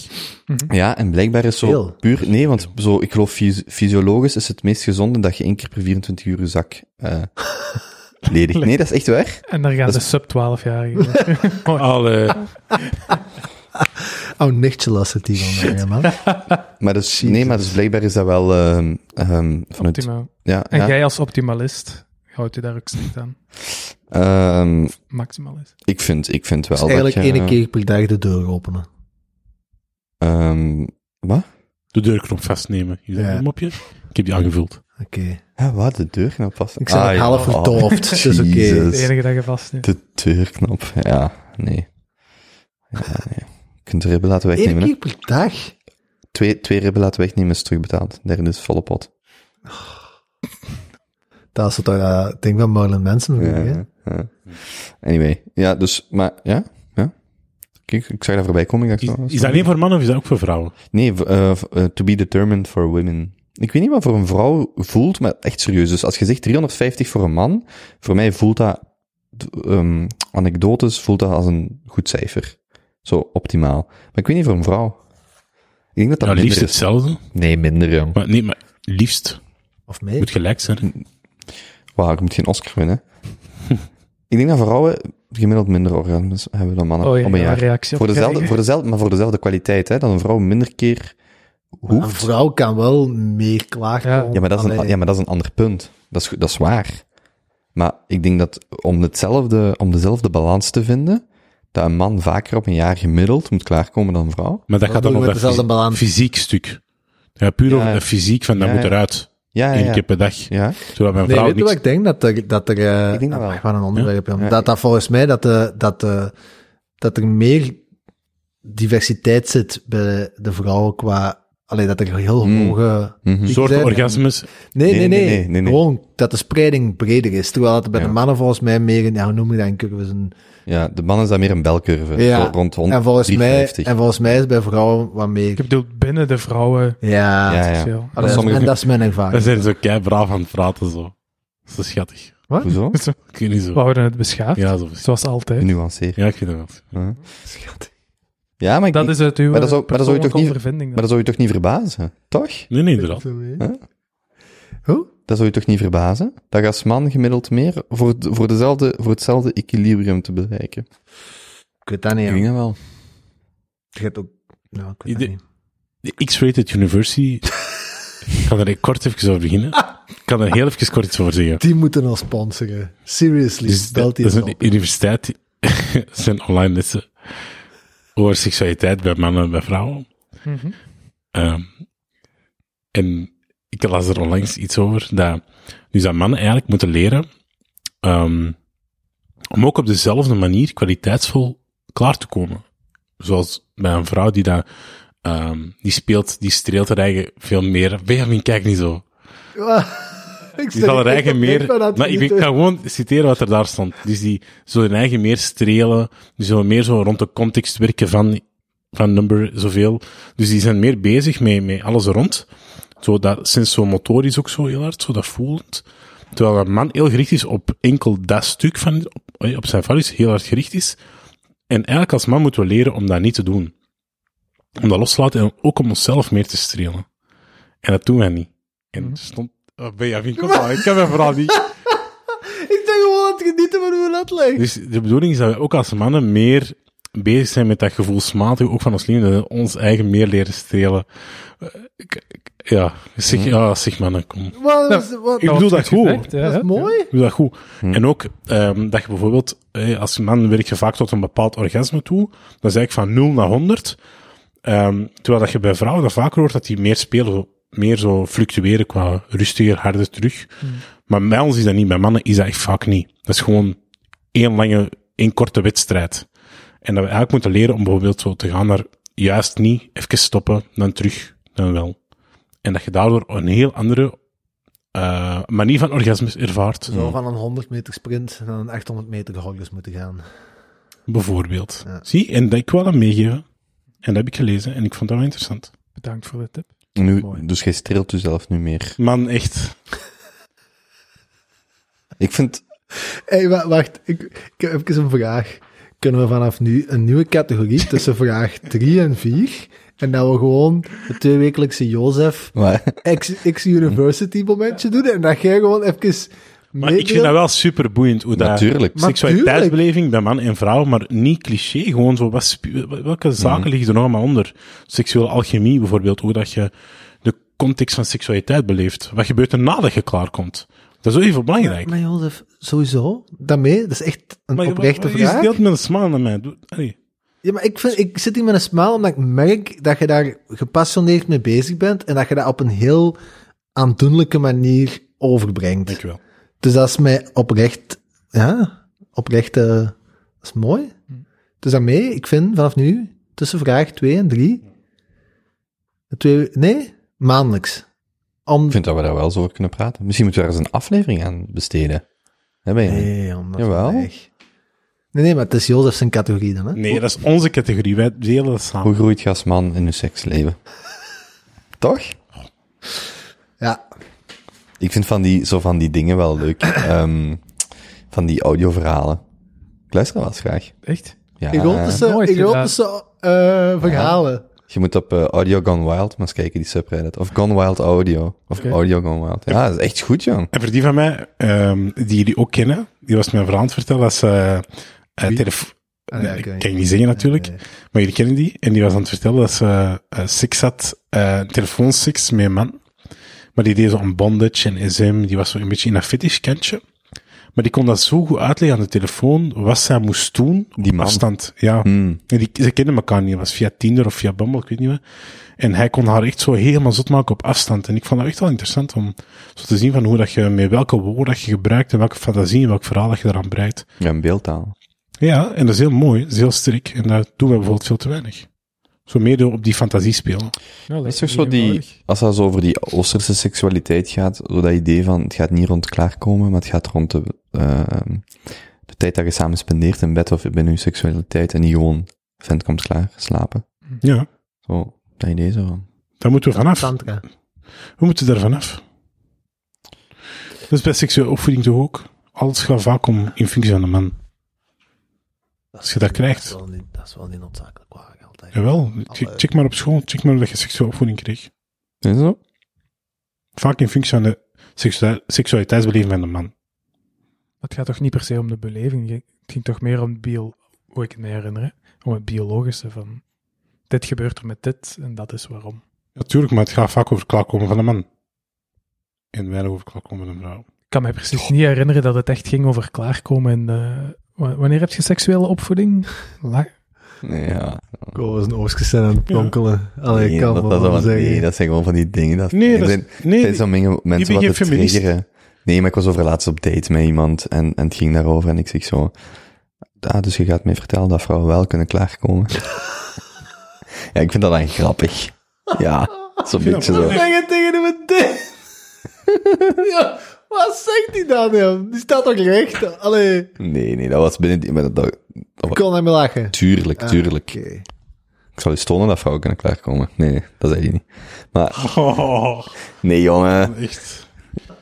[SPEAKER 3] Ja, en blijkbaar is zo
[SPEAKER 2] Veel.
[SPEAKER 3] puur... Nee, want zo, ik geloof fysi- fysiologisch is het meest gezonde dat je één keer per 24 uur je zak eh ledigt. Nee, dat is echt waar.
[SPEAKER 5] En daar gaan
[SPEAKER 3] Dat
[SPEAKER 5] de sub-12-jarigen.
[SPEAKER 4] Alle,
[SPEAKER 2] Oh, nichtje las het die van mij, hè, man.
[SPEAKER 3] Maar dus, nee, maar dus blijkbaar is dat wel ehm ehm vanuit...
[SPEAKER 5] Optimaal.
[SPEAKER 3] Ja,
[SPEAKER 5] En
[SPEAKER 3] ja.
[SPEAKER 5] jij als optimalist houdt u daar ook strikt aan.
[SPEAKER 3] Ehm,
[SPEAKER 5] Maximalist.
[SPEAKER 3] ik, vind, ik vind wel
[SPEAKER 2] Dus eigenlijk
[SPEAKER 3] dat je...
[SPEAKER 2] één keer per dag de deur openen.
[SPEAKER 3] ehm, wat?
[SPEAKER 4] de deurknop vastnemen. Is dat
[SPEAKER 2] Ja.
[SPEAKER 4] een mopje? Ik heb die aangevuld.
[SPEAKER 2] Oké.
[SPEAKER 3] Ja, wat? De deurknop was...
[SPEAKER 2] Ik ben
[SPEAKER 3] Ah,
[SPEAKER 2] ook
[SPEAKER 3] ja.
[SPEAKER 2] half
[SPEAKER 3] Oh,
[SPEAKER 2] verdoofd, dus oké.
[SPEAKER 3] Jezus.
[SPEAKER 5] Het enige dat je vast hebt.
[SPEAKER 3] De deurknop, ja. Nee. Ja, nee. Je kunt de ribben laten
[SPEAKER 2] Eén
[SPEAKER 3] wegnemen, hè?
[SPEAKER 2] keer per dag?
[SPEAKER 3] Twee, twee ribben laten wegnemen is terugbetaald. Derde is volle pot.
[SPEAKER 2] Dat is het eh, ding van Marlon Manson.
[SPEAKER 3] Ja,
[SPEAKER 2] vroeger, hè?
[SPEAKER 3] ja, ja. Anyway, ja, dus, maar, ja, ja. Kijk, ik zag daar voorbij komen. Ik dacht,
[SPEAKER 4] Is,
[SPEAKER 3] oh,
[SPEAKER 4] is dat alleen voor mannen of is dat ook voor vrouwen?
[SPEAKER 3] Nee, v- eh, v- eh, to be determined for women. Ik weet niet wat voor een vrouw voelt, maar echt serieus. Dus als je zegt 350 voor een man, voor mij voelt dat, d- ehm anekdotes voelt dat als een goed cijfer. Zo optimaal. Maar ik weet niet voor een vrouw. Ik denk dat dat
[SPEAKER 4] Nou, liefst
[SPEAKER 3] minder is.
[SPEAKER 4] hetzelfde.
[SPEAKER 3] Nee, minder, jong.
[SPEAKER 4] Maar nee, maar liefst.
[SPEAKER 2] Of mee?
[SPEAKER 4] Moet gelijk zijn. hè.
[SPEAKER 3] Wauw, ik moet geen Oscar winnen. ik denk dat vrouwen gemiddeld minder orgasmes hebben dan mannen
[SPEAKER 5] Oh ja,
[SPEAKER 3] op een
[SPEAKER 5] ja,
[SPEAKER 3] jaar.
[SPEAKER 5] reactie op
[SPEAKER 3] Voor dezelfde,
[SPEAKER 5] krijgen.
[SPEAKER 3] voor dezelfde, maar voor dezelfde kwaliteit, hè, dat een vrouw minder keer
[SPEAKER 2] Een
[SPEAKER 3] hoeft.
[SPEAKER 2] vrouw kan wel meer klagen.
[SPEAKER 5] Ja.
[SPEAKER 3] Ja maar, dat is een,
[SPEAKER 2] Allee.
[SPEAKER 3] ja, maar dat is een ander punt. Dat is, goed- dat is waar. Maar ik denk dat om, hetzelfde, om dezelfde balans te vinden, dat een man vaker op een jaar gemiddeld moet klaarkomen dan een vrouw.
[SPEAKER 4] Maar dat
[SPEAKER 2] Dat
[SPEAKER 4] gaat dan
[SPEAKER 2] doen we met
[SPEAKER 4] over
[SPEAKER 2] dezelfde
[SPEAKER 4] fysi-
[SPEAKER 2] balans.
[SPEAKER 4] fysiek stuk. Ja, puur over
[SPEAKER 3] Ja.
[SPEAKER 4] de fysiek van dat
[SPEAKER 3] Ja,
[SPEAKER 4] moet
[SPEAKER 3] ja.
[SPEAKER 4] eruit.
[SPEAKER 3] Ja,
[SPEAKER 4] Eén
[SPEAKER 3] ja,
[SPEAKER 4] keer
[SPEAKER 3] ja.
[SPEAKER 4] per dag.
[SPEAKER 3] ja.
[SPEAKER 4] Terwijl mijn
[SPEAKER 2] Nee,
[SPEAKER 4] vrouw
[SPEAKER 2] weet je
[SPEAKER 4] niks...
[SPEAKER 2] wat ik denk? Dat er, dat er eh,
[SPEAKER 3] Ik denk dat wel.
[SPEAKER 2] ah, wat een onderwerp, jong.
[SPEAKER 3] Ja.
[SPEAKER 2] Dat dat volgens mij, dat, de, dat, de, dat er meer diversiteit zit bij de vrouwen qua... Alleen dat er heel
[SPEAKER 3] Hmm.
[SPEAKER 2] hoge...
[SPEAKER 3] Mhm.
[SPEAKER 2] pieken
[SPEAKER 4] soorten
[SPEAKER 2] zijn.
[SPEAKER 4] orgasmes.
[SPEAKER 2] Nee, nee, nee.
[SPEAKER 3] nee, nee, nee, nee.
[SPEAKER 2] Gewoon dat de spreiding breder is. Terwijl dat bij
[SPEAKER 3] Ja.
[SPEAKER 2] de mannen volgens mij meer... een- Ja, hoe noem je dat? Een curve? Een,
[SPEAKER 3] ja, de man is daar meer een belcurve.
[SPEAKER 2] Ja.
[SPEAKER 3] Zo rond
[SPEAKER 2] en, volgens mij,
[SPEAKER 3] 150.
[SPEAKER 2] en volgens mij is bij vrouwen wat meer...
[SPEAKER 5] Ik bedoel, binnen de vrouwen.
[SPEAKER 2] Ja.
[SPEAKER 3] ja, ja.
[SPEAKER 5] Veel.
[SPEAKER 2] Allee,
[SPEAKER 3] Sommige-
[SPEAKER 2] en dat is mijn ervaring.
[SPEAKER 4] Dan zijn ze kei braaf aan het praten zo. Zo schattig.
[SPEAKER 3] Hoezo?
[SPEAKER 4] Ik weet niet
[SPEAKER 5] We
[SPEAKER 4] zo.
[SPEAKER 5] houden het beschaafd.
[SPEAKER 4] Ja, zo.
[SPEAKER 5] Zoals altijd.
[SPEAKER 3] Nuanceer.
[SPEAKER 4] Ja, ik vind dat wel.
[SPEAKER 3] Ja. Ja, maar, ik,
[SPEAKER 5] Dat is het uw
[SPEAKER 3] maar dat zou- maar dat zou je toch niet-
[SPEAKER 5] vervinding.
[SPEAKER 3] maar dat zou je toch niet verbazen, toch?
[SPEAKER 4] Nee, nee, inderdaad.
[SPEAKER 3] Dat zou je toch niet verbazen? Dat gaat man gemiddeld meer voor, voor, dezelfde, voor hetzelfde equilibrium te bereiken.
[SPEAKER 2] Ik weet dat niet. ja.
[SPEAKER 3] Ik denk dat wel.
[SPEAKER 2] Je hebt ook... Nou, ik weet
[SPEAKER 4] Ide-
[SPEAKER 2] dat niet.
[SPEAKER 4] De X-Rated University. ik kan er kort even over beginnen. Ik kan er heel even kort iets over zeggen.
[SPEAKER 2] Die moeten ons sponsoren. Seriously,
[SPEAKER 4] Dus
[SPEAKER 2] belt
[SPEAKER 4] dat,
[SPEAKER 2] die
[SPEAKER 4] dat is
[SPEAKER 2] eens
[SPEAKER 4] een
[SPEAKER 2] op.
[SPEAKER 4] universiteit. die- dat zijn online lessen over seksualiteit bij mannen en bij vrouwen. Ehm, en ik las er onlangs iets over dat, dus dat mannen eigenlijk moeten leren ehm, om ook op dezelfde manier kwaliteitsvol klaar te komen. Zoals bij een vrouw die dat, ehm, die speelt, die streelt haar eigen veel meer. Benjamin, kijk niet zo.
[SPEAKER 2] Ik
[SPEAKER 4] Die zal haar eigen meer. Maar
[SPEAKER 2] Maar
[SPEAKER 4] ik ben- ik kan gewoon citeren wat er daar stond. Dus die zullen hun eigen meer strelen. Die zullen meer zo rond de context werken van, van number zoveel. Dus die zijn meer bezig met, met alles rond. Zo dat sensomotorisch ook zo heel hard, zo dat voelend. Terwijl een man heel gericht is op enkel dat stuk van, op, op zijn vallis, heel hard gericht is. En eigenlijk als man moeten we leren om dat niet te doen. Om dat los te laten en ook om onszelf meer te strelen. En dat doen wij niet. En er stond, oh, Benjamin, kom maar, ik kan mijn verhaal niet.
[SPEAKER 2] Ik ben gewoon aan het genieten van hoe we dat lijkt.
[SPEAKER 4] Dus de bedoeling is dat we ook als mannen meer bezig zijn met dat gevoelsmatige, ook van ons liefde, dat we ons eigen meer leren strelen. Eh, ik- ik- Ja, zeg, ja, zeg mannen, kom.
[SPEAKER 2] Maar dat is- wat-
[SPEAKER 4] Nou, Ik bedoel dat goed.
[SPEAKER 5] Ja,
[SPEAKER 2] dat
[SPEAKER 5] ja.
[SPEAKER 2] is mooi.
[SPEAKER 4] Ik bedoel dat goed. En ook ehm, dat je bijvoorbeeld, eh, als man werk je vaak tot een bepaald orgasme toe, dat is eigenlijk van 0 naar 100. Ehm, terwijl dat je bij vrouwen dat vaker hoort dat die meer spelen, zo- meer zo fluctueren qua rustiger, harder terug. Maar bij ons is dat niet, bij mannen is dat echt vaak niet. Dat is gewoon één lange, één korte wedstrijd. En dat we eigenlijk moeten leren om bijvoorbeeld zo te gaan naar juist niet, even stoppen, dan terug, dan wel. En dat je daardoor een heel andere eh, manier van orgasmes ervaart.
[SPEAKER 2] Zo van een 100 meter sprint naar een 800 meter gehoogjes moeten gaan.
[SPEAKER 4] Bijvoorbeeld.
[SPEAKER 2] Ja.
[SPEAKER 4] Zie, en dat ik wel aan meegeven. En dat heb ik gelezen en ik vond dat wel interessant.
[SPEAKER 5] Bedankt voor de tip.
[SPEAKER 3] Nu,
[SPEAKER 2] Mooi.
[SPEAKER 3] dus jij streelt jezelf nu meer.
[SPEAKER 4] Man, echt.
[SPEAKER 3] Ik vind...
[SPEAKER 2] Hé, hey, wa- wacht. Ik, ik heb even een vraag. Kunnen we vanaf nu een nieuwe categorie tussen vraag 3 en 4... En dat we gewoon het tweewekelijkse Jozef
[SPEAKER 3] Maar,
[SPEAKER 2] X- X-University momentje doen. En dat jij gewoon even...
[SPEAKER 4] Maar ik vind dat wel super boeiend hoe dat...
[SPEAKER 3] natuurlijk.
[SPEAKER 2] Maar
[SPEAKER 4] Seksualiteitsbeleving bij man en vrouw, maar niet cliché. Gewoon zo, wat spu- welke zaken liggen er nog allemaal onder? Seksuele alchemie bijvoorbeeld, hoe dat je de context van seksualiteit beleeft. Wat gebeurt er nadat je klaarkomt? Dat is ook even belangrijk.
[SPEAKER 2] Maar Jozef, sowieso, daarmee, dat is echt een
[SPEAKER 4] Maar je-
[SPEAKER 2] oprechte
[SPEAKER 4] je
[SPEAKER 2] vraag.
[SPEAKER 4] deelt met een smile aan mij. Doe- allee.
[SPEAKER 2] Ja, maar ik, vind, ik zit hier met een smaal omdat ik merk dat je daar gepassioneerd mee bezig bent en dat je dat op een heel aandoenlijke manier overbrengt.
[SPEAKER 4] Dankjewel.
[SPEAKER 2] Dus dat is mij oprecht, ja, oprecht, eh, dat is mooi. Dus daarmee, ik vind vanaf nu, tussen vraag 2 en 3, twee, nee, maandelijks. Om,
[SPEAKER 3] Ik vind dat we daar wel zo over kunnen praten. Misschien moeten we daar eens een aflevering aan besteden. Hè, ben je?
[SPEAKER 2] nee, om dat is
[SPEAKER 3] Jawel.
[SPEAKER 2] erg. Nee, nee, maar het is Jozef zijn categorie dan, hè?
[SPEAKER 4] Nee, dat is onze categorie. Wij delen dat samen.
[SPEAKER 3] Hoe groeit je als man in je seksleven? Toch?
[SPEAKER 2] Ja,
[SPEAKER 3] Ik vind van die, zo van die dingen wel leuk. Ehm, van die audioverhalen. Ik luister wel eens graag.
[SPEAKER 5] Echt?
[SPEAKER 3] Ja,
[SPEAKER 2] Erotische,
[SPEAKER 5] Nooit
[SPEAKER 2] erotische eh, verhalen.
[SPEAKER 3] Je moet op eh, Audio Gone Wild maar eens kijken, die subreddit. Of Gone Wild Audio. Of Audio Gone Wild. Ja, dat is echt goed, jong.
[SPEAKER 4] En voor die van mij, ehm, die jullie ook kennen, die was mijn verhaal aan het vertellen, dat ze... eh, telefo-
[SPEAKER 2] Ah, ja,
[SPEAKER 4] Nee,
[SPEAKER 2] ik weet
[SPEAKER 4] ik
[SPEAKER 2] niet.
[SPEAKER 4] kan je niet zeggen natuurlijk,
[SPEAKER 2] Nee.
[SPEAKER 4] maar jullie kennen die. En die was aan het vertellen dat ze eh, eh, seks had, eh telefoonseks met een man. Maar die deed zo'n bondage en SM, die was zo een beetje in een fetish kantje. Maar die kon dat zo goed uitleggen aan de telefoon, wat zij moest doen op
[SPEAKER 3] Die man. Hmm.
[SPEAKER 4] afstand. Ja. En die, ze kenden elkaar niet, het was via Tinder of via Bumble, ik weet niet meer. En hij kon haar echt zo helemaal zot maken op afstand. En ik vond dat echt wel interessant om zo te zien van hoe dat je, met welke woorden dat je gebruikt en welke fantasie en welk verhaal dat je eraan breidt.
[SPEAKER 3] Ja, een beeldtaal.
[SPEAKER 4] Ja, en dat is heel mooi, dat is heel sterk. En daar doen we bijvoorbeeld veel te weinig. Zo meer door op die fantasie spelen.
[SPEAKER 3] Dat is toch zo die, als dat zo over die Oosterse seksualiteit gaat, zo dat idee van het gaat niet rond klaarkomen, maar het gaat rond de, ehm, de tijd dat je samen spendeert in bed of binnen je seksualiteit en niet gewoon vent komt klaar, slapen.
[SPEAKER 4] Ja,
[SPEAKER 3] Zo, dat idee zo van.
[SPEAKER 4] daar moeten we vanaf.
[SPEAKER 2] Tantra.
[SPEAKER 4] We moeten daar vanaf. Dat is bij seksuele opvoeding toch ook. Alles gaat vaak om in functie van de man.
[SPEAKER 2] Dat
[SPEAKER 4] Als je dat krijgt.
[SPEAKER 2] Dat is wel niet, dat is wel niet noodzakelijk waar geld. altijd.
[SPEAKER 4] Jawel, check, check maar op school, check maar dat je seksuele opvoeding kreeg.
[SPEAKER 3] Is dat zo?
[SPEAKER 4] Vaak in functie van de seksua- seksualiteitsbeleving van de man.
[SPEAKER 5] Het gaat toch niet per se om de beleving. Het ging toch meer om het bio, hoe ik het me herinner, hè? om het biologische van dit gebeurt er met dit en dat is waarom.
[SPEAKER 4] Natuurlijk, maar het gaat vaak over klaarkomen van de man. En weinig over klaarkomen van de vrouw.
[SPEAKER 5] Ik kan mij precies niet herinneren dat het echt ging over klaarkomen en eh, wa- wanneer heb je seksuele opvoeding? La-
[SPEAKER 3] Ja.
[SPEAKER 2] Ko was een oogstje zijn aan het pronkelen. Allee,
[SPEAKER 3] Nee,
[SPEAKER 2] ik kan
[SPEAKER 3] dat,
[SPEAKER 2] wel
[SPEAKER 3] dat,
[SPEAKER 2] wat
[SPEAKER 3] dat-
[SPEAKER 2] zeggen.
[SPEAKER 3] nee, dat zijn gewoon van die dingen. Dat,
[SPEAKER 4] Nee,
[SPEAKER 3] er
[SPEAKER 4] dat is-
[SPEAKER 3] zijn,
[SPEAKER 4] nee,
[SPEAKER 3] er zijn zo menge mensen wat
[SPEAKER 4] geen
[SPEAKER 3] het
[SPEAKER 4] feminist.
[SPEAKER 3] triggeren. Nee, maar ik was over laatst op date met iemand en, en het ging daarover en ik zeg zo... Ah, dus je gaat mij vertellen dat vrouwen wel kunnen klaarkomen. ja, ik vind dat dan grappig. Ja, zo'n
[SPEAKER 4] vind
[SPEAKER 3] beetje
[SPEAKER 4] dat
[SPEAKER 3] zo.
[SPEAKER 2] Wat zeg je tegen hem dit? ja, wat zegt die Daniel? Die staat toch recht? Allee,
[SPEAKER 3] Nee, nee, dat was binnen... Die, maar dat, dat-
[SPEAKER 2] ik kon hem lachen.
[SPEAKER 3] tuurlijk,
[SPEAKER 4] Ah,
[SPEAKER 3] tuurlijk.
[SPEAKER 2] Oké.
[SPEAKER 3] Ik zal je stonen dat vrouwen kunnen klaarkomen. Nee, nee, dat zei hij niet. Maar...
[SPEAKER 4] Oh.
[SPEAKER 3] Nee, jongen.
[SPEAKER 4] Echt.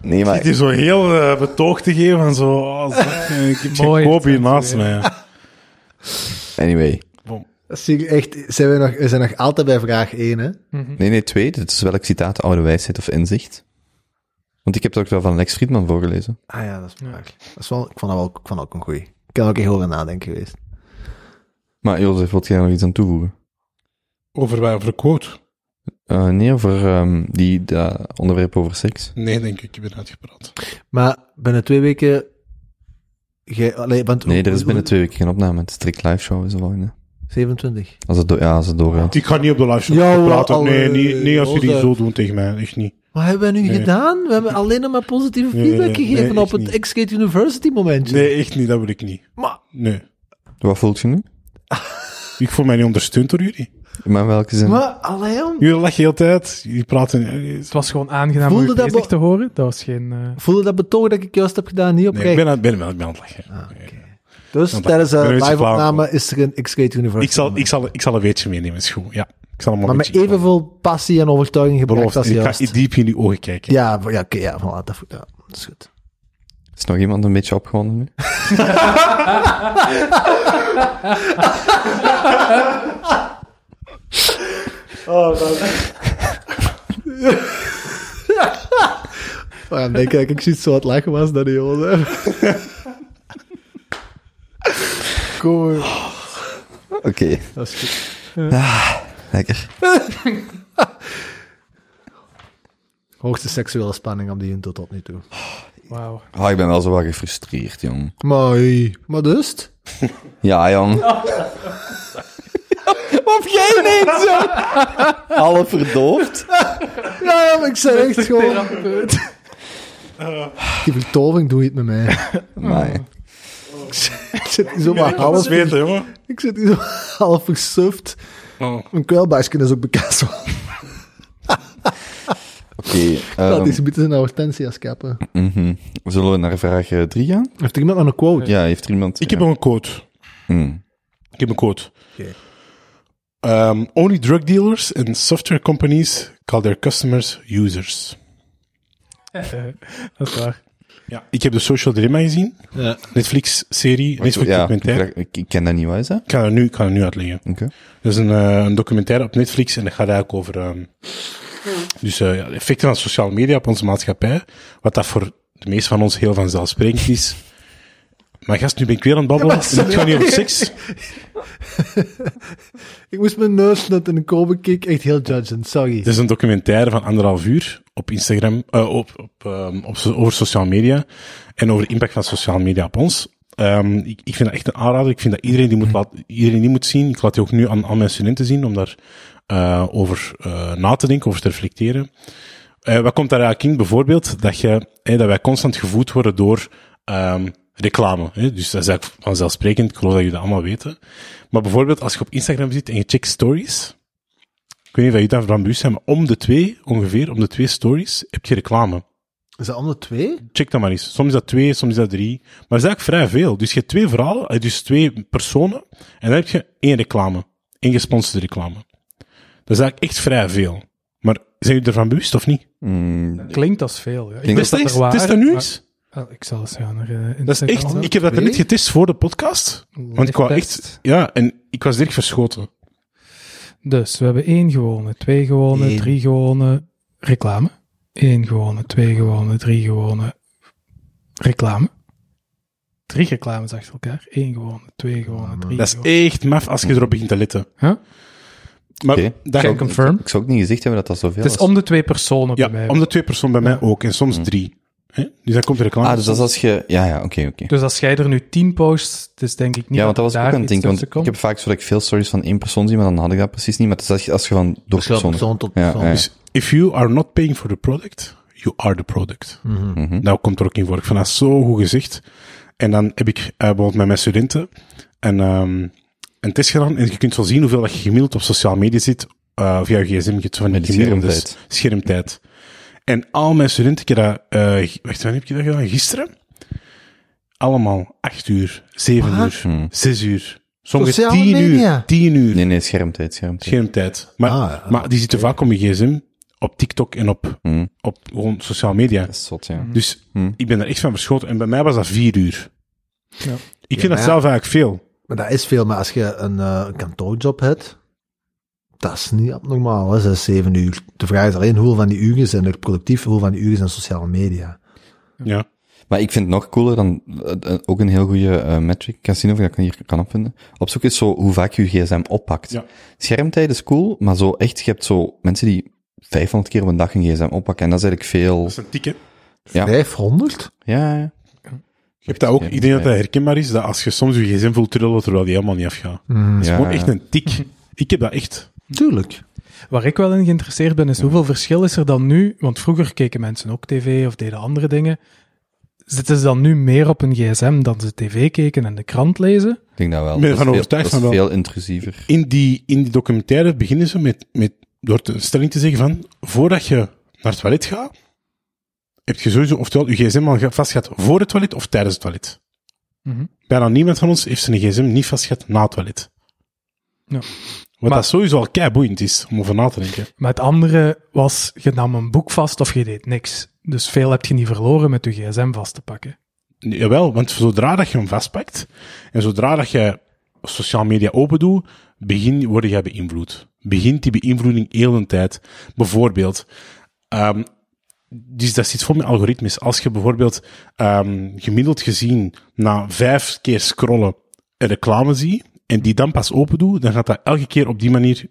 [SPEAKER 3] Nee, maar...
[SPEAKER 4] Het is zo heel eh, betoog te geven van zo. Oh, zak, eh, ik heb
[SPEAKER 5] Mooi.
[SPEAKER 4] geen koop hier naast mij.
[SPEAKER 3] Anyway.
[SPEAKER 2] Dat zie ik echt, zijn we, nog, we zijn nog altijd bij vraag 1, hè?
[SPEAKER 3] Nee, nee, twee. Dit is welk citaat oude wijsheid of inzicht? Want ik heb het ook wel van Lex Friedman voorgelezen.
[SPEAKER 2] Ah ja, dat is waar. Dat is wel, ik vond dat wel, ik vond dat ook een goeie. Ik kan er ook echt over nadenken geweest.
[SPEAKER 3] Maar Jozef, wilt jij daar nog iets aan toevoegen?
[SPEAKER 4] Over wij, over quote?
[SPEAKER 3] Eh, nee, over ehm, die dat onderwerp over seks.
[SPEAKER 4] Nee, denk ik, ik ben uitgepraat.
[SPEAKER 2] Maar binnen twee weken... Gij, allee, want,
[SPEAKER 3] Nee, er is binnen twee weken geen opname. Het is strikt live show is de volgende.
[SPEAKER 2] 27.
[SPEAKER 3] Als het, do- ja, als het doorgaat.
[SPEAKER 4] Ik ga niet op de live show
[SPEAKER 2] Ja,
[SPEAKER 4] praten.
[SPEAKER 2] wel,
[SPEAKER 4] Nee,
[SPEAKER 2] eh,
[SPEAKER 4] nee, nee, als jullie
[SPEAKER 2] Jozef.
[SPEAKER 4] zo doen tegen mij, echt niet.
[SPEAKER 2] Wat hebben we nu
[SPEAKER 4] Nee.
[SPEAKER 2] gedaan? We hebben alleen nog maar positieve
[SPEAKER 4] Nee,
[SPEAKER 2] feedback
[SPEAKER 4] nee,
[SPEAKER 2] gegeven
[SPEAKER 4] nee,
[SPEAKER 2] op
[SPEAKER 4] echt
[SPEAKER 2] het
[SPEAKER 4] niet.
[SPEAKER 2] X-Gate University momentje.
[SPEAKER 4] Nee, echt niet, dat wil ik niet.
[SPEAKER 2] Maar-
[SPEAKER 4] Nee.
[SPEAKER 3] Ah. Wat voelt je nu?
[SPEAKER 4] Ik voel mij niet ondersteund door jullie.
[SPEAKER 3] Maar in welke zin?
[SPEAKER 2] Maar, allee, jong.
[SPEAKER 4] Jullie lachen heel de tijd. Jullie praten.
[SPEAKER 5] Het was gewoon aangenaam om
[SPEAKER 2] Voelde
[SPEAKER 5] je
[SPEAKER 2] dat
[SPEAKER 5] bezig
[SPEAKER 2] bo-
[SPEAKER 5] te horen. Dat was geen... eh,
[SPEAKER 2] Voelde dat betoog dat ik juist heb gedaan? Niet
[SPEAKER 4] Nee, ik
[SPEAKER 2] oprecht.
[SPEAKER 4] ben aan, ik ben, aan- ik ben aan het lachen.
[SPEAKER 2] Ah. Dus
[SPEAKER 4] Want
[SPEAKER 2] tijdens
[SPEAKER 4] er
[SPEAKER 2] de
[SPEAKER 4] is een
[SPEAKER 2] live-opname
[SPEAKER 4] flauw-
[SPEAKER 2] is er een X-Gate University.
[SPEAKER 4] Ik zal, ik, zal, ik zal een beetje meenemen, is goed. Ja, ik zal hem
[SPEAKER 2] maar met evenveel passie en overtuiging gebracht
[SPEAKER 4] beloofd.
[SPEAKER 2] als
[SPEAKER 4] Ik ga
[SPEAKER 2] juist.
[SPEAKER 4] diep in die ogen kijken.
[SPEAKER 2] Ja, ja, oké, ja, voilà, dat, ja, dat is goed.
[SPEAKER 3] Is nog iemand een beetje opgewonden nu?
[SPEAKER 2] Waarom denk ik dat ik zoiets zo aan het lachen was dat die Jozef? Cool.
[SPEAKER 3] Ah, Oké.
[SPEAKER 2] Dat is goed.
[SPEAKER 3] Ah, Lekker.
[SPEAKER 2] Hoogste seksuele spanning op die junto tot nu toe.
[SPEAKER 5] Wauw.
[SPEAKER 3] Ah, ik ben wel zo wat gefrustreerd, jong.
[SPEAKER 2] Mooi. Maar dus? het?
[SPEAKER 3] Ja, jong. of jij neemt zo. Alle verdoofd.
[SPEAKER 2] Ja, ja, maar ik zei echt gewoon... Die vertoving doe je het met mij.
[SPEAKER 3] Maar
[SPEAKER 2] Ik zit hier zomaar
[SPEAKER 4] alles
[SPEAKER 2] half...
[SPEAKER 4] weten, jongen.
[SPEAKER 2] Ik zit hier zo half versuft. Mijn kuilbaasje is ook bekend. zo.
[SPEAKER 3] oké.
[SPEAKER 2] Dat
[SPEAKER 3] ehm,
[SPEAKER 2] is een beetje zijn hortensia's kappen.
[SPEAKER 3] Mhm. Zullen we naar vraag 3 gaan?
[SPEAKER 2] Heeft er iemand nog een quote?
[SPEAKER 3] Ja, heeft er iemand...
[SPEAKER 4] Ik heb nog een quote.
[SPEAKER 3] Mm.
[SPEAKER 4] Ik heb een quote.
[SPEAKER 2] Oké.
[SPEAKER 4] Ehm, only drug dealers and software companies call their customers users.
[SPEAKER 5] Dat is waar.
[SPEAKER 4] Ja, ik heb de Social Dilemma gezien. Netflix-serie,
[SPEAKER 3] Wacht, ja, ik,
[SPEAKER 4] Netflix-documentaire.
[SPEAKER 3] ik, ik ken dat niet, wat is dat?
[SPEAKER 4] Ik ga er nu, ik ga er nu uitleggen.
[SPEAKER 3] Oké.
[SPEAKER 4] Dat is een, eh, een documentaire op Netflix en dat gaat eigenlijk over ehm,
[SPEAKER 2] Hmm.
[SPEAKER 4] dus, eh, ja, de effecten van sociale media op onze maatschappij. Wat dat voor de meeste van ons heel vanzelfsprekend is. Maar gast, nu ben ik weer aan het babbelen.
[SPEAKER 2] Ja, maar
[SPEAKER 4] en het gaat niet over seks.
[SPEAKER 2] Ik moest mijn neus net in de kobe kick. Echt heel judgend, sorry.
[SPEAKER 4] Het is een documentaire van anderhalf uur op Instagram, eh, op, op, ehm, op, so- over sociale media en over de impact van sociale media op ons. Ehm, ik, ik vind dat echt een aanrader. Ik vind dat iedereen die moet, laat, iedereen die moet zien. Ik laat die ook nu aan, aan mijn studenten zien om daar eh, over eh, na te denken, over te reflecteren. Eh, wat komt daar eigenlijk in? Bijvoorbeeld dat, je, hè, dat wij constant gevoed worden door ehm, reclame. Hè? Dus dat is eigenlijk vanzelfsprekend. Ik geloof dat jullie dat allemaal weten. Maar bijvoorbeeld als je op Instagram zit en je checkt stories, ik weet niet of je daarvan bewust bent, maar om de twee, ongeveer, om de twee stories, heb je reclame.
[SPEAKER 2] Is dat onder twee?
[SPEAKER 4] Check dat maar eens. Soms is dat twee, soms is dat drie. Maar dat is eigenlijk vrij veel. Dus je hebt twee verhalen, eh, dus twee personen, en dan heb je één reclame. Één gesponsorde reclame. Dat is eigenlijk echt vrij veel. Maar zijn jullie ervan bewust of niet?
[SPEAKER 3] Mm,
[SPEAKER 5] Klinkt als veel. Ja. Ik
[SPEAKER 3] Klinkt
[SPEAKER 5] wist
[SPEAKER 4] Het
[SPEAKER 5] dat
[SPEAKER 4] is,
[SPEAKER 5] er
[SPEAKER 4] het is
[SPEAKER 5] waren,
[SPEAKER 4] er nu
[SPEAKER 5] maar-
[SPEAKER 4] eens.
[SPEAKER 5] Ah, ik zal eens gaan naar eh,
[SPEAKER 4] Dat is
[SPEAKER 5] Instagram.
[SPEAKER 4] echt,
[SPEAKER 5] zetten.
[SPEAKER 4] ik heb dat er net getest voor de podcast. Want ik wou echt, ja, en ik was direct verschoten.
[SPEAKER 5] Dus we hebben één gewone, twee gewone,
[SPEAKER 2] Eén.
[SPEAKER 5] drie gewone reclame. Eén gewone, twee gewone, drie gewone reclame. Drie reclames achter elkaar. Eén gewone, twee gewone, drie
[SPEAKER 4] Dat
[SPEAKER 5] gewone.
[SPEAKER 4] is echt maf als je erop begint te letten.
[SPEAKER 5] Huh?
[SPEAKER 4] Maar
[SPEAKER 3] Oké.
[SPEAKER 4] daar,
[SPEAKER 5] Can confirm.
[SPEAKER 3] Ik zou ook niet gezegd hebben dat dat zoveel
[SPEAKER 5] Het is
[SPEAKER 3] was.
[SPEAKER 5] om de twee personen
[SPEAKER 4] ja,
[SPEAKER 5] bij mij.
[SPEAKER 4] om de twee personen bij mij ook. En soms drie. Hè? Dus daar komt de reclame.
[SPEAKER 3] Ah, dus dat is als je... Ja, ja, oké, oké.
[SPEAKER 5] Dus als jij er nu tien posts, het is denk ik niet
[SPEAKER 3] Ja, want dat
[SPEAKER 5] dat
[SPEAKER 3] was ook
[SPEAKER 5] daar
[SPEAKER 3] een
[SPEAKER 5] iets
[SPEAKER 3] ding. Want
[SPEAKER 5] tussen
[SPEAKER 3] ik
[SPEAKER 5] komt.
[SPEAKER 3] heb vaak zo dat ik veel stories van één persoon zie, maar dan had ik dat precies niet. Maar het is als je, als je van door
[SPEAKER 2] Verschil
[SPEAKER 3] personen...
[SPEAKER 2] persoon tot
[SPEAKER 3] Ja,
[SPEAKER 2] persoon.
[SPEAKER 3] ja.
[SPEAKER 4] Dus if you are not paying for the product, you are the product.
[SPEAKER 2] Mhm.
[SPEAKER 3] Mhm.
[SPEAKER 4] Nou komt er ook in voor. Ik vond dat zo goed gezegd. En dan heb ik eh, bijvoorbeeld met mijn studenten een, ehm, een test gedaan. En je kunt zo zien hoeveel dat je gemiddeld op sociale media zit. eh, via je gsm, je hebt zo van die
[SPEAKER 3] Met die
[SPEAKER 4] gemiddelde
[SPEAKER 3] schermtijd.
[SPEAKER 4] s- schermtijd. En al mijn studenten, ik heb dat, eh, g- wacht, wanneer heb ik dat gedaan? Gisteren? Allemaal acht uur, zeven
[SPEAKER 2] Wat?
[SPEAKER 4] uur,
[SPEAKER 3] Mhm.
[SPEAKER 4] zes uur. Sommigen
[SPEAKER 2] Sociale
[SPEAKER 4] tien
[SPEAKER 2] media?
[SPEAKER 4] uur, tien uur.
[SPEAKER 3] Nee, nee, schermtijd, schermtijd.
[SPEAKER 4] Schermtijd. Maar,
[SPEAKER 2] Ah, ja.
[SPEAKER 4] maar die zitten vaak op je gsm, op TikTok en op,
[SPEAKER 3] Mm.
[SPEAKER 4] op gewoon sociale media.
[SPEAKER 3] Dat is zot,
[SPEAKER 5] Mhm.
[SPEAKER 3] ja.
[SPEAKER 4] Dus
[SPEAKER 3] Mm.
[SPEAKER 4] ik ben daar echt van verschoten. En bij mij was dat vier uur. Ik vind
[SPEAKER 2] Ja,
[SPEAKER 4] dat
[SPEAKER 2] ja.
[SPEAKER 4] zelf eigenlijk veel.
[SPEAKER 2] Maar dat is veel, maar als je een eh, een kantoorjob hebt, dat is niet abnormaal, hè, 6, 7 uur. De vraag is alleen hoeveel van die uren zijn er productief, hoeveel van die uren zijn sociale media.
[SPEAKER 4] Ja.
[SPEAKER 3] Maar ik vind het nog cooler dan eh, eh, ook een heel goede eh, metric, casino, of dat ik hier kan opvinden. Op zoek is zo hoe vaak je gsm oppakt.
[SPEAKER 4] Ja.
[SPEAKER 3] Schermtijd is cool, maar zo echt, je hebt zo mensen die 500 keer op een dag een gsm oppakken. En dat is eigenlijk veel.
[SPEAKER 4] Dat is een tik, hè.
[SPEAKER 3] Ja.
[SPEAKER 2] 500?
[SPEAKER 3] Ja, ja.
[SPEAKER 4] Je hebt dat ook. Ik denk dat dat
[SPEAKER 3] Schermtijd.
[SPEAKER 4] herkenbaar is, dat als je soms je gsm voelt trillen, terwijl die helemaal niet afgaat. Dat is
[SPEAKER 3] Ja,
[SPEAKER 4] gewoon
[SPEAKER 3] ja.
[SPEAKER 4] echt een tik. Ik heb dat echt.
[SPEAKER 2] Tuurlijk.
[SPEAKER 5] Waar ik wel in geïnteresseerd ben, is hoeveel verschil is er dan nu? Want vroeger keken mensen ook tv of deden andere dingen. Zitten ze dan nu meer op een gsm dan ze tv keken en de krant lezen?
[SPEAKER 3] Ik denk dat wel.
[SPEAKER 4] Ik ben
[SPEAKER 3] dat is
[SPEAKER 4] ervan
[SPEAKER 3] veel-
[SPEAKER 4] overtuigd
[SPEAKER 3] Dat is
[SPEAKER 4] van wel.
[SPEAKER 3] veel intrusiever.
[SPEAKER 4] In die, in die documentaire beginnen ze met, met, door de stelling te zeggen van, voordat je naar het toilet gaat, heb je sowieso oftewel je gsm al ge- vastgehad voor het toilet of tijdens het toilet.
[SPEAKER 5] Mhm.
[SPEAKER 4] Bijna niemand van ons heeft zijn gsm niet vastgehad na het toilet.
[SPEAKER 5] Ja.
[SPEAKER 4] Wat
[SPEAKER 5] Maar-
[SPEAKER 4] dat sowieso al keiboeiend is, om over na te denken.
[SPEAKER 5] Maar het andere was, je nam een boek vast of je deed niks. Dus veel heb je niet verloren met je gsm vast te pakken.
[SPEAKER 4] Nee, Jawel, want zodra dat je hem vastpakt, en zodra dat je sociaal media open doet, begin, word jij beïnvloed. Begint die beïnvloeding heel de tijd. Bijvoorbeeld, ehm, dus dat zit vol met algoritmes. Als je bijvoorbeeld ehm, gemiddeld gezien na vijf keer scrollen een reclame ziet, en die dan pas open doet, dan gaat dat elke keer op die manier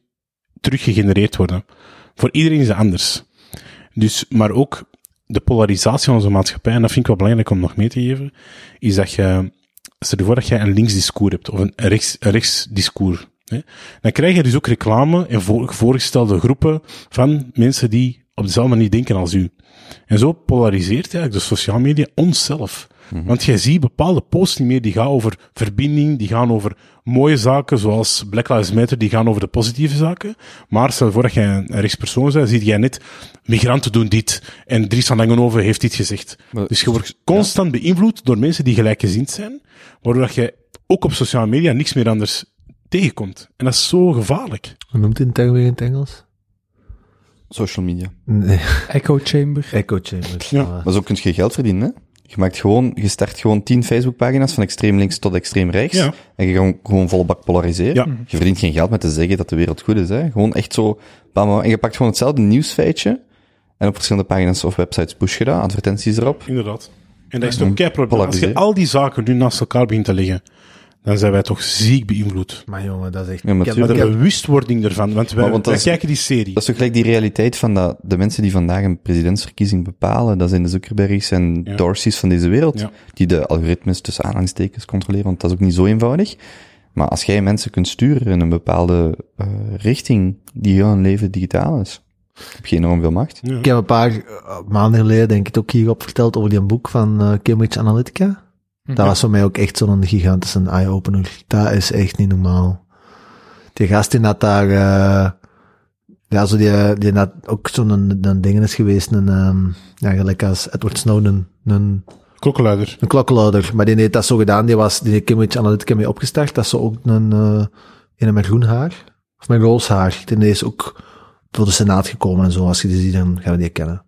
[SPEAKER 4] teruggegenereerd worden. Voor iedereen is het anders. Dus, maar ook de polarisatie van onze maatschappij, en dat vind ik wel belangrijk om nog mee te geven, is dat je, stel je voor dat jij een links discours hebt, of een rechts, een rechts discours. Hè? Dan krijg je dus ook reclame en voor- voorgestelde groepen van mensen die op dezelfde manier denken als u. En zo polariseert eigenlijk de sociale media onszelf. Want jij ziet bepaalde posts niet meer, die gaan over verbinding, die gaan over mooie zaken, zoals Black Lives Matter, die gaan over de positieve zaken. Maar stel je voor dat jij een rechtspersoon bent, zie jij net, migranten doen dit, en Dries van Langenhoven heeft dit gezegd.
[SPEAKER 3] Maar-
[SPEAKER 4] dus je wordt constant beïnvloed door mensen die gelijkgezind zijn, waardoor dat je ook op sociale media niks meer anders tegenkomt. En dat is zo gevaarlijk.
[SPEAKER 2] Hoe noemt die term weer in het Engels?
[SPEAKER 3] Social media.
[SPEAKER 2] Nee,
[SPEAKER 5] Echo chamber.
[SPEAKER 2] echo chamber.
[SPEAKER 4] Ja.
[SPEAKER 2] Ah.
[SPEAKER 3] Maar zo kun je geld verdienen, hè? Je, maakt gewoon, je start gewoon 10 Facebookpagina's van extreem links tot extreem rechts.
[SPEAKER 4] Ja.
[SPEAKER 3] En je gaat gewoon- gewoon volle bak polariseren.
[SPEAKER 4] Ja.
[SPEAKER 3] Je verdient geen geld met te zeggen dat de wereld goed is. Hè? Gewoon echt zo. Bam, bam. En je pakt gewoon hetzelfde nieuwsfeitje. En op verschillende pagina's of websites push je dat, advertenties erop.
[SPEAKER 4] Inderdaad. En dat is toch kei probleem. Als je
[SPEAKER 2] dus,
[SPEAKER 3] Polariseren.
[SPEAKER 4] al die zaken nu naast elkaar begint te leggen, dan zijn wij toch ziek beïnvloed.
[SPEAKER 2] Maar jongen, dat is echt...
[SPEAKER 3] Ja, maar
[SPEAKER 2] ik heb-
[SPEAKER 3] tuurlijk.
[SPEAKER 4] De
[SPEAKER 2] ik heb-
[SPEAKER 4] bewustwording ervan, want wij,
[SPEAKER 3] Maar want dat
[SPEAKER 4] wij
[SPEAKER 3] is-
[SPEAKER 4] kijken die serie.
[SPEAKER 3] Dat is toch gelijk die realiteit van dat de mensen die vandaag een presidentsverkiezing bepalen, dat zijn de Zuckerbergs en
[SPEAKER 4] Ja.
[SPEAKER 3] Dorseys van deze wereld,
[SPEAKER 4] Ja.
[SPEAKER 3] die de algoritmes tussen aanhalingstekens controleren, want dat is ook niet zo eenvoudig. Maar als jij mensen kunt sturen in een bepaalde eh, richting die heel hun leven digitaal is, heb je enorm veel macht.
[SPEAKER 2] Ik heb een paar eh, maanden geleden, denk ik, het ook hierop verteld over die boek van eh, Cambridge Analytica. Dat was voor mij ook echt zo'n gigantische eye-opener. Dat is echt niet normaal. Die gast die dat daar, eh, ja, zo die, die dat ook zo'n een, een ding is geweest, een, ehm, ja, gelijk als Edward Snowden, een,
[SPEAKER 4] Klokkenluider.
[SPEAKER 2] een klokkenluider. Maar die heeft dat zo gedaan, die was, die heeft Cambridge Analytica mee opgestart. Dat is zo ook een, eh een met groen haar, of met roze haar. Die is ook voor de Senaat gekomen en zo. Als je die ziet, dan gaan we die kennen.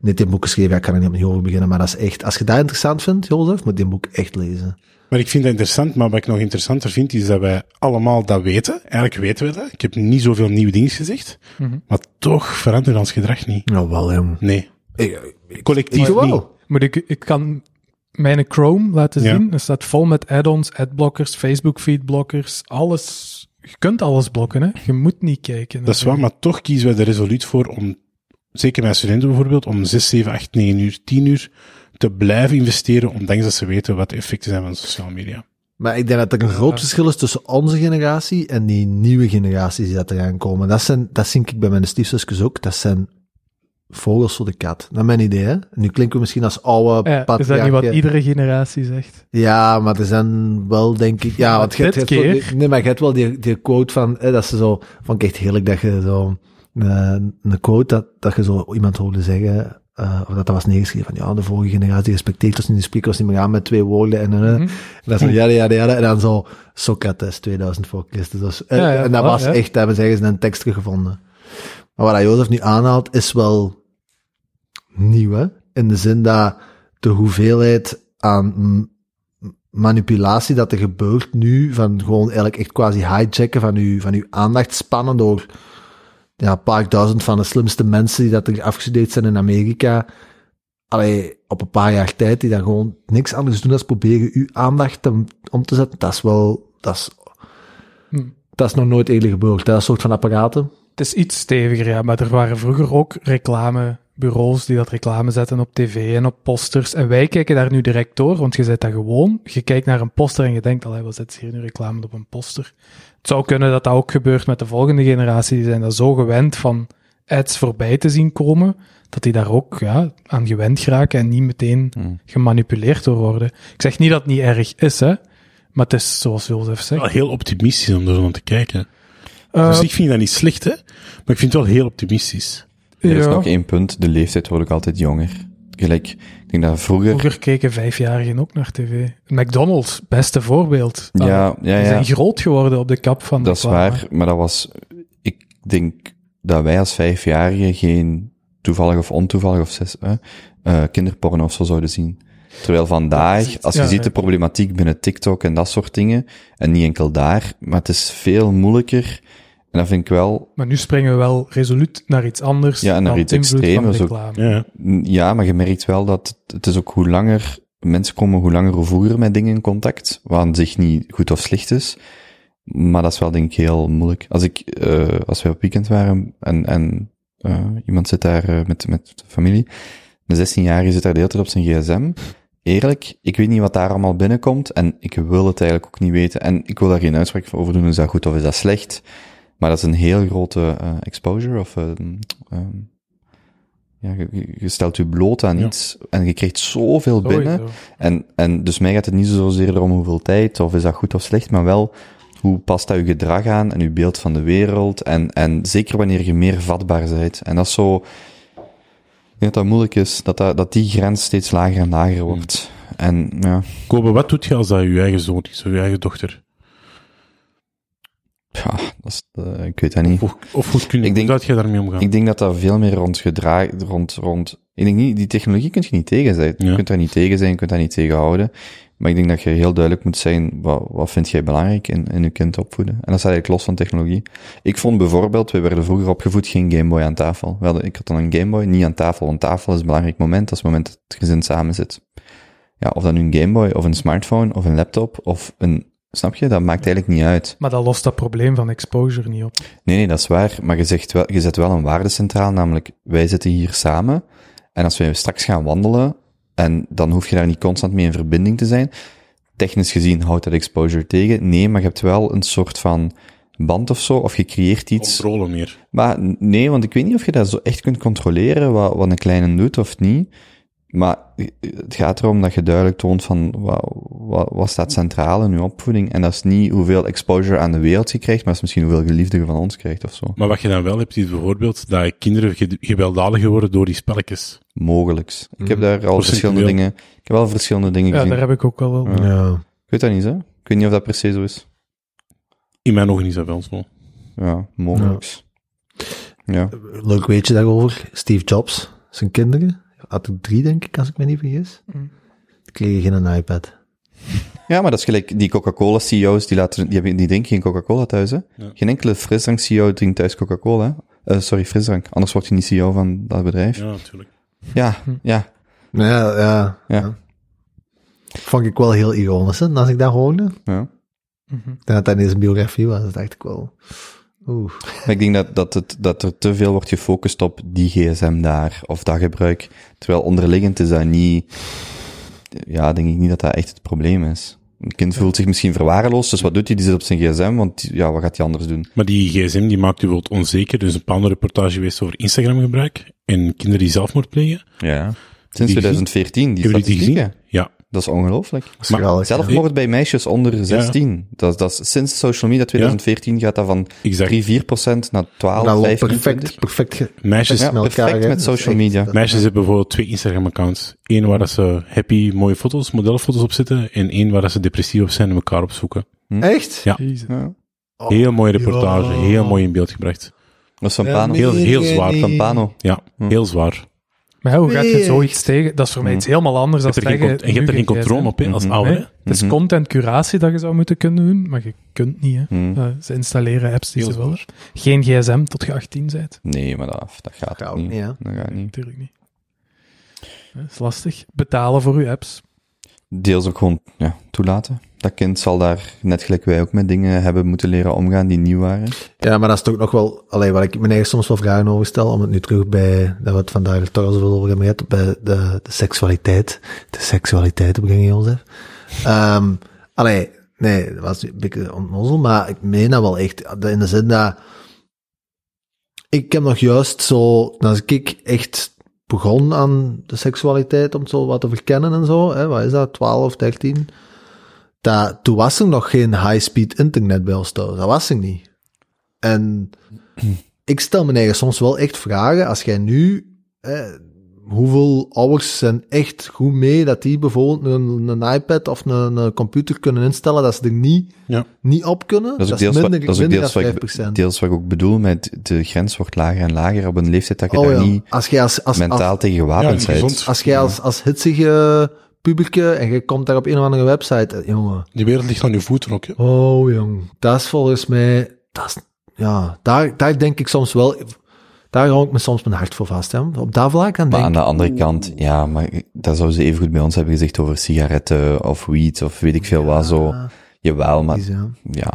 [SPEAKER 2] Niet die boek geschreven, ja, ik kan er niet opnieuw over beginnen, maar dat is echt, als je dat interessant vindt, Jozef, moet je die boek echt lezen.
[SPEAKER 4] Maar ik vind dat interessant, maar wat ik nog interessanter vind, is dat wij allemaal dat weten. Eigenlijk weten we dat. Ik heb niet zoveel nieuwe dingen gezegd.
[SPEAKER 5] Mhm.
[SPEAKER 4] Maar toch verandert ons gedrag niet.
[SPEAKER 2] Nou, wel, jong.
[SPEAKER 4] Nee.
[SPEAKER 2] Ik, ik, ik
[SPEAKER 4] Collectief niet.
[SPEAKER 2] wel.
[SPEAKER 5] Moet ik, ik kan mijn Chrome laten
[SPEAKER 4] Ja.
[SPEAKER 5] zien. Er staat vol met add-ons, adblockers, Facebook feedblockers, alles. Je kunt alles blokken, hè. Je moet niet kijken.
[SPEAKER 4] Dat is waar, maar toch kiezen wij er resoluut voor om, zeker mijn studenten bijvoorbeeld, om 6, 7, 8, 9 uur, 10 uur te blijven investeren, ondanks dat ze weten wat de effecten zijn van sociale media.
[SPEAKER 2] Maar ik denk dat er een groot
[SPEAKER 5] Ja.
[SPEAKER 2] verschil is tussen onze generatie en die nieuwe generaties die dat eraan komen. Dat, zijn, dat zie ik bij mijn stiefzusjes ook. Dat zijn vogels voor de kat. Naar mijn idee, hè. Nu klinken we misschien als oude
[SPEAKER 5] Ja, is dat niet
[SPEAKER 2] patriarchen.
[SPEAKER 5] wat iedere generatie zegt?
[SPEAKER 2] Ja, maar er zijn wel, denk ik... Ja,
[SPEAKER 5] Maar
[SPEAKER 2] want je hebt-
[SPEAKER 5] dit
[SPEAKER 2] je hebt wel
[SPEAKER 5] keer-
[SPEAKER 2] die- nee, maar je hebt wel die, die quote van... Hè, dat ze zo... Vond ik echt heerlijk dat je zo... eh, een quote dat, dat je zo iemand hoorde zeggen... eh, of dat dat was neergeschreven van... Ja, de vorige generatie respecteert ons niet, de speakers niet meer aan met twee woorden en... eh,
[SPEAKER 5] Mhm.
[SPEAKER 2] en dan zo, ja, ja, ja, ja. En dan zo, Socrates, 2000 voor Christus. Dus, en,
[SPEAKER 5] Ja, ja,
[SPEAKER 2] en dat
[SPEAKER 5] voilà,
[SPEAKER 2] was
[SPEAKER 5] ja.
[SPEAKER 2] echt, daar hebben ze ergens een tekst teruggevonden. Maar wat dat Jozef nu aanhaalt, is wel nieuw, hè? In de zin dat de hoeveelheid aan m- manipulatie dat er gebeurt nu, van gewoon eigenlijk echt quasi hijacken van uw, van uw aandacht spannen door ja, een paar duizend van de slimste mensen die dat er afgestudeerd zijn in Amerika, allee, op een paar jaar tijd, die dan gewoon niks anders doen dan proberen uw aandacht te- om te zetten, dat is wel, dat is,
[SPEAKER 5] Hm.
[SPEAKER 2] dat is nog nooit eerder gebeurd. Dat soort van apparaten.
[SPEAKER 5] Het is iets steviger, ja, maar er waren vroeger ook reclamebureaus die dat reclame zetten op tv en op posters. En wij kijken daar nu direct door, want je zet dat gewoon. Je kijkt naar een poster en je denkt, allee, wat zet ze hier nu reclame op een poster? Het zou kunnen dat dat ook gebeurt met de volgende generatie. Die zijn daar zo gewend van ads voorbij te zien komen, dat die daar ook ja, aan gewend geraken en niet meteen
[SPEAKER 3] Hmm.
[SPEAKER 5] gemanipuleerd door worden. Ik zeg niet dat het niet erg is, hè. Maar het is, zoals Jozef
[SPEAKER 4] Wel
[SPEAKER 5] zegt...
[SPEAKER 4] heel optimistisch om er zo naar te kijken.
[SPEAKER 5] eh,
[SPEAKER 4] dus ik vind dat niet slecht, hè? Maar ik vind het wel heel optimistisch.
[SPEAKER 3] Er is
[SPEAKER 5] ja.
[SPEAKER 3] nog één punt. De leeftijd wordt ook altijd jonger. Gelijk, ik denk dat vroeger...
[SPEAKER 5] Vroeger keken vijfjarigen ook naar tv. McDonald's, beste voorbeeld. Ah,
[SPEAKER 3] Ja, ja,
[SPEAKER 5] die
[SPEAKER 3] ja.
[SPEAKER 5] zijn groot geworden op de kap van
[SPEAKER 3] Dat is
[SPEAKER 5] Obama.
[SPEAKER 3] waar, maar dat was... Ik denk dat wij als vijfjarigen geen toevallig of ontoevallig of zes, eh, eh, kinderporno of zo zouden zien. Terwijl vandaag, als je
[SPEAKER 5] ja,
[SPEAKER 3] ziet
[SPEAKER 5] ja.
[SPEAKER 3] de problematiek binnen TikTok en dat soort dingen, en niet enkel daar, maar het is veel moeilijker. En dat vind ik wel,
[SPEAKER 5] Maar nu springen we wel resoluut naar iets anders.
[SPEAKER 3] Ja, en naar
[SPEAKER 5] dan
[SPEAKER 3] iets
[SPEAKER 5] invloed van
[SPEAKER 3] extremers ook.
[SPEAKER 5] reclame.
[SPEAKER 4] Ja.
[SPEAKER 3] ja, maar je merkt wel dat het- het is ook hoe langer mensen komen, hoe langer hoe vroeger met dingen in contact, wat aan zich niet goed of slecht is. Maar dat is wel denk ik heel moeilijk. Als ik, eh, als wij op weekend waren en, en eh, iemand zit daar eh, met, met de familie, de 16-jarige zit daar de hele tijd op zijn gsm. Eerlijk, ik weet niet wat daar allemaal binnenkomt en ik wil het eigenlijk ook niet weten. En ik wil daar geen uitspraak over doen, is dat goed of is dat slecht? Maar dat is een heel grote eh, exposure of... eh, ehm, ja, je- je, je stelt je bloot aan
[SPEAKER 4] Ja.
[SPEAKER 3] iets en je krijgt zoveel binnen.
[SPEAKER 5] Sowieso.
[SPEAKER 3] En, en dus mij gaat het niet zozeer om hoeveel tijd, of is dat goed of slecht, maar wel hoe past dat je gedrag aan en je beeld van de wereld. En, en zeker wanneer je meer vatbaar bent. En dat is zo. Ik denk dat dat moeilijk is, dat, dat, dat die grens steeds lager en lager wordt. En ja,
[SPEAKER 4] Kobe, wat doet je als dat je eigen zoon is, of je eigen dochter?
[SPEAKER 3] ja dat is, eh, ik weet dat niet.
[SPEAKER 4] Of, of goed kun je,
[SPEAKER 3] Ik denk-
[SPEAKER 4] hoe zou je daarmee omgaan?
[SPEAKER 3] Ik denk dat dat veel meer rond gedrag, rond, rond, ik denk niet, die technologie kun je niet tegen zijn. Je
[SPEAKER 4] Ja.
[SPEAKER 3] kunt daar niet tegen zijn, je kunt daar niet tegenhouden. Maar ik denk dat je heel duidelijk moet zijn, wat, wat vind jij belangrijk in, in je kind opvoeden? En dat staat eigenlijk los van technologie. Ik vond bijvoorbeeld, we werden vroeger opgevoed, geen Gameboy aan tafel. We hadden, ik had dan een Gameboy, niet aan tafel, want tafel is een belangrijk moment, dat is het moment dat het gezin samen zit. Ja, of dan een Gameboy, of een smartphone, of een laptop, of een, snap je? Dat maakt eigenlijk niet uit.
[SPEAKER 5] Maar dat lost dat probleem van exposure niet op.
[SPEAKER 3] Nee, nee, dat is waar. Maar je, zegt wel, je zet wel een waarde centraal, namelijk wij zitten hier samen. En als wij straks gaan wandelen, en dan hoef je daar niet constant mee in verbinding te zijn. Technisch gezien houdt dat exposure tegen. Nee, maar je hebt wel een soort van band of zo, of je creëert iets.
[SPEAKER 4] Controle meer.
[SPEAKER 3] Maar n- nee, want ik weet niet of je dat zo echt kunt controleren, wat, wat een kleine doet of niet. Maar eh, het gaat erom dat je duidelijk toont van wat, wat, wat staat centraal in je opvoeding. En dat is niet hoeveel exposure aan de wereld je krijgt, maar dat is misschien hoeveel geliefde je van ons krijgt of zo.
[SPEAKER 4] Maar wat je dan wel hebt, is bijvoorbeeld dat kinderen ge- gewelddadiger worden door die spelletjes.
[SPEAKER 3] Mogelijks. Ik heb daar al
[SPEAKER 4] Procentueel.
[SPEAKER 3] verschillende dingen, ik heb wel verschillende dingen
[SPEAKER 5] Ja,
[SPEAKER 3] gezien.
[SPEAKER 5] daar heb ik ook wel wel.
[SPEAKER 3] Ja. Ik weet dat niet, hè? Ik weet niet of dat per se zo is.
[SPEAKER 4] In mijn ogen is dat wel zo.
[SPEAKER 3] Ja, mogelijks. Ja.
[SPEAKER 2] Leuk weetje daarover. Steve Jobs, zijn kinderen, had er drie, denk ik, als ik me niet vergis.
[SPEAKER 5] Mm.
[SPEAKER 2] Die kregen geen iPad.
[SPEAKER 3] Ja, maar dat is gelijk die Coca-Cola-CEO's, die, laten- die, hebben- die drinken geen Coca-Cola thuis, hè.
[SPEAKER 4] Ja.
[SPEAKER 3] Geen enkele frisdrank-CEO drinkt thuis Coca-Cola, hè. Eh, sorry, frisdrank. Anders word je niet CEO van dat bedrijf.
[SPEAKER 4] Ja, natuurlijk.
[SPEAKER 3] Ja, ja.
[SPEAKER 2] Nou Ja, ja,
[SPEAKER 3] Ja.
[SPEAKER 2] Vond ik wel heel ironisch, hè, als ik dat hoorde.
[SPEAKER 3] ja.
[SPEAKER 5] Mhm.
[SPEAKER 2] En dat dat in zijn biografie was, dat dacht ik wel... Oeh.
[SPEAKER 3] Maar ik denk dat, dat, het, dat er te veel wordt gefocust op die gsm daar, of dat gebruik. Terwijl onderliggend is dat niet... Ja, denk ik niet dat dat echt het probleem is. Een kind voelt zich misschien verwaarloosd, dus wat doet hij? Die zit op zijn gsm, want die- ja, wat gaat hij anders doen?
[SPEAKER 4] Maar die gsm die maakt u wel onzeker. Er is een bepaalde reportage geweest over Instagram-gebruik en kinderen die zelfmoord plegen.
[SPEAKER 3] Ja.
[SPEAKER 4] die
[SPEAKER 3] Sinds 2014, die
[SPEAKER 4] Hebben jullie die gezien?
[SPEAKER 3] statistieken.
[SPEAKER 4] Ja.
[SPEAKER 3] Dat is ongelooflijk.
[SPEAKER 2] Maar, geweldig, ja.
[SPEAKER 3] Zelfmoord bij meisjes onder 16. Dat, dat is, sinds social media 2014 gaat dat van
[SPEAKER 4] Exact.
[SPEAKER 3] 3, 4 naar 12,
[SPEAKER 2] dat Nou, wel
[SPEAKER 3] 15.
[SPEAKER 2] perfect, perfect ge-
[SPEAKER 4] Meisjes,
[SPEAKER 3] Ja,
[SPEAKER 2] met elkaar,
[SPEAKER 3] perfect
[SPEAKER 2] hè.
[SPEAKER 3] met
[SPEAKER 2] Dat is
[SPEAKER 3] social
[SPEAKER 2] echt-
[SPEAKER 3] media.
[SPEAKER 2] dat-
[SPEAKER 4] meisjes hebben bijvoorbeeld twee Instagram-accounts. Eén waar dat ze happy, mooie foto's, modelfoto's op zitten. En één waar dat ze depressief op zijn en elkaar opzoeken.
[SPEAKER 2] Echt?
[SPEAKER 4] Ja.
[SPEAKER 5] Jezus.
[SPEAKER 3] Ja.
[SPEAKER 2] Oh.
[SPEAKER 4] Heel mooie reportage.
[SPEAKER 2] Ja.
[SPEAKER 4] Heel mooi in beeld gebracht.
[SPEAKER 3] Dat is van
[SPEAKER 2] Ja,
[SPEAKER 3] Pano.
[SPEAKER 2] nee.
[SPEAKER 4] Heel, heel zwaar.
[SPEAKER 2] Nee.
[SPEAKER 3] Van Pano.
[SPEAKER 4] Ja, heel zwaar.
[SPEAKER 5] Maar ja, hoe gaat je
[SPEAKER 2] Nee.
[SPEAKER 5] zoiets tegen? Dat is voor mij iets helemaal anders
[SPEAKER 4] Je
[SPEAKER 5] dan
[SPEAKER 4] hebt er geen,
[SPEAKER 5] zeggen...
[SPEAKER 4] cont- en je hebt er
[SPEAKER 5] nu
[SPEAKER 4] geen controle
[SPEAKER 5] gsm.
[SPEAKER 4] op hè, als
[SPEAKER 3] Mhm.
[SPEAKER 4] ouder.
[SPEAKER 5] Nee,
[SPEAKER 4] hè.
[SPEAKER 5] Het is
[SPEAKER 3] Mhm.
[SPEAKER 5] content curatie dat je zou moeten kunnen doen, maar je kunt niet. Hè.
[SPEAKER 3] Hm.
[SPEAKER 5] Eh, ze installeren apps die
[SPEAKER 4] Heel
[SPEAKER 5] ze willen. Geen gsm tot je 18 bent.
[SPEAKER 3] Nee, maar dat, dat gaat
[SPEAKER 2] Gaat
[SPEAKER 3] ook
[SPEAKER 2] ook
[SPEAKER 3] niet.
[SPEAKER 2] niet, hè?
[SPEAKER 3] Dat gaat niet.
[SPEAKER 5] Natuurlijk niet. Dat is lastig. Betalen voor je apps.
[SPEAKER 3] Deels ook gewoon ja, toelaten. Dat kind zal daar, net gelijk wij ook met dingen hebben moeten leren omgaan die nieuw waren.
[SPEAKER 2] Ja, maar dat is toch nog wel... Allee, wat ik me eigen soms wel vragen over stel, om het nu terug bij... Dat we het vandaag toch al zoveel over hebben gehad, bij de, de seksualiteit. De seksualiteit op gang, Jozef. Ehm allee, nee, dat was een beetje onnozel, maar ik meen dat wel echt. In de zin dat... Ik heb nog juist zo... Als ik echt begon aan de seksualiteit, om het zo wat te verkennen en zo, hè, wat is dat, 12, 13... Dat, toen was er nog geen high-speed internet bij ons thuis. Dat was er niet. En ik stel me eigen soms wel echt vragen, als jij nu, eh, hoeveel ouders zijn echt goed mee dat die bijvoorbeeld een, een iPad of een, een computer kunnen instellen, dat ze er niet,
[SPEAKER 4] Ja.
[SPEAKER 2] niet op kunnen.
[SPEAKER 3] Dat is ook deels,
[SPEAKER 2] minder,
[SPEAKER 3] wat, dat is ook
[SPEAKER 2] minder
[SPEAKER 3] deels,
[SPEAKER 2] dan
[SPEAKER 3] wat,
[SPEAKER 2] 5%.
[SPEAKER 3] ik, deels wat ik ook bedoel met de grens wordt lager en lager op een leeftijd dat je
[SPEAKER 2] Oh
[SPEAKER 3] daar
[SPEAKER 2] ja,
[SPEAKER 3] niet
[SPEAKER 2] als jij als, als, als,
[SPEAKER 3] mentaal tegen
[SPEAKER 4] Ja,
[SPEAKER 3] gewapend bent.
[SPEAKER 4] gezond.
[SPEAKER 2] als, jij als, als hitsige puberke en je komt daar op een of andere website, eh, jongen,
[SPEAKER 4] Die wereld ligt aan uw voeten ook. hè.
[SPEAKER 2] Oh jong, dat is volgens mij, dat is, ja, daar, daar denk ik soms wel, daar hou ik me soms mijn hart voor vast. Hè. Op dat vlak dan
[SPEAKER 3] Maar
[SPEAKER 2] denk
[SPEAKER 3] aan
[SPEAKER 2] ik,
[SPEAKER 3] de andere kant, ja, maar dat zouden ze even goed bij ons hebben gezegd over sigaretten of weed of weet ik veel wat zo.
[SPEAKER 2] ah,
[SPEAKER 3] Jawel, maar
[SPEAKER 2] die zijn-
[SPEAKER 3] ja.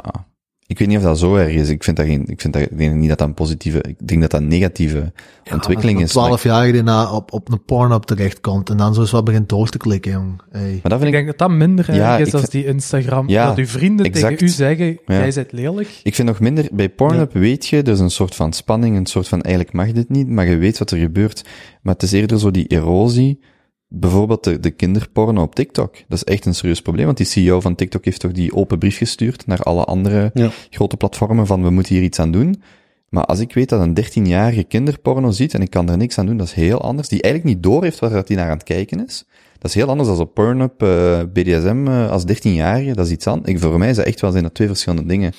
[SPEAKER 3] Ik weet niet of dat zo erg is. Ik vind dat geen, ik vind dat, ik denk niet dat dat een positieve, ik denk dat dat een negatieve
[SPEAKER 2] ja,
[SPEAKER 3] ontwikkeling
[SPEAKER 2] als
[SPEAKER 3] is.
[SPEAKER 2] een
[SPEAKER 3] Maar,
[SPEAKER 2] 12-jarige die na op, op een porno terechtkomt en dan zo eens wat begint door te klikken, jong. Hey.
[SPEAKER 3] maar dat
[SPEAKER 5] Ik
[SPEAKER 3] vind ik,
[SPEAKER 5] denk dat dat minder erg
[SPEAKER 3] Ja,
[SPEAKER 5] is
[SPEAKER 3] ik
[SPEAKER 5] dan
[SPEAKER 3] vind-
[SPEAKER 5] die Instagram.
[SPEAKER 3] Ja,
[SPEAKER 5] dat uw vrienden
[SPEAKER 3] exact.
[SPEAKER 5] tegen u zeggen, jij bent lelijk.
[SPEAKER 3] ik vind nog minder, bij Pornhub weet je, er is een soort van spanning, een soort van eigenlijk mag dit niet, maar je weet wat er gebeurt. Maar het is eerder zo die erosie. Bijvoorbeeld de, de kinderporno op TikTok. Dat is echt een serieus probleem, want die CEO van TikTok heeft toch die open brief gestuurd naar alle andere
[SPEAKER 4] Ja.
[SPEAKER 3] grote platformen van we moeten hier iets aan doen. Maar als ik weet dat een 13-jarige kinderporno ziet en ik kan er niks aan doen, dat is heel anders. Die eigenlijk niet door heeft waar dat die naar aan het kijken is. Dat is heel anders dan op Pornhub, eh, BDSM eh, als 13-jarige, dat is iets anders. Ik, voor mij is dat echt wel zijn dat twee verschillende dingen.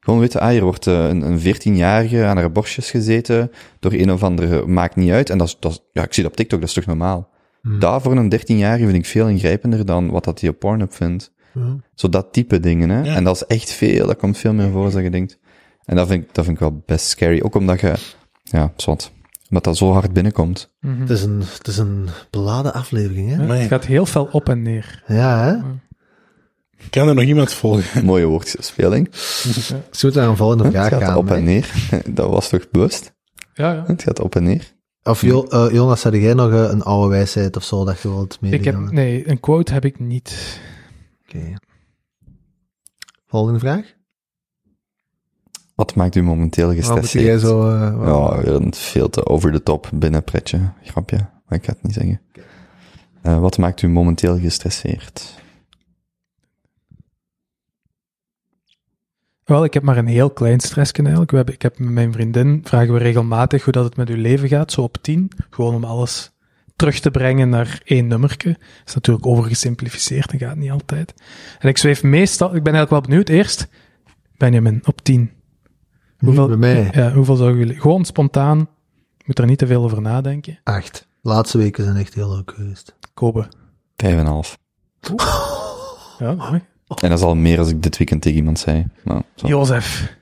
[SPEAKER 3] Gewoon weten, ah, hier wordt eh, een, een 14-jarige aan haar borstjes gezeten door een of andere, maakt niet uit. En dat is, dat is- ja, ik zie dat op TikTok, dat is toch normaal.
[SPEAKER 2] Hmm.
[SPEAKER 3] Daar voor een 13-jarige vind ik veel ingrijpender dan wat dat hij op Pornhub vindt. Zo dat type dingen, hè.
[SPEAKER 4] Ja.
[SPEAKER 3] En dat is echt veel, dat komt veel meer voor dan je denkt. En dat vind ik, dat vind ik wel best scary. Ook omdat je, ja, zwart. Omdat dat zo hard binnenkomt.
[SPEAKER 2] Het, is een, het is een beladen aflevering, hè?
[SPEAKER 4] Amai.
[SPEAKER 5] Mhm. Het gaat heel fel op en neer.
[SPEAKER 2] Ja, hè?
[SPEAKER 4] Kan er nog iemand volgen?
[SPEAKER 3] Mooie woordspeling.
[SPEAKER 2] Ze Dus moeten naar een volgende vraag
[SPEAKER 3] Het gaat
[SPEAKER 2] gaan.
[SPEAKER 3] op en
[SPEAKER 2] hè.
[SPEAKER 3] neer. Dat was toch bewust?
[SPEAKER 5] Ja, ja.
[SPEAKER 3] Het gaat op en neer.
[SPEAKER 2] Of Jo- eh, Jonas, had jij nog eh, een oude wijsheid of zo dat je wilt
[SPEAKER 5] Ik heb,
[SPEAKER 2] meegeven?
[SPEAKER 5] nee, een quote heb ik niet.
[SPEAKER 2] Oké. Volgende vraag?
[SPEAKER 3] Wat maakt u momenteel
[SPEAKER 2] Waarom moet jij
[SPEAKER 3] gestresseerd?
[SPEAKER 2] zo... eh, waarom-
[SPEAKER 3] Ja, weer een veel te over de top binnenpretje. Grapje, maar ik ga het niet zeggen. Eh, wat maakt u momenteel gestresseerd?
[SPEAKER 5] Wel, ik heb maar een heel klein stressje eigenlijk. We hebben, ik heb met mijn vriendin, vragen we regelmatig hoe dat het met uw leven gaat, zo op tien. Gewoon om alles terug te brengen naar één nummerke. Dat is natuurlijk overgesimplificeerd, dat gaat niet altijd. En ik zweef meestal, ik ben eigenlijk wel benieuwd, eerst Benjamin, op tien.
[SPEAKER 2] Nu bij mij.
[SPEAKER 5] Ja, hoeveel zou jullie... Gewoon spontaan, moet er niet te veel over nadenken.
[SPEAKER 2] Acht. Laatste weken zijn echt heel leuk geweest.
[SPEAKER 5] Kopen.
[SPEAKER 3] Vijf en een half.
[SPEAKER 5] Ja, mooi.
[SPEAKER 3] En dat is al meer als ik dit weekend tegen iemand zei. Maar, zo.
[SPEAKER 5] Jozef.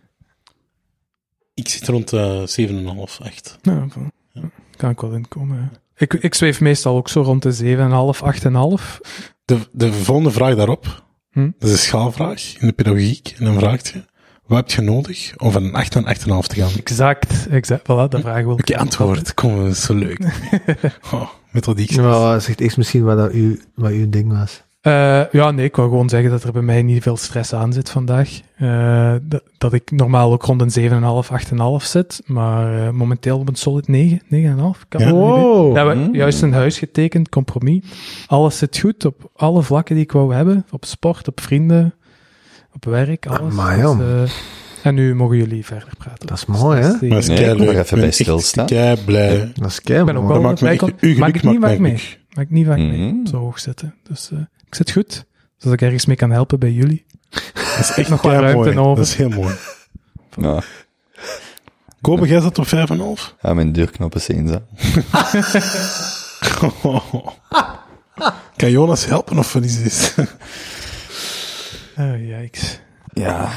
[SPEAKER 4] Ik zit rond eh 7,5, echt.
[SPEAKER 5] Nou, van- ja, kan ik wel inkomen. ja. Ik, ik zweef meestal ook zo rond de 7,5, 8,5.
[SPEAKER 4] De, de volgende vraag daarop,
[SPEAKER 5] Hm?
[SPEAKER 4] dat is een schaalvraag in de pedagogiek. En dan vraagt je, wat heb je nodig om van een 8 naar 8,5 te gaan?
[SPEAKER 5] Exact, exact. Voilà, dat vraag wil ik.
[SPEAKER 4] Hm? Oké, antwoord. Kom, dat is zo leuk. Oh, methodiek.
[SPEAKER 2] Maar zegt eerst misschien wat, dat uw, wat uw ding was.
[SPEAKER 5] Eh, ja, nee, ik wou gewoon zeggen dat er bij mij niet veel stress aan zit vandaag. Eh, dat, dat ik normaal ook rond een 7,5, 8,5 zit. Maar eh, momenteel op een solid 9, 9,5. Kan
[SPEAKER 4] Ja. Hm.
[SPEAKER 5] wel niet weten. Ja, we hebben
[SPEAKER 3] Mm.
[SPEAKER 5] juist een huis getekend, compromis. Alles zit goed op alle vlakken die ik wou hebben. Op sport, op vrienden, op werk, alles.
[SPEAKER 2] Amai, jong.
[SPEAKER 5] eh, en nu mogen jullie verder praten. Dus
[SPEAKER 2] Dat is mooi, hè?
[SPEAKER 4] Maar dat is
[SPEAKER 3] Nee, ik
[SPEAKER 4] keileuk.
[SPEAKER 3] wil er even
[SPEAKER 4] Ik ben
[SPEAKER 3] bij
[SPEAKER 4] echt
[SPEAKER 3] stilstaan.
[SPEAKER 4] keiblij.
[SPEAKER 2] Dat is kei,
[SPEAKER 5] Ik ben ook
[SPEAKER 2] mooi.
[SPEAKER 5] wel
[SPEAKER 4] Dat
[SPEAKER 5] blij.
[SPEAKER 4] maakt me echt...
[SPEAKER 5] Ik kon-
[SPEAKER 4] Uw geluk
[SPEAKER 5] maak ik niet
[SPEAKER 4] maakt
[SPEAKER 5] vaak
[SPEAKER 4] mij
[SPEAKER 5] mee.
[SPEAKER 4] gelukkig.
[SPEAKER 5] Maar ik niet
[SPEAKER 4] Hm.
[SPEAKER 5] vaak mee
[SPEAKER 3] Mhm.
[SPEAKER 5] op zo hoog zitten. Dus eh, ik zit goed. Dus als ik ergens mee kan helpen bij jullie.
[SPEAKER 4] Dat is echt
[SPEAKER 5] Nog wat
[SPEAKER 4] keimooi.
[SPEAKER 5] ruimte over.
[SPEAKER 4] Dat is heel mooi.
[SPEAKER 3] Ja,
[SPEAKER 4] Kopen, jij zat op 5,5?
[SPEAKER 3] ja, mijn deurknop is eens. hè.
[SPEAKER 4] Kan Jonas helpen of wat is dit?
[SPEAKER 5] Oh, jijks.
[SPEAKER 3] Ja.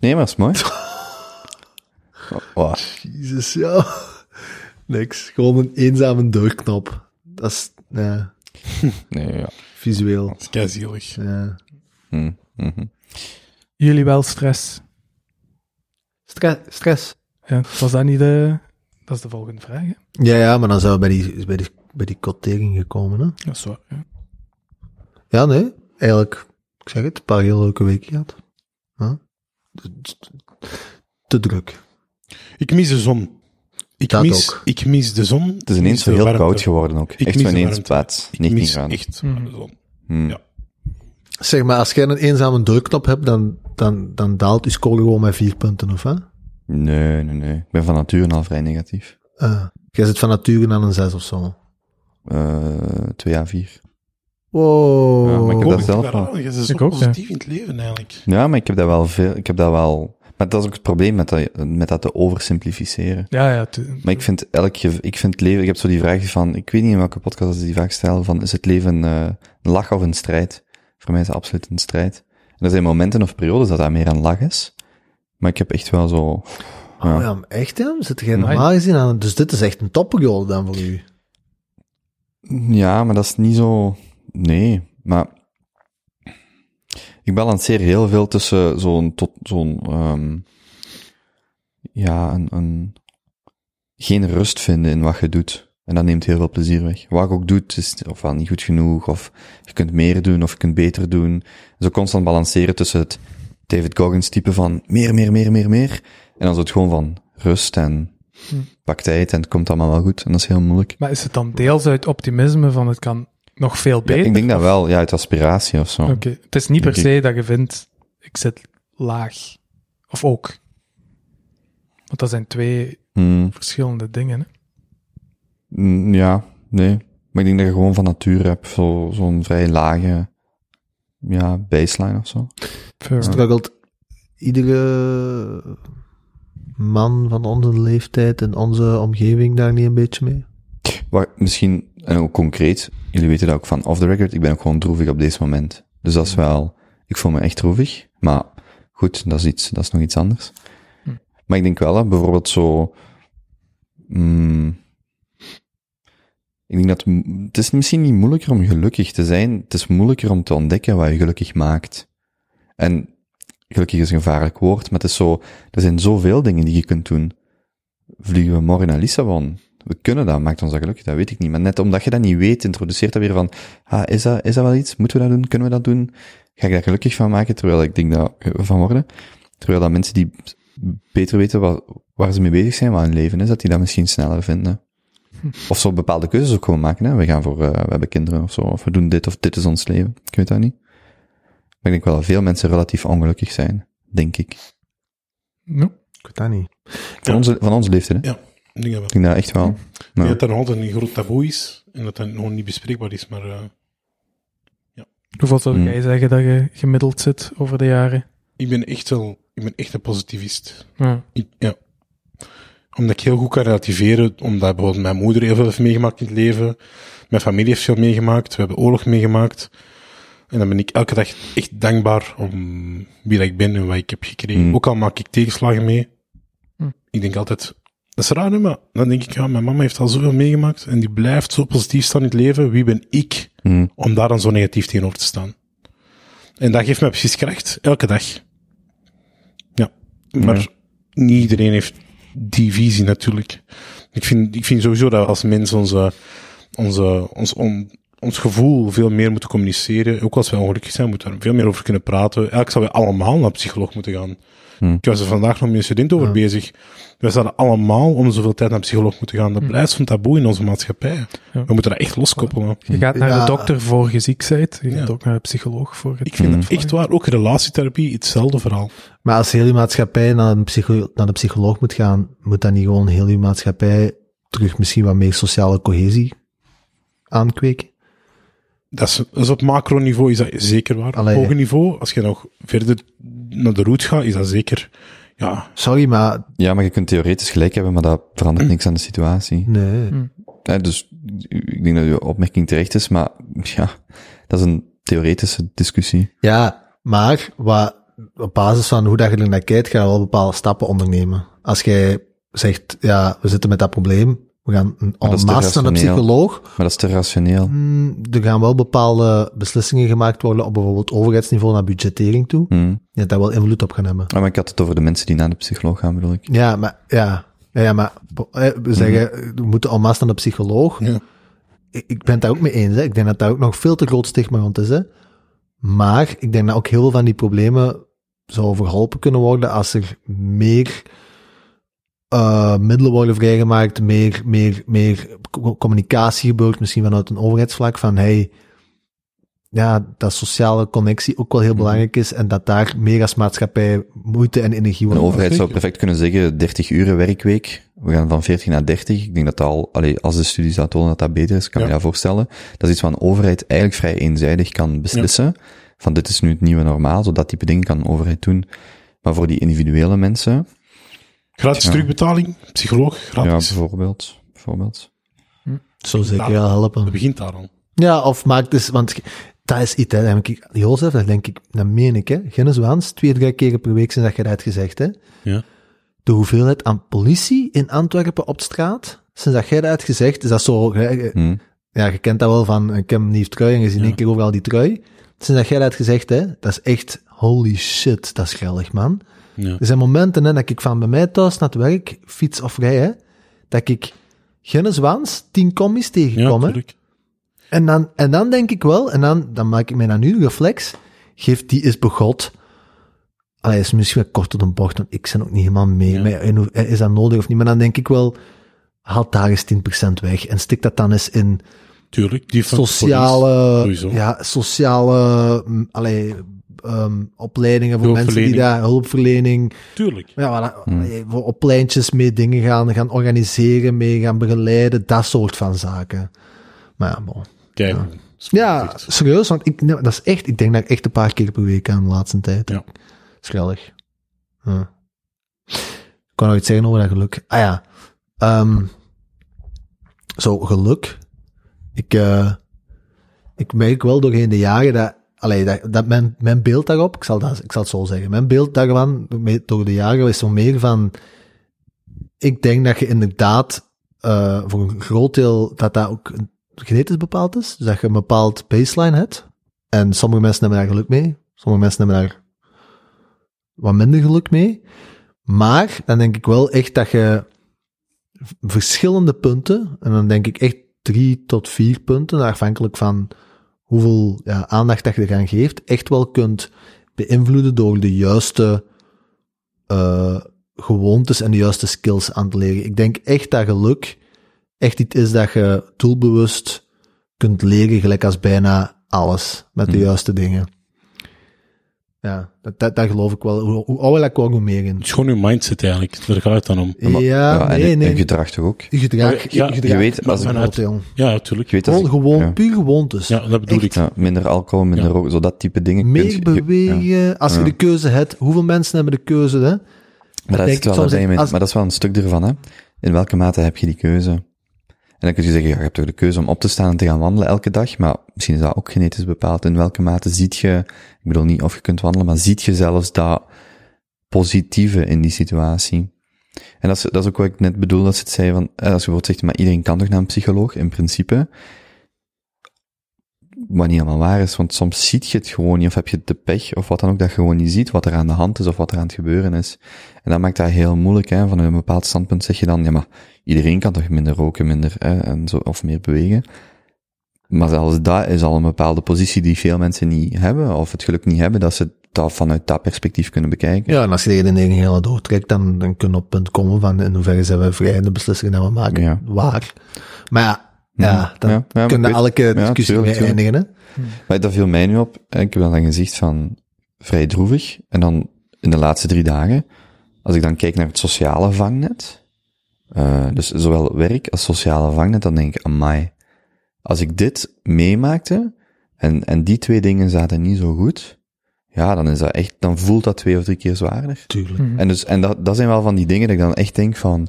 [SPEAKER 3] Nee, maar dat is mooi. Oh, oh.
[SPEAKER 2] Jezus, ja. Niks. Gewoon een eenzame deurknop. Dat is eh,
[SPEAKER 3] Nee, ja.
[SPEAKER 2] visueel.
[SPEAKER 4] Dat is keizielig.
[SPEAKER 2] Ja.
[SPEAKER 3] Hm, mhm.
[SPEAKER 5] Jullie wel stress.
[SPEAKER 2] Stre- stress.
[SPEAKER 5] Ja, was dat niet de... Dat is de volgende vraag, hè?
[SPEAKER 2] Ja, ja, maar dan zou bij die, bij die, bij die kotering gekomen, hè?
[SPEAKER 5] Dat is waar, ja.
[SPEAKER 2] Ja, nee. Eigenlijk, ik zeg het, een paar heel leuke weken gehad. Ja. Te- Te druk.
[SPEAKER 4] Ik mis de zon. Ik,
[SPEAKER 2] Dat
[SPEAKER 4] mis,
[SPEAKER 2] ook.
[SPEAKER 4] ik mis de zon.
[SPEAKER 3] Het is ineens heel koud geworden ook.
[SPEAKER 4] Ik
[SPEAKER 3] echt
[SPEAKER 4] mis
[SPEAKER 3] zo
[SPEAKER 4] de
[SPEAKER 3] ineens
[SPEAKER 4] warmte.
[SPEAKER 3] plaats.
[SPEAKER 4] Ik
[SPEAKER 3] 19
[SPEAKER 4] mis
[SPEAKER 3] graden.
[SPEAKER 4] echt
[SPEAKER 5] Hmm.
[SPEAKER 4] de zon.
[SPEAKER 3] Hm.
[SPEAKER 4] ja.
[SPEAKER 2] Zeg maar, als jij een eenzame deurknop hebt, dan, dan, dan daalt je score gewoon met vier punten, of hè?
[SPEAKER 3] Nee, nee, nee. Ik ben van nature al vrij negatief.
[SPEAKER 2] Eh, jij zit van nature aan een zes of zo.
[SPEAKER 3] Eh 2 à 4.
[SPEAKER 2] Wow.
[SPEAKER 3] Ja, maar ik heb
[SPEAKER 4] Kom,
[SPEAKER 3] dat zelf wel.
[SPEAKER 4] Je bent zo
[SPEAKER 5] Ik ook, ja.
[SPEAKER 4] positief in het leven eigenlijk.
[SPEAKER 3] Ja, maar ik heb dat wel veel. Ik heb dat wel. Maar dat is ook het probleem met dat, met dat te oversimplificeren.
[SPEAKER 5] Ja, ja. tu-
[SPEAKER 3] Maar ik vind elk ge- ik vind het leven, ik heb zo die vraag van, ik weet niet in welke podcast ze die vaak stellen, van is het leven eh, een lach of een strijd? Voor mij is het absoluut een strijd. En er zijn momenten of periodes dat dat meer een lach is. Maar ik heb echt wel zo,
[SPEAKER 2] Oh
[SPEAKER 3] ja.
[SPEAKER 2] ja, maar echt hè? Zit jij
[SPEAKER 5] Amai.
[SPEAKER 2] normaal gezien aan? Dus dit is echt een topgoal dan voor u.
[SPEAKER 3] ja, maar dat is niet zo, nee, maar ik balanceer heel veel tussen zo'n, tot, zo'n, ehm, ja, een, een, geen rust vinden in wat je doet. En dat neemt heel veel plezier weg. Wat ik ook doe, het is ofwel niet goed genoeg, of je kunt meer doen, of je kunt beter doen. Zo constant balanceren tussen het David Goggins type van meer, meer, meer, meer, meer. En dan zo het gewoon van rust en pak tijd en het komt allemaal wel goed. En dat is heel moeilijk.
[SPEAKER 5] Maar is het dan deels uit optimisme van het kan nog veel
[SPEAKER 3] Ja,
[SPEAKER 5] beter?
[SPEAKER 3] ik denk dat wel, ja, uit aspiratie of zo.
[SPEAKER 5] Oké. Het is niet per
[SPEAKER 3] Denk ik.
[SPEAKER 5] se dat je vindt, ik zit laag. Of ook. Want dat zijn twee
[SPEAKER 3] Hmm,
[SPEAKER 5] verschillende dingen, hè?
[SPEAKER 3] mm, ja, nee. Maar ik denk dat je gewoon van nature hebt, zo- zo'n vrij lage ja, baseline of zo.
[SPEAKER 5] Fair.
[SPEAKER 2] Struggelt iedere man van onze leeftijd en onze omgeving daar niet een beetje mee?
[SPEAKER 3] Waar, misschien, en ook concreet, jullie weten dat ook van off the record, ik ben ook gewoon droevig op deze moment. Dus dat is wel, ik voel me echt droevig, maar goed, dat is iets, dat is nog iets anders.
[SPEAKER 5] Hm.
[SPEAKER 3] Maar ik denk wel dat bijvoorbeeld zo, mm, ik denk dat, m- het is misschien niet moeilijker om gelukkig te zijn, het is moeilijker om te ontdekken wat je gelukkig maakt. En gelukkig is een gevaarlijk woord, maar het is zo, er zijn zoveel dingen die je kunt doen. Vliegen we morgen naar Lissabon? We kunnen dat, maakt ons dat gelukkig, dat weet ik niet. Maar net omdat je dat niet weet, introduceert dat weer van, ah, is dat, is dat wel iets? Moeten we dat doen? Kunnen we dat doen? Ga ik daar gelukkig van maken? Terwijl ik denk dat we van worden. Terwijl dat mensen die beter weten wat, waar ze mee bezig zijn, wat hun leven is, dat die dat misschien sneller vinden. Of zo bepaalde keuzes ook gewoon maken, hè. We gaan voor, eh, we hebben kinderen of zo, of we doen dit of dit is ons leven. Ik weet dat niet. Maar ik denk wel dat veel mensen relatief ongelukkig zijn, denk ik.
[SPEAKER 5] No.
[SPEAKER 2] Ik weet dat niet.
[SPEAKER 3] Van, onze, van onze leeftijd, hè?
[SPEAKER 4] Ja. Ik denk dat wel.
[SPEAKER 3] Ik denk dat echt wel.
[SPEAKER 4] Ik
[SPEAKER 3] Ja.
[SPEAKER 4] denk dat dat nog altijd een groot taboe is. En dat dat nog niet bespreekbaar is, maar... eh,
[SPEAKER 5] Hoeveel zou
[SPEAKER 3] Hmm.
[SPEAKER 5] jij zeggen dat je gemiddeld zit over de jaren?
[SPEAKER 4] ik ben echt wel... Ik ben echt een positivist.
[SPEAKER 5] Ja.
[SPEAKER 4] Ik- Ja. Omdat ik heel goed kan relativeren, omdat bijvoorbeeld mijn moeder heel veel heeft meegemaakt in het leven. Mijn familie heeft veel meegemaakt. We hebben oorlog meegemaakt. En dan ben ik elke dag echt dankbaar om wie dat ik ben en wat ik heb gekregen.
[SPEAKER 3] Mm.
[SPEAKER 4] Ook al maak ik tegenslagen mee.
[SPEAKER 5] Mm.
[SPEAKER 4] Ik denk altijd, dat is raar, hè, maar dan denk ik, ja, mijn mama heeft al zoveel meegemaakt en die blijft zo positief staan in het leven. Wie ben ik
[SPEAKER 3] Mhm.
[SPEAKER 4] om daar dan zo negatief tegenover te staan? En dat geeft mij precies kracht, elke dag. Ja, maar niet iedereen heeft die visie natuurlijk. Ik vind, ik vind sowieso dat we als mens onze, onze, ons, on- ons gevoel veel meer moeten communiceren. Ook als wij ongelukkig zijn, moeten we daar veel meer over kunnen praten. Eigenlijk zouden we allemaal naar een psycholoog moeten gaan. Ik was er vandaag nog met een student over bezig. Wij zouden allemaal om zoveel tijd naar een psycholoog moeten gaan. Dat blijft zo'n taboe in onze maatschappij. We moeten dat echt loskoppelen.
[SPEAKER 5] Je gaat naar
[SPEAKER 2] Ja.
[SPEAKER 5] de dokter voor je ziek bent. Je gaat
[SPEAKER 4] Ja.
[SPEAKER 5] ook naar de psycholoog voor het
[SPEAKER 4] Ik vind dat echt waar. Ook relatietherapie, hetzelfde verhaal.
[SPEAKER 2] Maar als heel je maatschappij naar een, psycho- naar een psycholoog moet gaan, moet dan niet gewoon heel je maatschappij terug misschien wat meer sociale cohesie aankweken?
[SPEAKER 4] Dat is, dat is op macroniveau is dat zeker waar.
[SPEAKER 2] Allee.
[SPEAKER 4] Op hoger niveau, als je nog verder naar de route gaat, is dat zeker. Ja,
[SPEAKER 2] Sorry, maar
[SPEAKER 3] Ja, maar je kunt theoretisch gelijk hebben, maar dat verandert niks aan de situatie.
[SPEAKER 2] nee.
[SPEAKER 3] Ja, dus ik denk dat uw opmerking terecht is, maar ja, dat is een theoretische discussie.
[SPEAKER 2] Ja, maar wat, op basis van hoe dat je er naar kijkt, ga je wel bepaalde stappen ondernemen. Als jij zegt, ja, we zitten met dat probleem, we gaan een
[SPEAKER 3] dat is
[SPEAKER 2] en masse
[SPEAKER 3] te
[SPEAKER 2] naar de
[SPEAKER 3] rationeel.
[SPEAKER 2] psycholoog,
[SPEAKER 3] Maar dat is te rationeel.
[SPEAKER 2] Mm, er gaan wel bepaalde beslissingen gemaakt worden op bijvoorbeeld overheidsniveau naar budgettering toe,
[SPEAKER 3] Mhm.
[SPEAKER 2] die daar wel invloed op gaan hebben.
[SPEAKER 3] Ah, maar ik had het over de mensen die naar de psycholoog gaan, bedoel ik.
[SPEAKER 2] Ja, maar, ja. Ja, ja, maar po- eh, we zeggen, eh, we moeten en masse naar de psycholoog.
[SPEAKER 4] Ja.
[SPEAKER 2] Ik, ik ben het daar ook mee eens. Hè. Ik denk dat daar ook nog veel te groot stigma rond is. Hè. Maar ik denk dat ook heel veel van die problemen zou verholpen kunnen worden als er meer eh, middelen worden vrijgemaakt, meer, meer, meer co- communicatie gebeurt, misschien vanuit een overheidsvlak, van hey, ja, dat sociale connectie ook wel heel belangrijk is en dat daar meer als maatschappij moeite en energie
[SPEAKER 3] Een
[SPEAKER 2] wordt
[SPEAKER 3] overheid zou perfect kunnen zeggen, 30 uren werkweek, we gaan van 40 naar 30. Ik denk dat dat al, allee, als de studies dat tonen dat dat beter is, kan
[SPEAKER 4] Ja.
[SPEAKER 3] je dat voorstellen. Dat is iets wat een overheid eigenlijk vrij eenzijdig kan beslissen. Van dit is nu het nieuwe normaal, zodat type dingen kan een overheid doen. Maar voor die individuele mensen,
[SPEAKER 4] gratis
[SPEAKER 3] Ja.
[SPEAKER 4] terugbetaling, psycholoog,
[SPEAKER 3] ja,
[SPEAKER 4] gratis.
[SPEAKER 3] bijvoorbeeld, bijvoorbeeld.
[SPEAKER 2] Zo zeker
[SPEAKER 4] Nou,
[SPEAKER 2] wel helpen.
[SPEAKER 4] Dat begint daar al.
[SPEAKER 2] Ja, of maakt dus, want dat is iets, hè. Dan denk ik, Jozef, dat denk ik, dat meen ik, hè. Genneswaans, twee, drie keer per week zijn dat je dat hebt gezegd, hè.
[SPEAKER 4] Ja.
[SPEAKER 2] De hoeveelheid aan politie in Antwerpen op straat, sinds dat jij dat hebt gezegd, is dat zo, hè, je-
[SPEAKER 3] Hm.
[SPEAKER 2] ja, je kent dat wel van, ik heb een nieuwe trui en je ziet in
[SPEAKER 4] Ja.
[SPEAKER 2] één keer overal die trui. Sinds dat jij dat hebt gezegd, hè, dat is echt, holy shit, dat is grillig, man.
[SPEAKER 4] Ja.
[SPEAKER 2] Er zijn momenten hè, dat ik van bij mij thuis naar het werk, fiets of rij, hè, dat ik Genneswaans tien commies tegenkom, hè.
[SPEAKER 4] tuurlijk.
[SPEAKER 2] En dan, en dan denk ik wel, en dan, dan maak ik mij dan nu een reflex, geeft die is begot. Allee, is misschien wat kort op de bocht, want ik ben ook niet helemaal mee.
[SPEAKER 4] Ja.
[SPEAKER 2] Maar ja, en hoe- is dat nodig of niet? Maar dan denk ik wel, haal daar eens 10% weg en stik dat dan eens in
[SPEAKER 4] tuurlijk. Die van
[SPEAKER 2] sociale,
[SPEAKER 4] police, sowieso.
[SPEAKER 2] ja, sociale mm, allee, ehm, opleidingen voor mensen die
[SPEAKER 4] Hulpverlening. Hmm.
[SPEAKER 2] daar hulpverlening,
[SPEAKER 4] police. Tuurlijk.
[SPEAKER 2] ja, voilà, allee, voor op pleintjes mee dingen gaan, gaan organiseren, mee gaan begeleiden, dat soort van zaken. Maar ja, bon.
[SPEAKER 4] Kijk.
[SPEAKER 2] Ja, serieus, want ik, nee, dat is echt, ik denk dat ik echt een paar keer per week aan de laatste tijd.
[SPEAKER 4] Ja.
[SPEAKER 2] Schellig. Ja. Ik kan nog iets zeggen over dat geluk. Ah ja. Ehm, zo, geluk. Ik, eh, ik merk wel doorheen de jaren dat, allee, dat, dat mijn, mijn beeld daarop, ik zal, dat, ik zal het zo zeggen, mijn beeld daarvan me- door de jaren is zo meer van, ik denk dat je inderdaad eh, voor een groot deel dat dat ook genetisch bepaald is. Dus dat je een bepaald baseline hebt. En sommige mensen hebben daar geluk mee. Sommige mensen hebben daar wat minder geluk mee. Maar dan denk ik wel echt dat je v- verschillende punten, en dan denk ik echt drie tot vier punten, afhankelijk van hoeveel ja, aandacht dat je eraan geeft, echt wel kunt beïnvloeden door de juiste eh, gewoontes en de juiste skills aan te leren. Ik denk echt dat geluk echt iets is dat je doelbewust kunt leren, gelijk als bijna alles, met de
[SPEAKER 3] Hmm.
[SPEAKER 2] juiste dingen. Ja, dat, dat, dat geloof ik wel. Hoe, hoe ouder ik ook, hoe meer in.
[SPEAKER 4] Het is gewoon uw mindset eigenlijk. Daar gaat het dan om.
[SPEAKER 3] Ja, maar-
[SPEAKER 2] Ja,
[SPEAKER 3] ja, en-
[SPEAKER 2] nee,
[SPEAKER 3] en,
[SPEAKER 2] nee.
[SPEAKER 3] gedrag toch ook?
[SPEAKER 2] Je gedrag,
[SPEAKER 4] Maar ja,
[SPEAKER 2] je
[SPEAKER 4] je
[SPEAKER 2] gedrag.
[SPEAKER 3] weet, als
[SPEAKER 2] Maar
[SPEAKER 4] ik-
[SPEAKER 2] vanuit, jong.
[SPEAKER 4] Ja, tuurlijk.
[SPEAKER 3] Ik weet dat
[SPEAKER 2] Gewoon,
[SPEAKER 3] ik-
[SPEAKER 2] gewoon
[SPEAKER 3] ja.
[SPEAKER 2] puur gewoontes.
[SPEAKER 4] Ja, dat bedoel ik.
[SPEAKER 3] Ja, minder alcohol, minder
[SPEAKER 4] Ja.
[SPEAKER 3] roken, zo dat type dingen.
[SPEAKER 2] Meer
[SPEAKER 3] Kun je- je-
[SPEAKER 2] bewegen.
[SPEAKER 3] ja.
[SPEAKER 2] Als je
[SPEAKER 3] Ja.
[SPEAKER 2] de keuze hebt, hoeveel mensen hebben de keuze? Hè?
[SPEAKER 3] Maar
[SPEAKER 2] denk
[SPEAKER 3] dat, is
[SPEAKER 2] ik
[SPEAKER 3] het wel,
[SPEAKER 2] soms
[SPEAKER 3] dat
[SPEAKER 2] in-
[SPEAKER 3] je-
[SPEAKER 2] als-
[SPEAKER 3] maar dat is wel een stuk ervan, hè. In welke mate heb je die keuze? En dan kun je zeggen, ja, je hebt toch de keuze om op te staan en te gaan wandelen elke dag. Maar misschien is dat ook genetisch bepaald. In welke mate ziet je, ik bedoel niet of je kunt wandelen, maar ziet je zelfs dat positieve in die situatie? En dat is, dat is ook wat ik net bedoel, dat ze het zei van, eh, als je bijvoorbeeld zegt, maar iedereen kan toch naar een psycholoog, in principe. Wat niet helemaal waar is, want soms ziet je het gewoon niet, of heb je de pech, of wat dan ook, dat je gewoon niet ziet wat er aan de hand is, of wat er aan het gebeuren is. En dat maakt dat heel moeilijk, hè. Van een bepaald standpunt zeg je dan, ja, maar iedereen kan toch minder roken, minder, hè, en zo, of meer bewegen. Maar zelfs dat is al een bepaalde positie die veel mensen niet hebben, of het geluk niet hebben, dat ze dat vanuit dat perspectief kunnen bekijken.
[SPEAKER 2] Ja, en als je de redenering helemaal doortrekt, dan, dan kunnen we op het punt komen van in hoeverre zijn we vrij in de beslissingen die we maken.
[SPEAKER 3] Ja.
[SPEAKER 2] Waar. Maar ja, ja,
[SPEAKER 3] Ja,
[SPEAKER 2] dan
[SPEAKER 3] ja, ja, maar
[SPEAKER 2] kunnen
[SPEAKER 3] ik weet-
[SPEAKER 2] elke
[SPEAKER 3] ja,
[SPEAKER 2] discussie
[SPEAKER 3] tuurlijk,
[SPEAKER 2] mee
[SPEAKER 3] tuurlijk.
[SPEAKER 2] eindigen. Hè?
[SPEAKER 3] Maar dat viel mij nu op. hè. Ik heb dan een gezicht van vrij droevig. En dan in de laatste drie dagen, als ik dan kijk naar het sociale vangnet, eh, dus zowel werk als sociale vangnet, dan denk ik, amai. Als ik dit meemaakte, en, en die twee dingen zaten niet zo goed, ja, dan is dat echt, dan voelt dat twee of drie keer zwaarder.
[SPEAKER 2] Tuurlijk.
[SPEAKER 3] En, dus, en dat, dat zijn wel van die dingen dat ik dan echt denk van,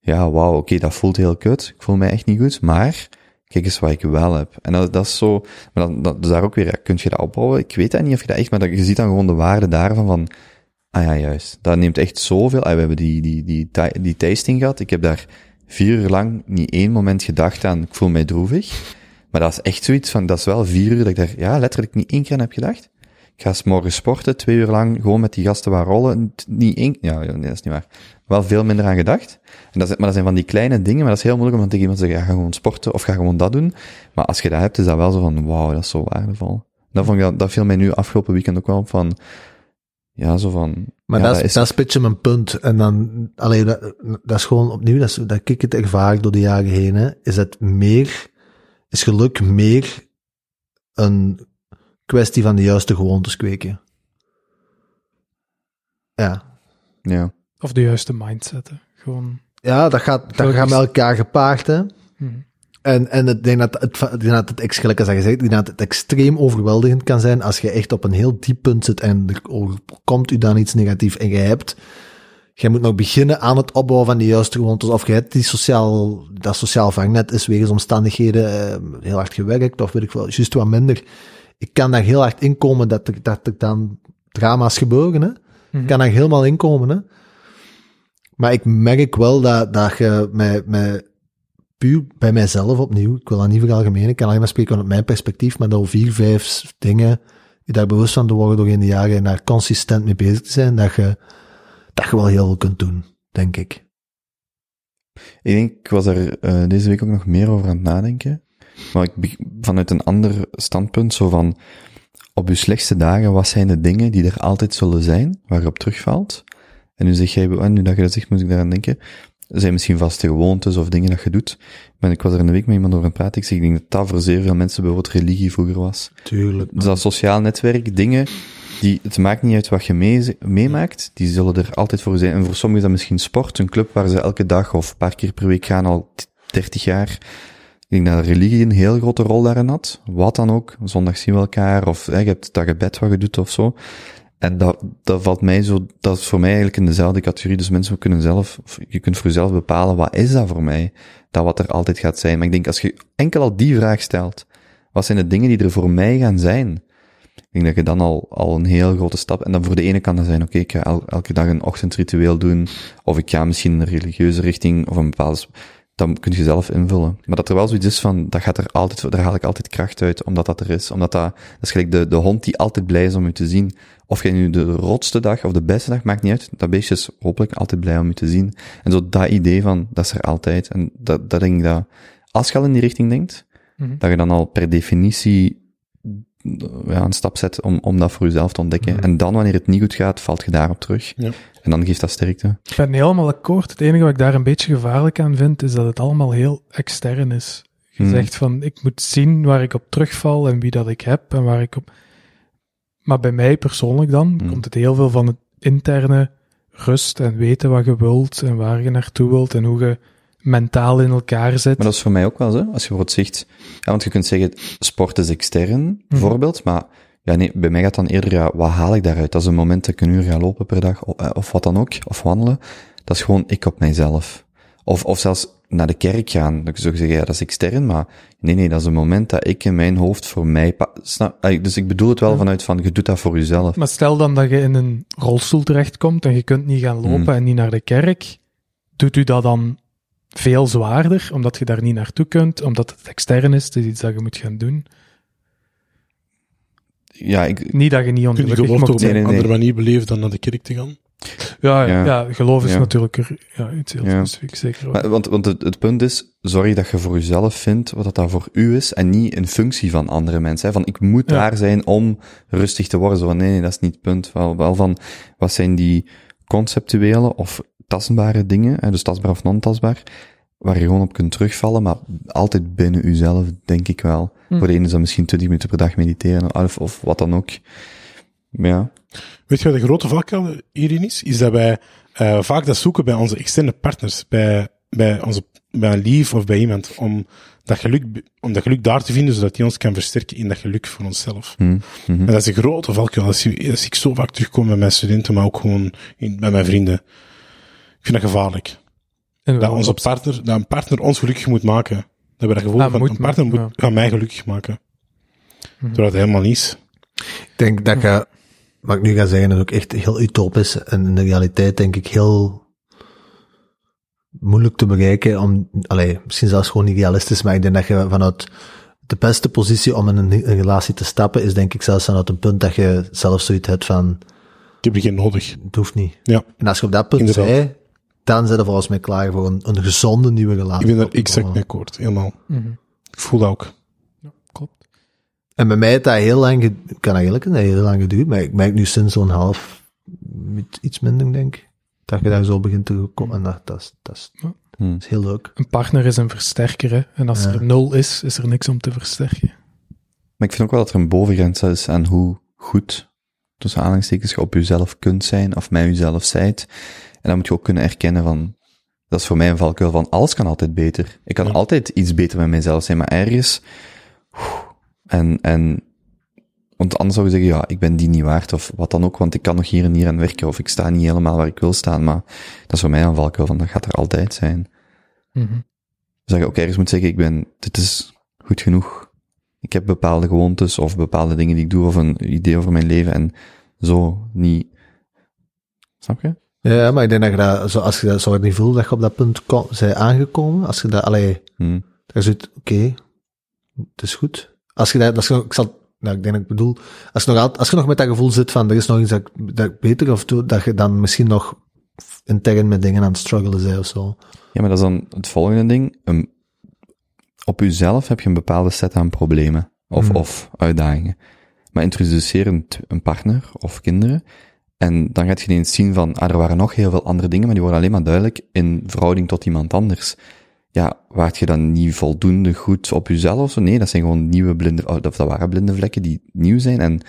[SPEAKER 3] ja, wauw, oké, dat voelt heel kut. Ik voel mij echt niet goed, maar kijk eens wat ik wel heb. En dat, dat is zo, maar dan, dat, dus daar ook weer, ja, kun je dat opbouwen? Ik weet dat niet of je dat echt, maar dat, je ziet dan gewoon de waarde daarvan van, ah ja, juist, dat neemt echt zoveel. Ah, we hebben die, die, die, ti- die tasting gehad. Ik heb daar vier uur lang niet één moment gedacht aan, ik voel mij droevig. Maar dat is echt zoiets van, dat is wel vier uur dat ik daar, ja, letterlijk niet één keer aan heb gedacht. Ik ga 's morgen sporten, twee uur lang, gewoon met die gasten waar rollen. t- Niet één, ja, ja, nee, dat is niet waar. Wel veel minder aan gedacht. En dat, is- maar dat zijn van die kleine dingen, maar dat is heel moeilijk om dan tegen iemand te zeggen, ja, ga gewoon sporten of ga gewoon dat doen. Maar als je dat hebt, is dat wel zo van, wauw, dat is zo waardevol. Dat, vond ik, wel- dat viel mij nu afgelopen weekend ook wel op van, ja, zo van...
[SPEAKER 2] Maar
[SPEAKER 3] ja,
[SPEAKER 2] dat, is, dat is een beetje mijn punt. En dan, alleen dat, dat is gewoon opnieuw, dat, is, dat ik het ervaar door de jaren heen, hè, is het meer, is geluk meer een kwestie van de juiste gewoontes kweken. Ja.
[SPEAKER 3] Ja,
[SPEAKER 5] Of de juiste mindset. hè. Gewoon.
[SPEAKER 2] Ja, dat gaat, dat
[SPEAKER 5] Geluk
[SPEAKER 2] gaat
[SPEAKER 5] is-
[SPEAKER 2] met elkaar gepaard, hè.
[SPEAKER 5] Mhm.
[SPEAKER 2] En, en ik denk dat het, ik denk dat het, ex- gelijk als dat gezegd, ik denk dat het extreem overweldigend kan zijn als je echt op een heel diep punt zit en er komt u dan iets negatiefs en je hebt, je moet nog beginnen aan het opbouwen van die juiste gewoontes of je hebt die sociaal, dat sociaal vangnet is wegens omstandigheden eh, heel hard gewerkt of weet ik wel, juist wat minder. Ik kan daar heel hard inkomen dat er, dat er dan drama's gebeuren, hè. Ik kan daar helemaal inkomen, hè. Maar ik merk wel dat, dat je met, met puur bij mijzelf opnieuw, ik wil dat niet veralgemenen, ik kan alleen maar spreken vanuit mijn perspectief, maar dat vier, vijf dingen, je daar bewust van te worden door in de jaren en daar consistent mee bezig te zijn, dat je, dat je wel heel veel kunt doen, denk ik.
[SPEAKER 3] ik denk, ik was er eh, deze week ook nog meer over aan het nadenken. Maar ik, beg- vanuit een ander standpunt, zo van, op je slechtste dagen, wat zijn de dingen die er altijd zullen zijn, waar je op terugvalt? En nu zeg jij, en nu dat je dat zegt, moet ik daaraan denken. Er zijn misschien vaste gewoontes of dingen dat je doet. Maar ik was er een week met iemand over aan het praten. Ik zeg, ik denk dat dat voor zeer veel mensen bijvoorbeeld religie vroeger was.
[SPEAKER 2] Tuurlijk.
[SPEAKER 3] Dus dat sociaal netwerk, dingen, die, het maakt niet uit wat je mee- meemaakt, die zullen er altijd voor zijn. En voor sommigen is dat misschien sport, een club waar ze elke dag of een paar keer per week gaan, al t- 30 jaar. Ik denk dat religie een heel grote rol daarin had. Wat dan ook, zondag zien we elkaar, of hè, je hebt dat gebed wat je doet of zo. En dat, dat valt mij zo, dat is voor mij eigenlijk in dezelfde categorie. Dus mensen kunnen zelf, je kunt voor jezelf bepalen, wat is dat voor mij? Dat wat er altijd gaat zijn. Maar ik denk, als je enkel al die vraag stelt, wat zijn de dingen die er voor mij gaan zijn? Ik denk dat je dan al, al een heel grote stap, en dan voor de ene kan dat zijn, oké, ik ga el- elke dag een ochtendritueel doen, of ik ga misschien een religieuze richting, of een bepaalde, s- dan kun je zelf invullen. Maar dat er wel zoiets is van, dat gaat er altijd, voor- daar haal ik altijd kracht uit, omdat dat er is. Omdat dat, dat is gelijk de, de hond die altijd blij is om je te zien. Of jij nu de rotste dag of de beste dag, maakt niet uit. Dat beestje is hopelijk altijd blij om je te zien. En zo dat idee van, dat is er altijd. En dat, dat denk ik dat, als je al in die richting denkt, dat je dan al per definitie ja, een stap zet om, om dat voor jezelf te ontdekken. En dan, wanneer het niet goed gaat, valt je daarop terug.
[SPEAKER 4] Ja.
[SPEAKER 3] En dan geeft dat sterkte.
[SPEAKER 5] Ik ben helemaal akkoord. Het enige wat ik daar een beetje gevaarlijk aan vind, is dat het allemaal heel extern is.
[SPEAKER 4] Hm.
[SPEAKER 5] Je
[SPEAKER 3] Mhm.
[SPEAKER 5] zegt van, ik moet zien waar ik op terugval en wie dat ik heb en waar ik op... Maar bij mij persoonlijk dan,
[SPEAKER 4] Hm.
[SPEAKER 3] Mhm.
[SPEAKER 5] komt het heel veel van het interne rust en weten wat je wilt en waar je naartoe wilt en hoe je mentaal in elkaar zit.
[SPEAKER 3] Maar dat is voor mij ook wel zo. Als je bijvoorbeeld zegt, ja, want je kunt zeggen, sport is extern, bijvoorbeeld, maar ja, nee, bij mij gaat dan eerder, ja, wat haal ik daaruit? Dat is een moment dat ik een uur ga lopen per dag, of, eh, of wat dan ook, of wandelen. Dat is gewoon ik op mijzelf. Of, of zelfs, naar de kerk gaan. Dan zou je zeggen, ja, dat is extern, maar nee, nee, dat is een moment dat ik in mijn hoofd voor mij... pa- Snap, Ah, dus ik bedoel het wel vanuit van, je doet dat voor jezelf.
[SPEAKER 5] Maar stel dan dat je in een rolstoel terechtkomt en je kunt niet gaan lopen
[SPEAKER 3] Mm.
[SPEAKER 5] en niet naar de kerk. Doet u dat dan veel zwaarder, omdat je daar niet naartoe kunt, omdat het extern is, het is iets dat je moet gaan doen.
[SPEAKER 3] Ja, ik,
[SPEAKER 5] Niet dat je niet
[SPEAKER 4] Kun je
[SPEAKER 5] ongelukkig
[SPEAKER 4] geloof toch
[SPEAKER 5] mocht
[SPEAKER 4] op
[SPEAKER 3] Nee,
[SPEAKER 5] zijn.
[SPEAKER 4] een
[SPEAKER 3] nee, nee.
[SPEAKER 4] andere manier beleven dan naar de kerk te gaan?
[SPEAKER 5] Ja,
[SPEAKER 3] Ja.
[SPEAKER 5] ja. ja, geloof is
[SPEAKER 3] Ja.
[SPEAKER 5] natuurlijk er, ja, iets heel
[SPEAKER 3] Ja.
[SPEAKER 5] specifiek, zeker. wel.
[SPEAKER 3] maar- want, want het, het punt is, zorg dat je voor jezelf vindt wat dat daar voor u is en niet in functie van andere mensen. Hè. Van, ik moet
[SPEAKER 5] Ja.
[SPEAKER 3] daar zijn om rustig te worden. Zo van, nee, nee, dat is niet het punt. Wel, wel van, wat zijn die conceptuele of tastbare dingen, hè, dus tastbaar of non-tastbaar, waar je gewoon op kunt terugvallen, maar altijd binnen uzelf, denk ik wel.
[SPEAKER 5] Hm.
[SPEAKER 3] Voor de ene is dat misschien 20 minuten per dag mediteren, of, of wat dan ook. Ja.
[SPEAKER 4] Weet je wat de grote valkuil hierin is? Is dat wij eh, vaak dat zoeken bij onze externe partners, bij, bij, onze, bij een lief of bij iemand, om dat, geluk, om dat geluk daar te vinden, zodat die ons kan versterken in dat geluk voor onszelf.
[SPEAKER 3] Hm. Mhm.
[SPEAKER 4] En dat is een grote valkuil. Dat zie, dat zie ik zo vaak terugkomen bij mijn studenten, maar ook gewoon in, bij mijn vrienden. Ik vind dat gevaarlijk.
[SPEAKER 5] En
[SPEAKER 4] Dat,
[SPEAKER 5] wel
[SPEAKER 4] onze
[SPEAKER 5] op-
[SPEAKER 4] partner, dat een partner ons gelukkig moet maken. Dat we dat gevoel
[SPEAKER 5] Ah,
[SPEAKER 4] van,
[SPEAKER 5] moet
[SPEAKER 4] een partner moet,
[SPEAKER 5] maken,
[SPEAKER 4] gaat mij gelukkig maken.
[SPEAKER 5] Mhm.
[SPEAKER 4] Terwijl dat helemaal niet is.
[SPEAKER 2] Ik denk dat je, wat ik nu ga zeggen, is ook echt heel utopisch en in de realiteit denk ik heel moeilijk te bereiken. Om, allee, misschien zelfs gewoon niet realistisch, maar ik denk dat je vanuit de beste positie om in een, een relatie te stappen is denk ik zelfs vanuit een punt dat je zelf zoiets hebt van,
[SPEAKER 4] Ik heb er geen nodig.
[SPEAKER 2] het hoeft niet.
[SPEAKER 4] Ja.
[SPEAKER 2] En als je op dat punt
[SPEAKER 4] Inderdaad.
[SPEAKER 2] bent, dan zijn we volgens mij klaar voor een, een gezonde nieuwe relatie.
[SPEAKER 4] Ik
[SPEAKER 3] Ah,
[SPEAKER 4] ben er
[SPEAKER 2] Op te
[SPEAKER 4] exact
[SPEAKER 2] bouwen.
[SPEAKER 4] mee akkoord. Helemaal.
[SPEAKER 5] Mhm.
[SPEAKER 4] Ik voel dat ook.
[SPEAKER 5] Klopt.
[SPEAKER 2] En bij mij heeft dat heel lang, ged- ik kan eigenlijk een heel lang geduurd, maar ik merk nu sinds zo'n half, met iets minder ik denk dat je daar zo begint te komen. En dat, dat, is, dat, is,
[SPEAKER 3] Hm.
[SPEAKER 2] dat is heel leuk.
[SPEAKER 5] Een partner is een versterker, hè. En als
[SPEAKER 2] Ja.
[SPEAKER 5] er nul is, is er niks om te versterken.
[SPEAKER 3] Maar ik vind ook wel dat er een bovengrens is aan hoe goed, tussen aanhalingstekens, je op jezelf kunt zijn of met jezelf zijt. En dan moet je ook kunnen erkennen van, dat is voor mij een valkuil van, alles kan altijd beter. Ik kan
[SPEAKER 4] Ja.
[SPEAKER 3] altijd iets beter met mezelf zijn, maar ergens, oeh, en, en, want anders zou je zeggen, ja, ik ben die niet waard of wat dan ook, want ik kan nog hier en hier aan werken of ik sta niet helemaal waar ik wil staan, maar dat is voor mij een valkuil van, dat gaat er altijd zijn.
[SPEAKER 5] Mhm.
[SPEAKER 3] Dus dat je ook ergens moet zeggen, ik ben, dit is goed genoeg. Ik heb bepaalde gewoontes of bepaalde dingen die ik doe of een idee over mijn leven en zo niet. Snap je?
[SPEAKER 2] Ja, maar ik denk dat je dat, zo, als je dat zo niet voelt, dat je op dat punt ko- zij aangekomen, als je dat, allee,
[SPEAKER 3] Hm.
[SPEAKER 2] dat je zoiets, oké, het is goed. Als je dat, als je, nog- ik zal, nou, ik denk dat ik bedoel, als je nog, altijd- als je nog met dat gevoel zit van, er is nog iets dat, ik- dat ik beter of doe, dat je dan misschien nog intern met dingen aan het struggelen bent of zo.
[SPEAKER 3] Ja, maar dat is dan het volgende ding. Een- op jezelf heb je een bepaalde set aan problemen of,
[SPEAKER 2] Mhm.
[SPEAKER 3] of uitdagingen. Maar introduceer een, t- een partner of kinderen en dan gaat je ineens zien van, ah, er waren nog heel veel andere dingen, maar die worden alleen maar duidelijk in verhouding tot iemand anders. Ja, waart je dan niet voldoende goed op jezelf of zo? Nee, dat zijn gewoon nieuwe blinde, of dat waren blinde vlekken die nieuw zijn en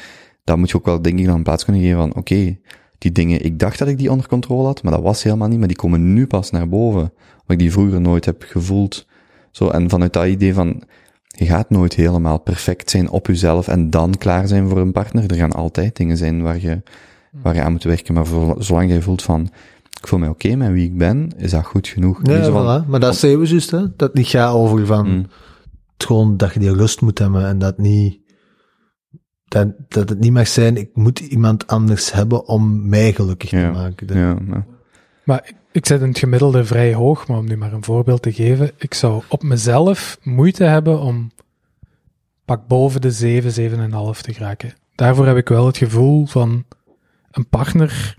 [SPEAKER 3] daar moet je ook wel denk ik dan plaats kunnen geven van, oké, die dingen, ik dacht dat ik die onder controle had, maar dat was helemaal niet, maar die komen nu pas naar boven wat ik die vroeger nooit heb gevoeld. Zo, en vanuit dat idee van, je gaat nooit helemaal perfect zijn op jezelf en dan klaar zijn voor een partner. Er gaan altijd dingen zijn waar je, waar je aan moet werken, maar voor, zolang je voelt van, ik voel mij oké met wie ik ben, is dat goed genoeg. Niet
[SPEAKER 2] Ja,
[SPEAKER 3] zo van,
[SPEAKER 2] voilà. maar dat zeiden we juist, hè. Dat het niet gaat over van,
[SPEAKER 3] Mm.
[SPEAKER 2] het gewoon dat je die rust moet hebben en dat niet, dat, dat het niet mag zijn, ik moet iemand anders hebben om mij gelukkig te
[SPEAKER 3] Ja,
[SPEAKER 2] maken. Dat-
[SPEAKER 3] ja, ja.
[SPEAKER 5] Maar ik- ik zet in het gemiddelde vrij hoog, maar om nu maar een voorbeeld te geven, ik zou op mezelf moeite hebben om pak boven de 7, 7,5 te geraken. Daarvoor heb ik wel het gevoel van een partner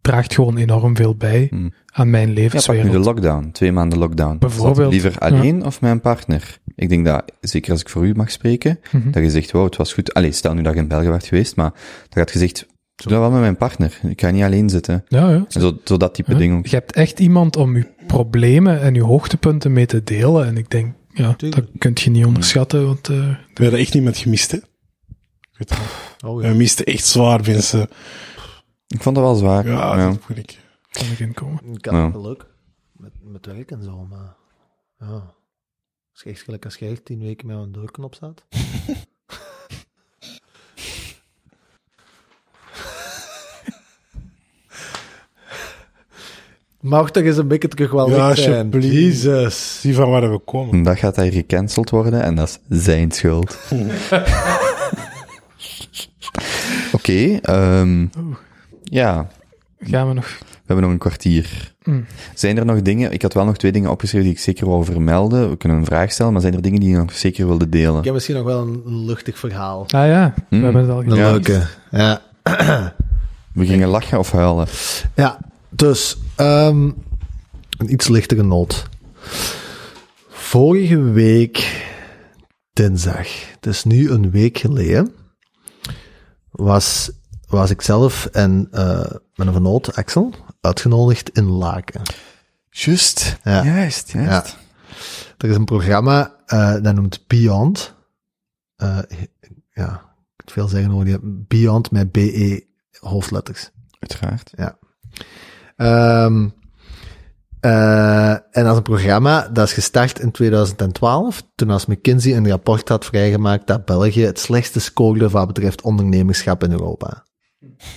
[SPEAKER 5] draagt gewoon enorm veel bij
[SPEAKER 3] Hmm.
[SPEAKER 5] aan mijn
[SPEAKER 3] Ja, pak nu
[SPEAKER 5] levenswereld.
[SPEAKER 3] de lockdown, twee maanden lockdown.
[SPEAKER 5] Bijvoorbeeld.
[SPEAKER 3] Zat Liever alleen of met een partner? Ik denk dat, zeker als ik voor u mag spreken,
[SPEAKER 5] Mhm.
[SPEAKER 3] dat je zegt, wow, het was goed. Allee, stel nu dat je in België werd geweest, maar dan had je gezegd, doe dat wel met mijn partner. Ik ga niet alleen zitten.
[SPEAKER 5] ja, ja.
[SPEAKER 3] En zo, zo dat type dingen ook.
[SPEAKER 5] Je hebt echt iemand om je problemen en je hoogtepunten mee te delen. En ik denk, ja, dat kun je
[SPEAKER 3] Hmm.
[SPEAKER 5] niet onderschatten. Want, eh,
[SPEAKER 4] We hebben echt niemand gemist, hè? Ik weet het niet.
[SPEAKER 2] Oh, ja.
[SPEAKER 4] We misten echt zwaar, mensen.
[SPEAKER 3] Ik vond dat wel zwaar. Ja.
[SPEAKER 4] Ja, dat moet ik.
[SPEAKER 5] kan ik inkomen.
[SPEAKER 2] Ik had
[SPEAKER 3] Ja.
[SPEAKER 2] het wel leuk met, met werk en zo, maar ja. Als je echt gelijk als je echt tien weken met een deurknop staat. Mag toch eens een beetje terug wel
[SPEAKER 4] Ja,
[SPEAKER 2] licht zijn.
[SPEAKER 4] alsjeblieft.
[SPEAKER 2] Jezus.
[SPEAKER 4] Zie van waar we komen.
[SPEAKER 3] Dan gaat hij gecanceld worden en dat is zijn schuld. Oké, ehm, ja,
[SPEAKER 5] Gaan we nog...
[SPEAKER 3] we hebben nog een kwartier.
[SPEAKER 5] Mm.
[SPEAKER 3] Zijn er nog dingen, ik had wel nog twee dingen opgeschreven die ik zeker wil vermelden. We kunnen een vraag stellen, maar zijn er dingen die je nog zeker wilde delen?
[SPEAKER 2] Ik heb misschien nog wel een luchtig verhaal.
[SPEAKER 5] Ah ja,
[SPEAKER 3] Hmm.
[SPEAKER 5] we hebben het al
[SPEAKER 2] Een
[SPEAKER 5] gedaan.
[SPEAKER 3] Ja.
[SPEAKER 2] leuke. Ja.
[SPEAKER 3] We gingen lachen of huilen.
[SPEAKER 2] Ja, dus ehm, een iets lichtere noot. Vorige week, dinsdag, het is nu een week geleden, was, was ik zelf en eh, mijn vernoot Axel uitgenodigd in Laken.
[SPEAKER 3] Juist,
[SPEAKER 2] Ja.
[SPEAKER 3] juist, juist.
[SPEAKER 2] Er is een programma eh, dat noemt Beyond. Eh, ja, ik moet veel zeggen over die. Beyond met BE hoofdletters.
[SPEAKER 3] Uiteraard.
[SPEAKER 2] Ehm, eh, en als een programma, dat is gestart in 2012, toen als McKinsey een rapport had vrijgemaakt dat België het slechtste scoorde wat betreft ondernemerschap in Europa.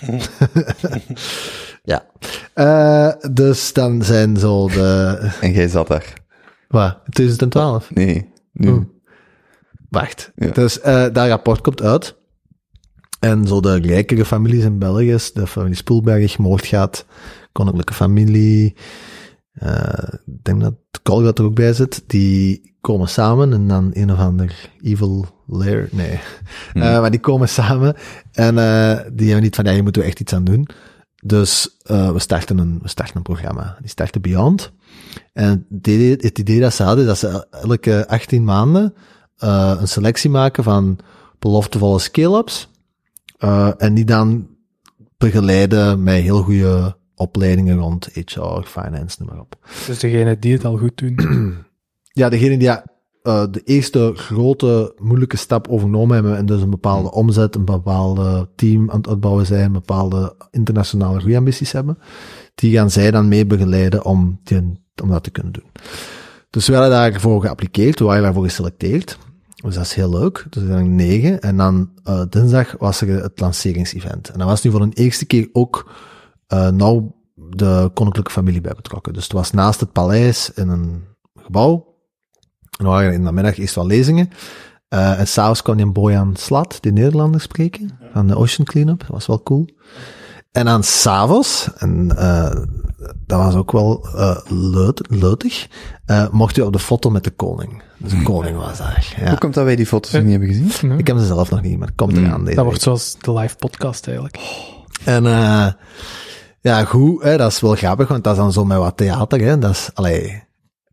[SPEAKER 2] ja. Eh, dus dan zijn zo de...
[SPEAKER 3] En jij zat daar.
[SPEAKER 2] Wat? 2012?
[SPEAKER 3] Nee, nu.
[SPEAKER 2] Oh. Wacht.
[SPEAKER 3] Ja.
[SPEAKER 2] Dus eh, dat rapport komt uit. En zo de rijkere families in België, de familie Spoelberg, Moordgaat, Koninklijke Familie, eh, ik denk dat Colgat er ook bij zit, die komen samen en dan een of ander evil lair, nee. Eh, maar die komen samen en eh, die hebben niet van, ja, hier moeten we echt iets aan doen. Dus eh, we, starten een, we starten een programma. Die starten Beyond. En het idee, het idee dat ze hadden, is dat ze elke 18 maanden eh, een selectie maken van beloftevolle scale-ups. eh, en die dan begeleiden met heel goede opleidingen rond HR, finance, noem maar op.
[SPEAKER 5] Dus degene die het al goed doen.
[SPEAKER 2] Ja, degene die eh, de eerste grote, moeilijke stap overnomen hebben en dus een bepaalde omzet, een bepaalde team aan het uitbouwen zijn, bepaalde internationale groeiambities hebben, die gaan zij dan mee begeleiden om, die- om dat te kunnen doen. Dus we hadden daarvoor geappliqueerd, we waren daarvoor geselecteerd. Dus dat is heel leuk. Dus er zijn negen. En dan eh, dinsdag was er het lanceringsevent. En dat was nu voor een eerste keer ook eh nou de koninklijke familie bij betrokken. Dus het was naast het paleis in een gebouw. En we waren in de middag eerst wel lezingen. Eh, en s'avonds kwam die een boy aan Slat, die Nederlander spreken, aan de Ocean Cleanup. Dat was wel cool. En aan s'avonds, en eh, dat was ook wel eh leut, leutig, eh, mocht u op de foto met de koning. Dus de koning was daar. Ja.
[SPEAKER 3] Hoe komt dat wij die foto's nog niet hebben gezien?
[SPEAKER 5] Ja.
[SPEAKER 2] Ik heb ze zelf nog niet, maar het komt eraan. deze
[SPEAKER 5] Dat
[SPEAKER 2] week.
[SPEAKER 5] wordt zoals de live podcast eigenlijk.
[SPEAKER 2] En eh ja, goed, hè, dat is wel grappig, want dat is dan zo met wat theater. Hè. Dat is, allee,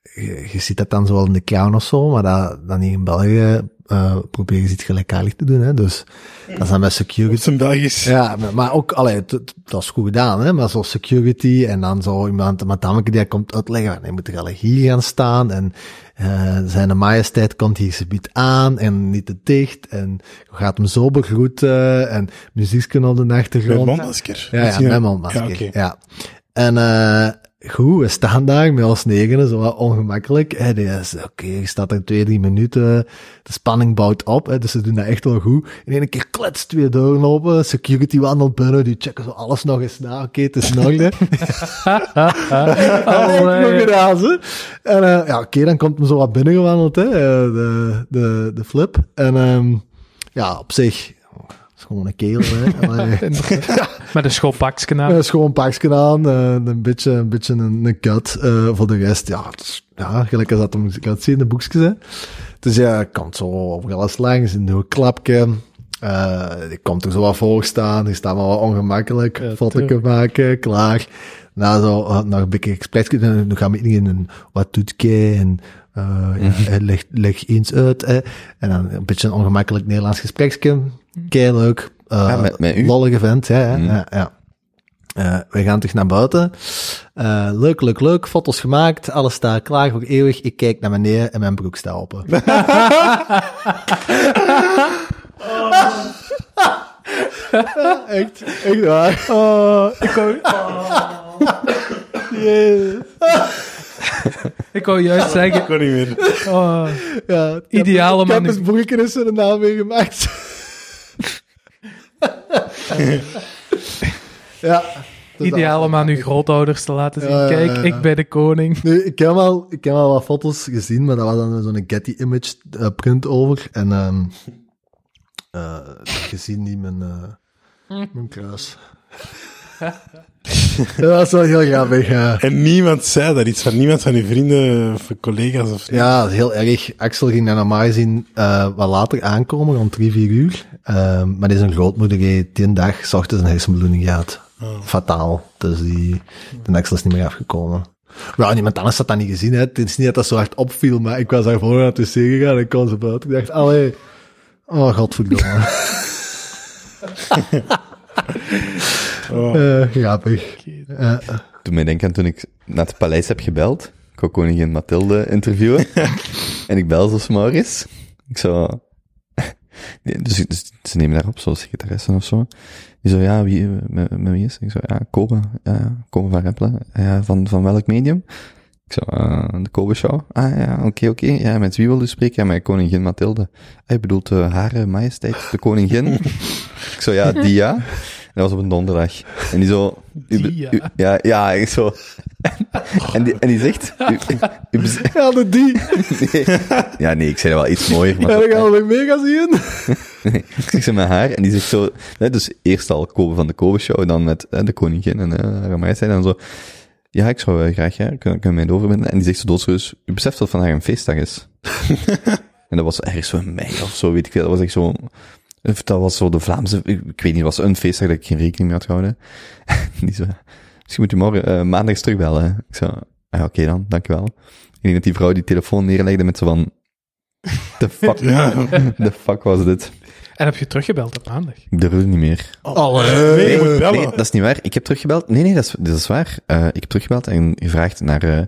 [SPEAKER 2] je, je ziet dat dan zo wel in de crown of zo, maar dat, dan hier in België eh proberen ze iets gelijkaardig te doen. Hè. Dus dat is dan met security.
[SPEAKER 4] zijn Belgisch.
[SPEAKER 2] Ja, maar- maar ook, allee, het- het- dat is goed gedaan, hè? maar zo security en dan zo iemand, een madameke die dat komt uitleggen, van, nee, moet er alle hier gaan staan en eh zijn majesteit komt hier gebied aan en niet te dicht en je gaat hem zo begroeten en muziekje op de
[SPEAKER 4] Met
[SPEAKER 2] achtergrond.
[SPEAKER 4] mondmasker.
[SPEAKER 2] Ja, ja,
[SPEAKER 4] Misschien-
[SPEAKER 2] met mondmasker. Ja,
[SPEAKER 4] Ja, oké.
[SPEAKER 2] En eh, goed, we staan daar met ons negenen, zo wat ongemakkelijk. En die is, oké, je staat er twee, drie minuten. De spanning bouwt op, hè, dus ze doen dat echt wel goed. In één keer klets, twee deuren open, security wandelt binnen, die checken zo alles nog eens na. Oké, het is nog hè. Dat heb ik nog gedaan, ze. En eh, ja, oké, dan komt hem zo wat binnengewandeld, hè, eh, de, de, de flip. En ehm, ja, op zich, oh, het is gewoon een kerel, hè. Maar-
[SPEAKER 5] Met een schoolpakje
[SPEAKER 2] ja,
[SPEAKER 5] aan.
[SPEAKER 2] een schoon pakje aan, eh, een beetje een, beetje een, een cut. eh, voor de rest, ja, het is- ja gelijk als dat hem ik had het zien in de boekjes. Hè. Dus ja, komt zo overal eens langs, een nieuw klapje. eh ik komt er zo wat voor staan, die staat wel wat ongemakkelijk.
[SPEAKER 5] Ja,
[SPEAKER 2] Fotoken
[SPEAKER 5] tuurlijk.
[SPEAKER 2] maken, klaar. Na zo eh, nog een beetje expres, dan dan gaan we in een wat doet jij en eh,
[SPEAKER 5] Mhm.
[SPEAKER 2] ja, eh, leg, leg eens uit. hè. En dan een beetje een ongemakkelijk Nederlands gespreksje.
[SPEAKER 5] Mhm.
[SPEAKER 2] Kei leuk. eh,
[SPEAKER 3] Ja, met- met u. Mhm.
[SPEAKER 2] Lollige vent, ja. ja, ja, ja. Eh, we gaan terug naar buiten. Eh, leuk, leuk, leuk. Foto's gemaakt. Alles staat klaar voor eeuwig. Ik kijk naar beneden en mijn broek staat open. echt, echt waar. Oh,
[SPEAKER 5] ik wou... Ik wou juist zeggen...
[SPEAKER 4] Ik kon niet meer.
[SPEAKER 5] oh,
[SPEAKER 2] Ja, ik heb-
[SPEAKER 5] Ideale
[SPEAKER 2] Ik heb
[SPEAKER 5] manu-
[SPEAKER 2] het broekje in zijn naam weer gemaakt. ja. Dus
[SPEAKER 5] Ideaal
[SPEAKER 2] dat-
[SPEAKER 5] om aan uw grootouders te laten zien.
[SPEAKER 2] Ja, ja,
[SPEAKER 5] Kijk,
[SPEAKER 2] ja, ja.
[SPEAKER 5] ik ben de koning.
[SPEAKER 2] Nee, ik heb, wel, ik heb wel wat foto's gezien, maar dat was dan zo'n Getty Image eh, print over. En ehm eh, gezien niet mijn, eh, mijn kruis. Ja, dat is wel heel grappig. eh.
[SPEAKER 4] En niemand zei daar iets van. Niemand van uw vrienden of collega's of...
[SPEAKER 2] Ja, dat is heel erg. Axel ging dan normaal gezien eh, wat later aankomen, rond drie, vier uur. Ehm, maar die zijn grootmoeder heeft die dag s ochtends een hersenbloeding gehad. Fataal. Dus die, de Axel is niet meer afgekomen. Nou, niemand anders had dat niet gezien. Hè. Het is niet dat dat zo hard opviel, maar ik was daarvoor naar de wc gegaan en ik kwam zo buiten. Ik dacht, allee, oh godverdomme.
[SPEAKER 4] Oh.
[SPEAKER 2] Eh grappig. Eh,
[SPEAKER 3] Toen mij denken aan toen ik naar het paleis heb gebeld. Ik wou koningin Mathilde interviewen. en ik bel zo s'morgens. Ik zo... Nee, dus, dus ze nemen daar op, zoals secretaressen of zo. Die zo, ja, wie, met, met wie is het? Ik zo, ja, Kobe. Ja, Kobe van Rempelen. Ja, van, van welk medium? Ik zo, eh, de Kobe Show. Ah ja, oké, oké. Ja, met wie wil u spreken? Ja, met koningin Mathilde. Hij bedoelt eh, haar majesteit, de koningin. ik zo, ja, die ja. En dat was op een donderdag. En die zo... u be-
[SPEAKER 5] Die, ja.
[SPEAKER 3] u- ja, ja, ik zo. en, die, en die zegt... U, u bez-
[SPEAKER 2] ja, dat die.
[SPEAKER 3] nee. Ja, nee, ik zei wel iets mooier. Maar
[SPEAKER 2] Ja, dat gaan we mega zien.
[SPEAKER 3] ik zeg ze met haar en die zegt zo, hè, dus eerst al Kobe van de Kobe Show, dan met hè, de koningin en eh, haar meisje, en dan zo, ja, ik zou eh, graag, ja, kunnen kun mij het overbinden? En die zegt zo doodserieus, u beseft dat vandaag een feestdag is. en dat was ergens zo in mei of zo, weet ik veel, dat was echt zo, of dat was zo de Vlaamse, ik, ik weet niet, het was een feestdag dat ik geen rekening mee had gehouden. en die zo, misschien moet u morgen, eh, maandag eens terugbellen. Ik zo, ah, oké dan, dankjewel. Ik denk dat die vrouw die telefoon neerlegde met zo van, the fuck, the fuck was dit?
[SPEAKER 5] En heb je teruggebeld op maandag?
[SPEAKER 3] Ik durfde niet meer.
[SPEAKER 4] Oh, Nee, je moet bellen.
[SPEAKER 3] Eh, Nee, dat is niet waar. Ik heb teruggebeld. Nee, nee, dat is, dat is waar. Eh, ik heb teruggebeld en gevraagd naar eh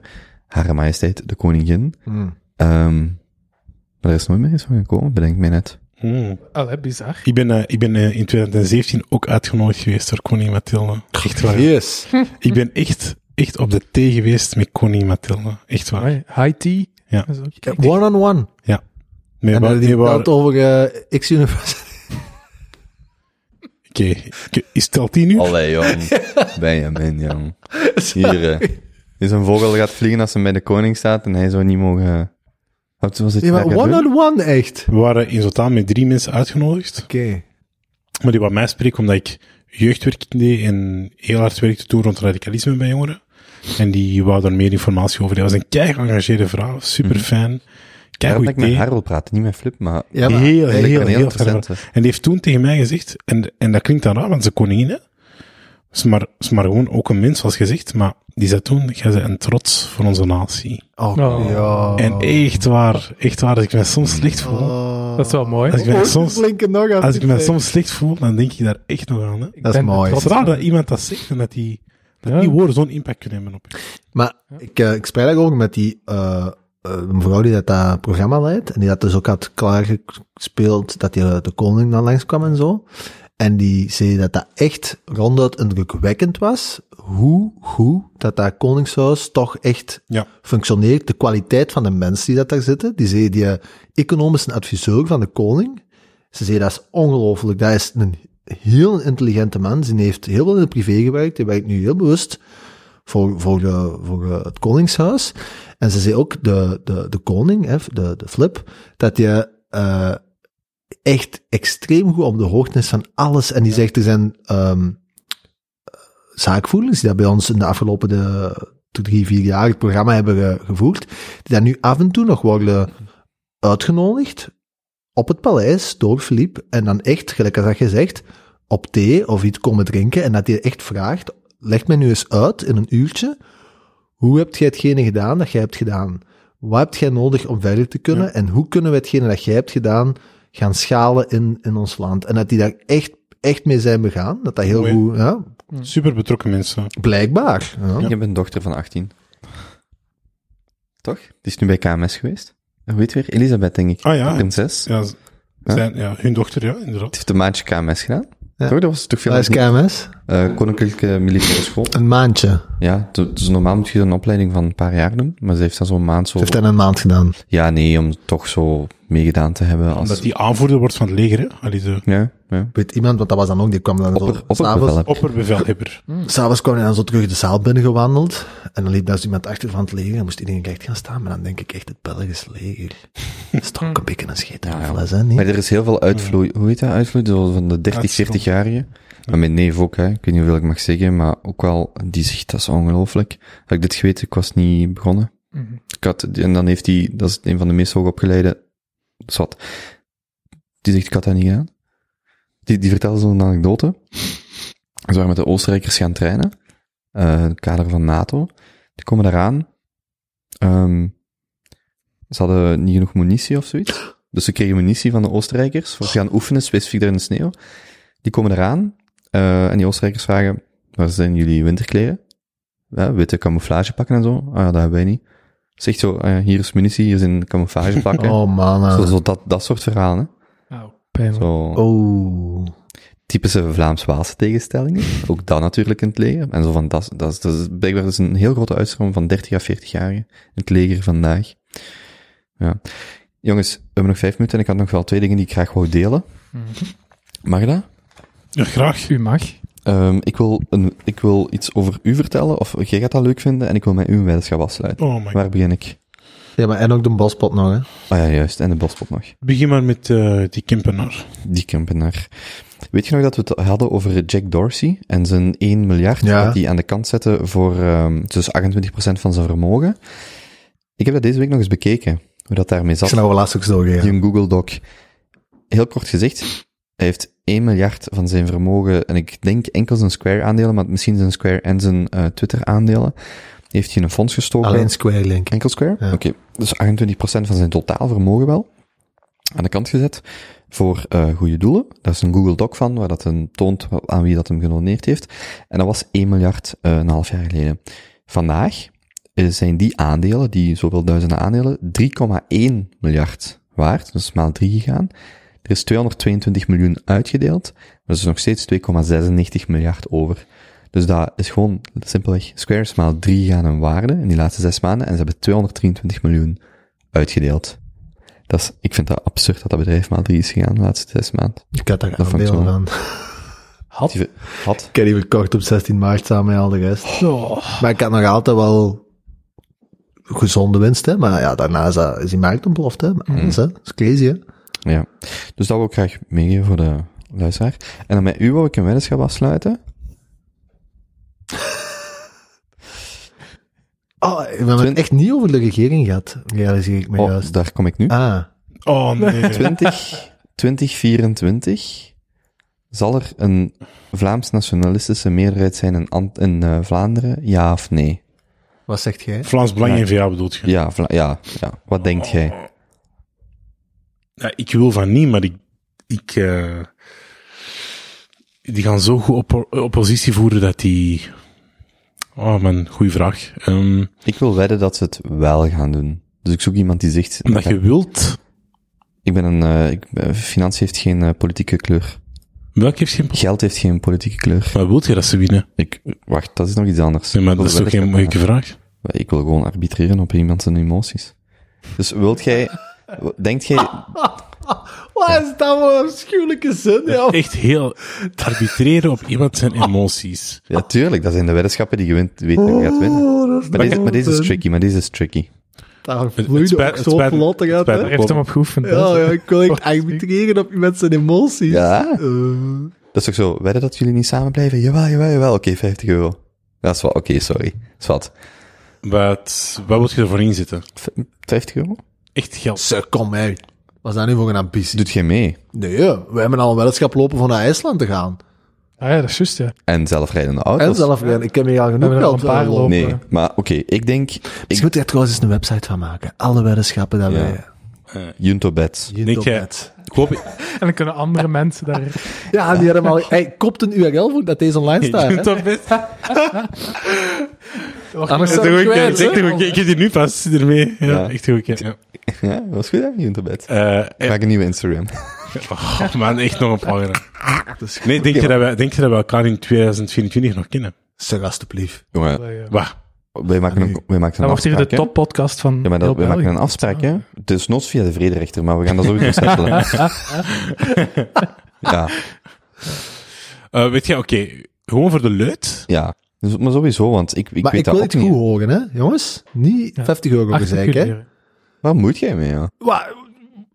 [SPEAKER 3] Hare Majesteit, de koningin. Ehm, maar er is nooit meer iets van gekomen, bedenk mij net.
[SPEAKER 4] Hmm.
[SPEAKER 5] Allee, bizar.
[SPEAKER 4] Ik ben, eh, ik ben eh, in 2017 ook uitgenodigd geweest door koningin Mathilde. Echt waar.
[SPEAKER 2] Yes.
[SPEAKER 4] Ik ben echt, echt op de thee geweest met koningin Mathilde. Echt waar.
[SPEAKER 5] Amai, High tea.
[SPEAKER 4] Ja.
[SPEAKER 5] Dat is ook-
[SPEAKER 2] One-on-one.
[SPEAKER 4] Nee,
[SPEAKER 2] En
[SPEAKER 4] maar,
[SPEAKER 2] dan die
[SPEAKER 4] nee, maar-
[SPEAKER 2] praat over eh, X-Universe.
[SPEAKER 4] Oké, ik- is het al tien uur?
[SPEAKER 3] Allee, jong. Benjamin, jong. Hier, eh, is een vogel gaat vliegen als hij bij de koning staat en hij zou niet mogen... Wat was dit?
[SPEAKER 2] Ja, maar nou
[SPEAKER 3] daar gaan doen?
[SPEAKER 2] one-on-one echt.
[SPEAKER 4] We waren in totaal met drie mensen uitgenodigd.
[SPEAKER 2] Oké.
[SPEAKER 4] Maar die wat mij spreken omdat ik jeugdwerk deed en heel hard werkte toen rond radicalisme bij jongeren. En die wou daar meer informatie over. Die was een kei geëngageerde vrouw, super fan. Kei
[SPEAKER 3] Daarom
[SPEAKER 4] goed
[SPEAKER 3] dat ik met haar wil praten, niet met Flip, maar...
[SPEAKER 2] Ja, maar
[SPEAKER 4] heel,
[SPEAKER 3] eigenlijk
[SPEAKER 4] heel,
[SPEAKER 3] een heel
[SPEAKER 4] heel, fijn
[SPEAKER 3] interessante.
[SPEAKER 4] verhaal. En die heeft toen tegen mij gezegd, en, en dat klinkt dan raar, want ze koningin, hè. Is maar, is maar gewoon ook een mens, zoals gezegd. Maar die zei toen, jij bent een trots voor onze natie.
[SPEAKER 2] Oh,
[SPEAKER 5] Oh.
[SPEAKER 2] ja.
[SPEAKER 4] En echt waar, echt waar, dat ik me soms slecht voel.
[SPEAKER 2] Oh.
[SPEAKER 5] Dat is wel mooi.
[SPEAKER 4] Als ik me soms,
[SPEAKER 2] Flinke nog aan
[SPEAKER 4] als ik me
[SPEAKER 2] het
[SPEAKER 4] soms slecht voel, dan denk ik daar echt nog aan, hè.
[SPEAKER 5] Ik
[SPEAKER 2] dat is
[SPEAKER 5] ben
[SPEAKER 2] mooi.
[SPEAKER 4] Het
[SPEAKER 5] trots
[SPEAKER 4] is raar dat iemand dat zegt en dat die, dat
[SPEAKER 5] Ja.
[SPEAKER 4] die woorden zo'n impact kunnen hebben op je.
[SPEAKER 2] Maar ik, eh, ik spreek ook met die eh, eh, mevrouw die dat, dat programma leidt. En die dat dus ook had klaargespeeld dat die, eh, de koning dan langskwam en zo. En die zei dat dat echt ronduit indrukwekkend was. Hoe goed dat dat koningshuis toch echt
[SPEAKER 4] Ja.
[SPEAKER 2] functioneert. De kwaliteit van de mensen die dat daar zitten. Die zei die eh, economische adviseur van de koning. Ze zei dat is ongelooflijk. Dat is een heel intelligente man. Die heeft heel veel in het privé gewerkt. Die werkt nu heel bewust voor, voor, de, voor eh, het koningshuis. En ze zei ook de, de, de koning, hè, de, de flip, dat je eh, echt extreem goed op de hoogte is van alles. En die zegt, er zijn ehm, zaakvoerders die dat bij ons in de afgelopen de, drie, vier jaar het programma hebben ge- gevoerd, die dat nu af en toe nog worden uitgenodigd op het paleis door Philippe. En dan echt, gelijk als dat je zegt, op thee of iets komen drinken. En dat hij echt vraagt, leg mij nu eens uit in een uurtje, hoe heb jij hetgene gedaan dat jij hebt gedaan? Wat heb jij nodig om verder te kunnen? En hoe kunnen we hetgene dat jij hebt gedaan gaan schalen in, in ons land? En dat die daar echt, echt mee zijn begaan. Dat dat heel
[SPEAKER 4] Mooi.
[SPEAKER 2] goed, ja,
[SPEAKER 4] Super betrokken mensen.
[SPEAKER 2] blijkbaar. Ja.
[SPEAKER 3] Ik heb een dochter van 18. Toch? Die is nu bij KMS geweest. Hoe weet weer? Elisabeth, denk ik.
[SPEAKER 4] Ah, ja.
[SPEAKER 3] Prinses.
[SPEAKER 4] Ja, z-
[SPEAKER 3] Huh?
[SPEAKER 4] zijn, ja, hun dochter, ja,
[SPEAKER 3] Het
[SPEAKER 4] inderdaad.
[SPEAKER 3] heeft een maandje KMS gedaan.
[SPEAKER 2] Ja.
[SPEAKER 3] Toch? Dat was toch veel
[SPEAKER 2] Dat is
[SPEAKER 3] niet-
[SPEAKER 2] KMS.
[SPEAKER 3] eh, Koninklijke Militaire School.
[SPEAKER 2] Een maandje.
[SPEAKER 3] Ja, t- dus normaal moet je een opleiding van een paar jaar doen, maar ze heeft dat zo'n maand zo...
[SPEAKER 2] heeft dat in een maand gedaan.
[SPEAKER 3] Ja, nee, om toch zo meegedaan te hebben als...
[SPEAKER 4] Omdat die aanvoerder wordt van het leger, hè? Allee, de
[SPEAKER 3] Ja, ja.
[SPEAKER 2] Weet iemand, want dat was dan ook, die kwam dan
[SPEAKER 3] Opper,
[SPEAKER 2] zo...
[SPEAKER 3] opperbevel
[SPEAKER 2] S'avonds
[SPEAKER 3] heb je.
[SPEAKER 4] opperbevelhebber.
[SPEAKER 2] s'avonds kwam hij dan zo terug de zaal binnengewandeld. En dan liep daar zo iemand achter van het leger. En moest iedereen recht gaan staan. Maar dan denk ik echt, het Belgisch leger. Dat is toch een beetje een scheet aan
[SPEAKER 3] Hm. Ja,
[SPEAKER 2] fles, hè, niet?
[SPEAKER 3] Maar er is heel veel uitvloei, hoe heet dat, uitvloei? Zo van de 30, 40-jarigen. Maar mijn neef ook, hè. ik weet niet hoeveel ik mag zeggen, maar ook wel, die zegt, dat is ongelooflijk. Had ik dit geweten, ik was niet begonnen.
[SPEAKER 5] Mhm.
[SPEAKER 3] Ik had, en dan heeft hij, dat is een van de meest hoogopgeleide, zat. Die zegt, ik had dat niet gedaan. Die, die vertelde zo'n anekdote. Ze waren met de Oostenrijkers gaan trainen, eh, in het kader van NATO. Die komen daaraan. Ehm, ze hadden niet genoeg munitie of zoiets. Dus ze kregen munitie van de Oostenrijkers. Voor ze gaan oefenen, specifiek daar in de sneeuw. Die komen eraan. eh, en die Oostenrijkers vragen, waar zijn jullie winterkleren? Ja, witte camouflage pakken en zo. Ah, ja, dat hebben wij niet. Zegt zo, ah ja, hier is munitie, hier zijn camouflage pakken.
[SPEAKER 2] Oh man.
[SPEAKER 3] zo,
[SPEAKER 2] eh.
[SPEAKER 3] zo dat, dat soort verhalen. hè.
[SPEAKER 5] Au, pijnlijk.
[SPEAKER 3] Zo
[SPEAKER 2] Oh.
[SPEAKER 3] typische Vlaams-Waalse tegenstellingen. Ook dat natuurlijk in het leger. En zo van, dat, is- dat, is- dat is blijkbaar is een heel grote uitstroom van 30 à 40 jaar in het leger vandaag. Ja. Jongens, we hebben nog vijf minuten en ik had nog wel twee dingen die ik graag wou delen. Mag dat?
[SPEAKER 4] Ja, graag.
[SPEAKER 5] U mag.
[SPEAKER 3] Ehm, ik, wil een, ik wil iets over u vertellen, of jij gaat dat leuk vinden, en ik wil met u een weddenschap afsluiten.
[SPEAKER 4] Oh my god.
[SPEAKER 3] Waar begin ik?
[SPEAKER 2] Ja, maar en ook de bospot nog, hè.
[SPEAKER 3] Ah ja, juist, en de bospot nog.
[SPEAKER 4] Begin maar met eh, die Kimpenaar.
[SPEAKER 3] Die kampenaar. Weet je nog dat we het hadden over Jack Dorsey en zijn 1 miljard
[SPEAKER 2] Ja.
[SPEAKER 3] dat hij aan de kant zette voor ehm, dus 28% van zijn vermogen? Ik heb dat deze week nog eens bekeken, hoe dat daarmee
[SPEAKER 2] Ik
[SPEAKER 3] zat.
[SPEAKER 2] ben nou wel laatst ook zo gegaan.
[SPEAKER 3] Die een Google Doc. Heel kort gezegd, hij heeft 1 miljard van zijn vermogen, en ik denk enkel zijn Square-aandelen, maar misschien zijn Square en zijn eh, Twitter-aandelen, heeft hij in een fonds gestoken.
[SPEAKER 2] Alleen Square Link.
[SPEAKER 3] Enkel Square?
[SPEAKER 2] Ja.
[SPEAKER 3] Oké, dus 28% van zijn totaal vermogen wel aan de kant gezet voor eh goede doelen. Daar is een Google Doc van, waar dat een toont aan wie dat hem gedoneerd heeft. En dat was 1 miljard eh, een half jaar geleden. Vandaag eh, zijn die aandelen, die zoveel duizenden aandelen, 3,1 miljard waard, dus maal 3 gegaan. Er is 222 miljoen uitgedeeld, maar er is nog steeds 2,96 miljard over. Dus dat is gewoon simpelweg Square is maal 3 gaan hun waarde in die laatste zes maanden en ze hebben 223 miljoen uitgedeeld. Dat is, ik vind dat absurd dat dat bedrijf maal 3 is gegaan de laatste zes maanden.
[SPEAKER 2] Ik had daar
[SPEAKER 3] Dat vond ik
[SPEAKER 2] aandelen
[SPEAKER 3] zo.
[SPEAKER 2] van.
[SPEAKER 3] Had? Had?
[SPEAKER 2] Ik heb die verkocht op 16 maart samen met al de rest.
[SPEAKER 3] Oh.
[SPEAKER 5] Oh,
[SPEAKER 2] Maar ik had nog altijd wel gezonde winst, hè. Maar ja, daarna is, dat, is die markt ontploft, hè. Maar
[SPEAKER 3] Mm.
[SPEAKER 2] anders, hè. Dat is crazy, hè.
[SPEAKER 3] Ja. Dus dat wil ik graag meegeven voor de luisteraar. En dan met u wil ik een weddenschap afsluiten.
[SPEAKER 2] Oh, we hebben het
[SPEAKER 3] Twint-
[SPEAKER 2] echt niet over de regering gehad, realiseer ik me
[SPEAKER 3] Oh,
[SPEAKER 2] juist.
[SPEAKER 3] daar kom ik nu.
[SPEAKER 2] Ah,
[SPEAKER 4] Oh nee.
[SPEAKER 3] 20, 2024 zal er een Vlaams-nationalistische meerderheid zijn in, Ant- in eh, Vlaanderen? Ja of nee?
[SPEAKER 2] wat zegt jij?
[SPEAKER 4] Vlaams Belang en va bedoelt je?
[SPEAKER 3] Ja, Vla- ja, ja. Wat denkt
[SPEAKER 2] Oh.
[SPEAKER 3] jij?
[SPEAKER 4] Ja, ik wil van niet, maar ik... ik eh, die gaan zo goed oppo- oppositie voeren dat die... Oh man, goede vraag. Ehm,
[SPEAKER 3] Ik wil wedden dat ze het wel gaan doen. Dus ik zoek iemand die zegt,
[SPEAKER 4] omdat je wilt...
[SPEAKER 3] ik ben een, eh, ik ben- financiën heeft geen eh, politieke kleur.
[SPEAKER 4] Welk heeft geen...
[SPEAKER 3] Geld heeft geen politieke kleur.
[SPEAKER 4] Maar wilt je dat ze winnen?
[SPEAKER 3] Ik, wacht, dat is nog iets anders.
[SPEAKER 4] Nee, maar
[SPEAKER 3] Ik wil
[SPEAKER 4] dat is toch geen
[SPEAKER 3] wedden-
[SPEAKER 4] moeilijke vraag?
[SPEAKER 3] Ik wil gewoon arbitreren op iemand zijn emoties. Dus wilt jij, denkt jij,
[SPEAKER 2] Wat is dat voor een afschuwelijke zin, joh?
[SPEAKER 4] Echt heel arbitreren op iemand zijn emoties.
[SPEAKER 3] Ja, tuurlijk. Dat zijn de weddenschappen die je wint, weet wie gaat winnen. Maar deze, maar deze Oh, is tricky, maar deze is tricky.
[SPEAKER 2] Daar
[SPEAKER 4] het
[SPEAKER 2] vloeide
[SPEAKER 4] spijt-
[SPEAKER 2] ook
[SPEAKER 4] het
[SPEAKER 2] zo
[SPEAKER 4] spijt-
[SPEAKER 2] vlot
[SPEAKER 4] het
[SPEAKER 2] uit,
[SPEAKER 4] spijt
[SPEAKER 2] hè.
[SPEAKER 5] Hij heeft hem op geoefend. hè.
[SPEAKER 2] Ja, ja, ik wil echt arbitreren op met zijn emoties.
[SPEAKER 3] Ja.
[SPEAKER 2] Eh.
[SPEAKER 3] Dat is toch zo, wedden dat jullie niet samen blijven? Jawel, jawel, jawel. Oké, 50 euro. Dat is wel, oké, sorry. Dat is wat.
[SPEAKER 4] Wat, wat moet je ervoor inzetten?
[SPEAKER 3] V- 50 euro?
[SPEAKER 4] Echt geld.
[SPEAKER 2] Ze, kom hé. Wat is dat nu voor een ambitie?
[SPEAKER 3] Doet geen mee.
[SPEAKER 2] Nee, we hebben al een weddenschap lopen van naar IJsland te gaan.
[SPEAKER 5] Ah ja, dat is juist, ja.
[SPEAKER 3] En zelfrijdende auto's?
[SPEAKER 2] En zelf, ik heb hier al
[SPEAKER 5] We
[SPEAKER 2] genoeg
[SPEAKER 5] hebben er al
[SPEAKER 2] geld eh,
[SPEAKER 5] een paar
[SPEAKER 2] voor
[SPEAKER 5] lopen.
[SPEAKER 3] Nee, maar oké, ik denk,
[SPEAKER 2] Ik moet er trouwens eens een website van maken. Alle weddenschappen dat
[SPEAKER 3] Ja.
[SPEAKER 2] wij...
[SPEAKER 3] Junto Bets.
[SPEAKER 2] Hier
[SPEAKER 4] Nee,
[SPEAKER 2] tot
[SPEAKER 4] jij-
[SPEAKER 2] net.
[SPEAKER 4] Ik hoop...
[SPEAKER 5] En dan kunnen andere mensen daar...
[SPEAKER 2] Ja, die hebben al... Hey, kopt een URL voor dat deze online staat. hè?
[SPEAKER 4] Toch best.
[SPEAKER 2] Anders
[SPEAKER 4] Dat
[SPEAKER 2] zou ik
[SPEAKER 4] is een goeie
[SPEAKER 2] kwijt,
[SPEAKER 4] keuze. Echt
[SPEAKER 2] hè?
[SPEAKER 4] een goeie keuze. Ik heb die nu pas ermee. Ja,
[SPEAKER 3] Ja.
[SPEAKER 4] Echt een goeie keuze.
[SPEAKER 3] Ja, was goed, hè? Junto Bets.
[SPEAKER 4] Ja. Eh,
[SPEAKER 3] Maak een nieuwe Instagram.
[SPEAKER 4] oh man, echt nog een paar. jaar. Nee, denk je, dat wij, denk je dat we elkaar in 2024 nog kennen?
[SPEAKER 2] Zeg alstublieft.
[SPEAKER 3] Jongen,
[SPEAKER 5] Allee, eh,
[SPEAKER 4] Waar?
[SPEAKER 3] wij maken, een, wij maken
[SPEAKER 5] Dat
[SPEAKER 3] een
[SPEAKER 5] wordt hier de
[SPEAKER 3] afspraak, hè.
[SPEAKER 5] toppodcast van
[SPEAKER 3] Ja, maar dat,
[SPEAKER 5] heel
[SPEAKER 3] wij maken
[SPEAKER 5] België.
[SPEAKER 3] een afspraak, hè. Dus nos via de vrederechter, maar we gaan dat sowieso settelen. ja,
[SPEAKER 4] Eh, weet je, oké, gewoon voor de leut.
[SPEAKER 3] ja. Dus, maar sowieso, want ik, ik
[SPEAKER 2] maar
[SPEAKER 3] weet
[SPEAKER 2] ik
[SPEAKER 3] dat
[SPEAKER 2] wil
[SPEAKER 3] ook
[SPEAKER 2] het goed
[SPEAKER 3] niet.
[SPEAKER 2] horen, hè, jongens. Niet
[SPEAKER 5] Ja.
[SPEAKER 2] 50 euro gezeik, hè.
[SPEAKER 5] Articuleren.
[SPEAKER 3] Waar moet jij mee, ja?
[SPEAKER 2] Maar,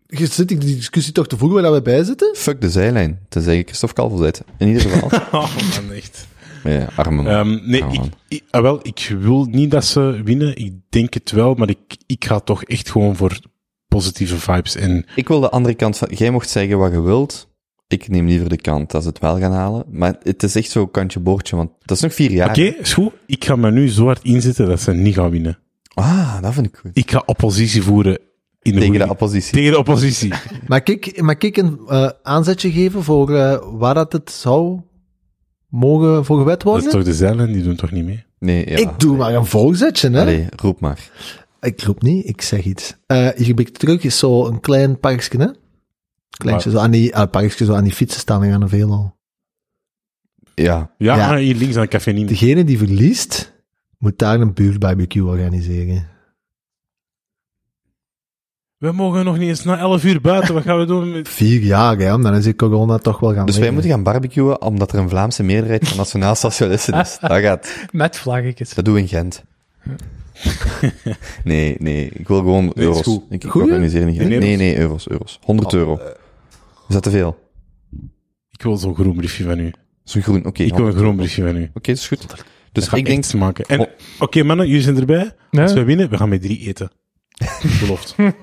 [SPEAKER 2] je zit die discussie toch te voeren waar we bij zitten?
[SPEAKER 3] Fuck de zijlijn. Tenzij je Christophe Kalvel zet. In ieder geval.
[SPEAKER 4] Oh man, echt.
[SPEAKER 3] ja, arme man.
[SPEAKER 4] Ehm, nee,
[SPEAKER 3] Ja,
[SPEAKER 4] ik,
[SPEAKER 3] man.
[SPEAKER 4] ik- ah, wel, ik wil niet dat ze winnen. Ik denk het wel, maar ik, ik ga toch echt gewoon voor positieve vibes. En
[SPEAKER 3] Ik wil de andere kant van... Jij mocht zeggen wat je wilt. Ik neem liever de kant dat ze het wel gaan halen. Maar het is echt zo kantje boordje, want dat is nog vier jaar.
[SPEAKER 4] oké, is goed. Ik ga me nu zo hard inzetten dat ze niet gaan winnen.
[SPEAKER 3] Ah, dat vind ik goed.
[SPEAKER 4] Ik ga oppositie voeren in de
[SPEAKER 3] Tegen de
[SPEAKER 4] goede-
[SPEAKER 3] oppositie.
[SPEAKER 4] tegen de oppositie.
[SPEAKER 2] Maar ik, mag ik een eh, aanzetje geven voor eh, waar dat het zou mogen voor gewet
[SPEAKER 4] Dat is
[SPEAKER 2] worden?
[SPEAKER 4] toch de zeilen, die doen toch niet mee?
[SPEAKER 3] Nee, ja.
[SPEAKER 2] Ik doe maar een voorzetje, hè.
[SPEAKER 3] Allee, roep maar.
[SPEAKER 2] Ik roep niet, ik zeg iets. Eh hier bij terug is zo een klein parkje, hè. Kleintje zo aan die, ah, parkje zo aan die fietsen staan en aan de velo.
[SPEAKER 3] Ja.
[SPEAKER 4] Ja,
[SPEAKER 2] Ja.
[SPEAKER 4] maar hier links aan het café niet.
[SPEAKER 2] Degene die verliest, moet daar een buurtbarbecue organiseren.
[SPEAKER 4] We mogen nog niet eens na 11 uur buiten. Wat gaan we doen? Met...
[SPEAKER 2] Vier jaar, hè, dan is die corona toch wel gaan
[SPEAKER 3] Dus wij
[SPEAKER 2] liggen.
[SPEAKER 3] moeten gaan barbecuen omdat er een Vlaamse meerderheid van Nationaal Socialisten is. Dat gaat.
[SPEAKER 5] Met vlaggetjes.
[SPEAKER 3] Dat doen we in Gent. Nee, nee. Ik wil gewoon
[SPEAKER 4] is
[SPEAKER 3] euro's.
[SPEAKER 4] goed.
[SPEAKER 3] Ik, ik
[SPEAKER 2] Goeie?
[SPEAKER 3] organiseer niet.
[SPEAKER 4] In
[SPEAKER 3] Nee,
[SPEAKER 4] euro's?
[SPEAKER 3] nee, euro's, euro's. 100 euro. Is dat te veel?
[SPEAKER 4] Ik wil zo'n groen briefje van u.
[SPEAKER 3] Zo'n groen, oké.
[SPEAKER 4] Ik
[SPEAKER 3] honderd.
[SPEAKER 4] wil een groen briefje van u.
[SPEAKER 3] Oké, dat is goed. Dus
[SPEAKER 4] Dus ga
[SPEAKER 3] ik denk,
[SPEAKER 4] maken. En
[SPEAKER 3] Oh.
[SPEAKER 4] oké, mannen, jullie zijn erbij.
[SPEAKER 5] Nee,
[SPEAKER 4] Als wij winnen, we gaan met drie eten. Beloofd.
[SPEAKER 5] dat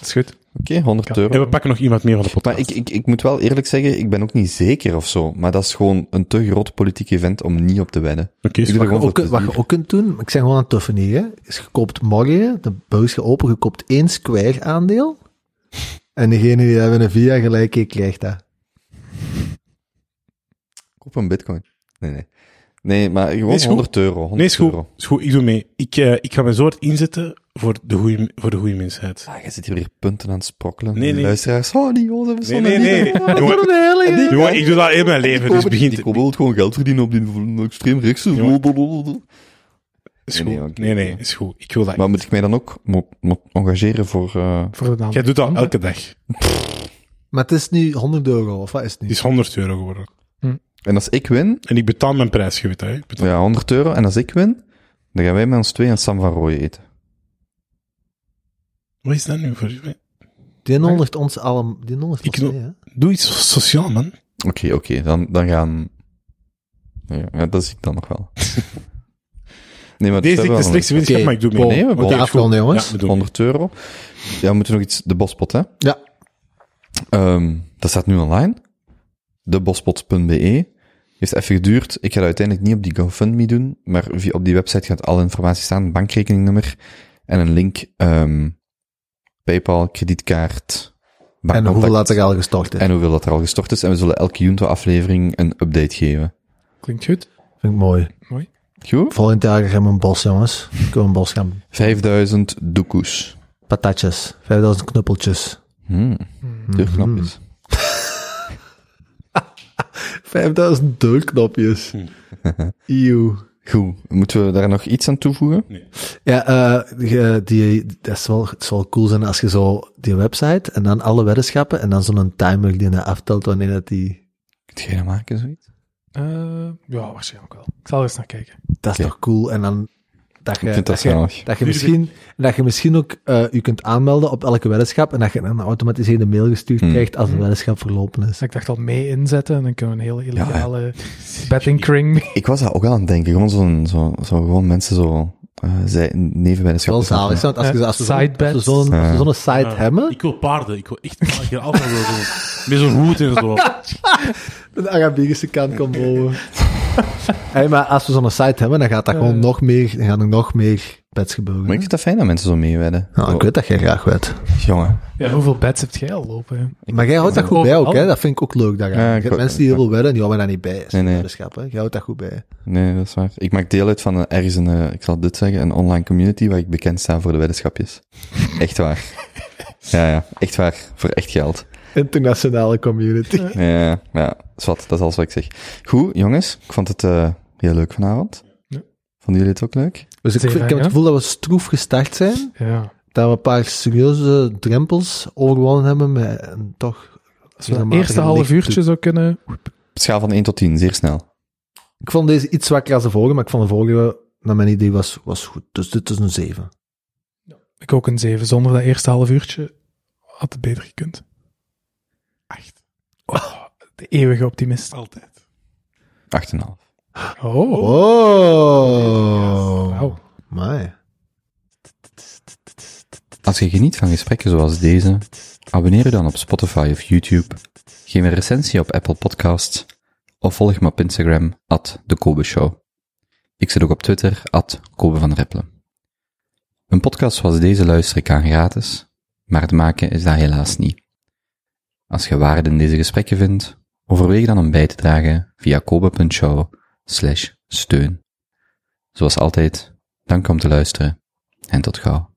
[SPEAKER 5] is goed.
[SPEAKER 3] oké, 100 euro.
[SPEAKER 4] En we pakken nog iemand meer van de
[SPEAKER 3] Maar
[SPEAKER 4] podcast.
[SPEAKER 3] ik, ik, ik moet wel eerlijk zeggen, ik ben ook niet zeker of zo. Maar dat is gewoon een te groot politiek event om niet op te wedden.
[SPEAKER 4] Oké,
[SPEAKER 3] Ik doe
[SPEAKER 4] is
[SPEAKER 3] dat
[SPEAKER 2] Wat
[SPEAKER 3] gewoon
[SPEAKER 2] je,
[SPEAKER 3] voor
[SPEAKER 2] ook, wat je
[SPEAKER 3] plezier.
[SPEAKER 2] ook kunt doen, ik zeg gewoon aan het tuffen hier, hè, is je koopt morgen, de beurs gaat open, je koopt één square aandeel. En degene die hebben een via gelijk heeft, krijgt dat.
[SPEAKER 3] Koop een bitcoin. Nee, nee. Nee, maar gewoon
[SPEAKER 4] is goed.
[SPEAKER 3] 100 euro. 100
[SPEAKER 4] Nee, is goed.
[SPEAKER 3] euro.
[SPEAKER 4] Is goed, ik doe mee. Ik, eh, ik ga mijn soort inzetten voor de goede, voor de goede mensheid.
[SPEAKER 3] Ah, je zit hier weer punten aan het sprokkelen.
[SPEAKER 4] Nee,
[SPEAKER 3] Die
[SPEAKER 4] nee.
[SPEAKER 3] Luisteraars, oh, die Jozef is
[SPEAKER 4] Nee, nee, nee. Jongen, jongen, ik doe dat in mijn leven. Dus begint...
[SPEAKER 3] Die komen wel gewoon geld verdienen op die extreem rechtse.
[SPEAKER 4] Jongen.
[SPEAKER 3] Blablabla. Nee,
[SPEAKER 4] Is goed.
[SPEAKER 3] nee, oké.
[SPEAKER 4] Nee, nee, is goed. Ik wil dat.
[SPEAKER 3] Maar moet ik mij dan ook mo- mo- engageren voor... eh,
[SPEAKER 5] Voor de naam.
[SPEAKER 4] Jij doet dat elke dag. Het
[SPEAKER 2] Maar het is nu 100 euro, of wat is het nu?
[SPEAKER 4] is 100 euro geworden.
[SPEAKER 3] En als ik win,
[SPEAKER 4] En ik betaal mijn prijs, je weet dat, hè? Ik betaal-
[SPEAKER 3] ja, 100 euro. En als ik win, dan gaan wij met ons twee een Sam van Rooij eten.
[SPEAKER 4] Wat is dat nu voor?
[SPEAKER 2] Die honderd ons allemaal, die honderd
[SPEAKER 4] Ik
[SPEAKER 2] ons
[SPEAKER 4] doe-
[SPEAKER 2] mee, hè.
[SPEAKER 4] Doe iets sociaal, man.
[SPEAKER 3] Oké, oké, dan, dan gaan... Ja, ja, dat zie ik dan nog wel. Nee, maar het
[SPEAKER 4] Deze
[SPEAKER 3] is
[SPEAKER 4] is de
[SPEAKER 3] wel
[SPEAKER 4] slechtste wetenschap,
[SPEAKER 2] Oké,
[SPEAKER 4] maar ik doe mee.
[SPEAKER 2] bon.
[SPEAKER 3] Nee, we
[SPEAKER 4] Oké,
[SPEAKER 3] bon.
[SPEAKER 4] is goed.
[SPEAKER 2] Afronden, jongens.
[SPEAKER 4] Ja, we doen mee.
[SPEAKER 3] 100 euro. Ja, we moeten nog iets... De bospot, hè?
[SPEAKER 2] Ja.
[SPEAKER 3] Ehm, dat staat nu online. Debospot.be. E. Heeft even geduurd. Ik ga dat uiteindelijk niet op die GoFundMe doen, maar via- op die website gaat alle informatie staan. Bankrekeningnummer en een link. ehm Paypal, kredietkaart,
[SPEAKER 2] En
[SPEAKER 3] bankcontact.
[SPEAKER 2] hoeveel laat ik al gestort is.
[SPEAKER 3] En hoeveel dat er al gestort is. En we zullen elke Junto-aflevering een update geven.
[SPEAKER 5] Klinkt goed.
[SPEAKER 2] Vind ik mooi.
[SPEAKER 3] Goed?
[SPEAKER 2] Volgend jaar gaan we een bos, jongens. Kunnen we een bos gaan.
[SPEAKER 3] 5000 doekoes.
[SPEAKER 2] Patatjes. 5000 knuppeltjes.
[SPEAKER 3] Hmm. Deurknopjes.
[SPEAKER 2] 5000 deurknopjes.
[SPEAKER 3] Hm.
[SPEAKER 2] Eeuw.
[SPEAKER 3] Goed. Moeten we daar nog iets aan toevoegen?
[SPEAKER 2] Ja, eh, je- die, dat is wel, het zal wel cool zijn als je zo die website en dan alle weddenschappen en dan zo'n timer die dat aftelt wanneer dat die...
[SPEAKER 3] Kun jij dat maken, zoiets?
[SPEAKER 5] Eh, ja, waarschijnlijk wel. Ik zal er eens naar kijken.
[SPEAKER 2] Dat is
[SPEAKER 3] Oké.
[SPEAKER 2] toch cool? En dan dat je,
[SPEAKER 3] Ik vind dat
[SPEAKER 2] dat je,
[SPEAKER 3] zalig.
[SPEAKER 2] dat je, misschien, dat je misschien ook eh je kunt aanmelden op elke weddenschap en dat je een automatiseerde mail gestuurd
[SPEAKER 3] Hmm.
[SPEAKER 2] krijgt als de
[SPEAKER 5] Hmm.
[SPEAKER 2] weddenschap verlopen is.
[SPEAKER 5] Dus ik dacht al mee inzetten en dan kunnen we een hele
[SPEAKER 3] ja.
[SPEAKER 5] illegale betting kring.
[SPEAKER 3] Ik was daar ook aan het denken. Gewoon zo'n, zo, zo, gewoon mensen zo, eh zij, neven bij de schap.
[SPEAKER 2] Wel zalig, hè, want als, je,
[SPEAKER 5] Eh,
[SPEAKER 2] als we zo'n- als we
[SPEAKER 5] sidebets.
[SPEAKER 2] zo'n als we zo'n site
[SPEAKER 4] Ja.
[SPEAKER 2] hebben,
[SPEAKER 4] Ik wil paarden. Ik wil echt een keer alfa wil doen. Met zo'n hoed en zo.
[SPEAKER 2] de Arabische kant kan boven. hey, maar als we zo'n site hebben, dan gaat dat gewoon
[SPEAKER 5] Eh.
[SPEAKER 2] nog meer, dan gaan er nog meer bets gebeuren.
[SPEAKER 3] Maar ik vind dat fijn dat mensen zo meewedden.
[SPEAKER 2] Nou, ik
[SPEAKER 3] Zo,
[SPEAKER 2] weet dat jij graag weet.
[SPEAKER 3] Jongen.
[SPEAKER 5] Ja. Hoeveel bets heb jij al lopen? hè?
[SPEAKER 2] Maar jij houdt dat goed
[SPEAKER 5] ook
[SPEAKER 2] bij ook,
[SPEAKER 5] al.
[SPEAKER 2] hè? Dat vind ik ook leuk. Dat
[SPEAKER 3] Ja,
[SPEAKER 2] Oh. ja,
[SPEAKER 3] ik ook.
[SPEAKER 2] mensen die heel veel willen, die houden daar niet bij.
[SPEAKER 3] Nee,
[SPEAKER 2] Nee,
[SPEAKER 3] nee.
[SPEAKER 2] nee. Jij houdt dat goed bij.
[SPEAKER 3] Nee, dat is waar. Ik maak deel uit van een, ergens een, eh, ik zal dit zeggen, een online community waar ik bekend sta voor de weddenschapjes. Echt waar. Ja, ja. Echt waar. Voor echt geld.
[SPEAKER 2] Internationale community.
[SPEAKER 3] Ja, ja. Zwat, dat is alles wat ik zeg. Goed, jongens. Ik vond het eh Heel leuk vanavond.
[SPEAKER 5] Ja.
[SPEAKER 3] Vonden jullie het ook leuk?
[SPEAKER 2] Dus ik,
[SPEAKER 5] Zeer,
[SPEAKER 2] ik heb het
[SPEAKER 5] ja.
[SPEAKER 2] gevoel dat we stroef gestart zijn.
[SPEAKER 5] Ja.
[SPEAKER 2] Dat we een paar serieuze drempels overwonnen hebben. Met, en toch.
[SPEAKER 5] Als we dat
[SPEAKER 2] regelmatig
[SPEAKER 5] eerste
[SPEAKER 2] een
[SPEAKER 5] half
[SPEAKER 2] licht
[SPEAKER 5] uurtje
[SPEAKER 2] toe-
[SPEAKER 5] zou kunnen...
[SPEAKER 3] Schaal van 1 tot 10, zeer snel.
[SPEAKER 2] Ik vond deze iets zwakker als de vorige, maar ik vond de vorige, naar mijn idee, was, was goed. Dus dit is een 7.
[SPEAKER 5] Ik ook een 7. Zonder dat eerste half uurtje had het beter gekund. Echt. de eeuwige optimist.
[SPEAKER 4] Altijd.
[SPEAKER 3] 8,5.
[SPEAKER 5] Oh.
[SPEAKER 2] Oh.
[SPEAKER 5] Wauw.
[SPEAKER 2] Amai.
[SPEAKER 3] Als je geniet van gesprekken zoals deze, abonneer je dan op Spotify of YouTube, geef een recensie op Apple Podcasts of volg me op Instagram, at de Kobe Show. Ik zit ook op Twitter, at Kobe van Rippelen. Een podcast zoals deze luister ik aan gratis, maar het maken is dat helaas niet. Als je waarde in deze gesprekken vindt, overweeg dan om bij te dragen via kobe.show slash steun. Zoals altijd, dank om te luisteren en tot gauw.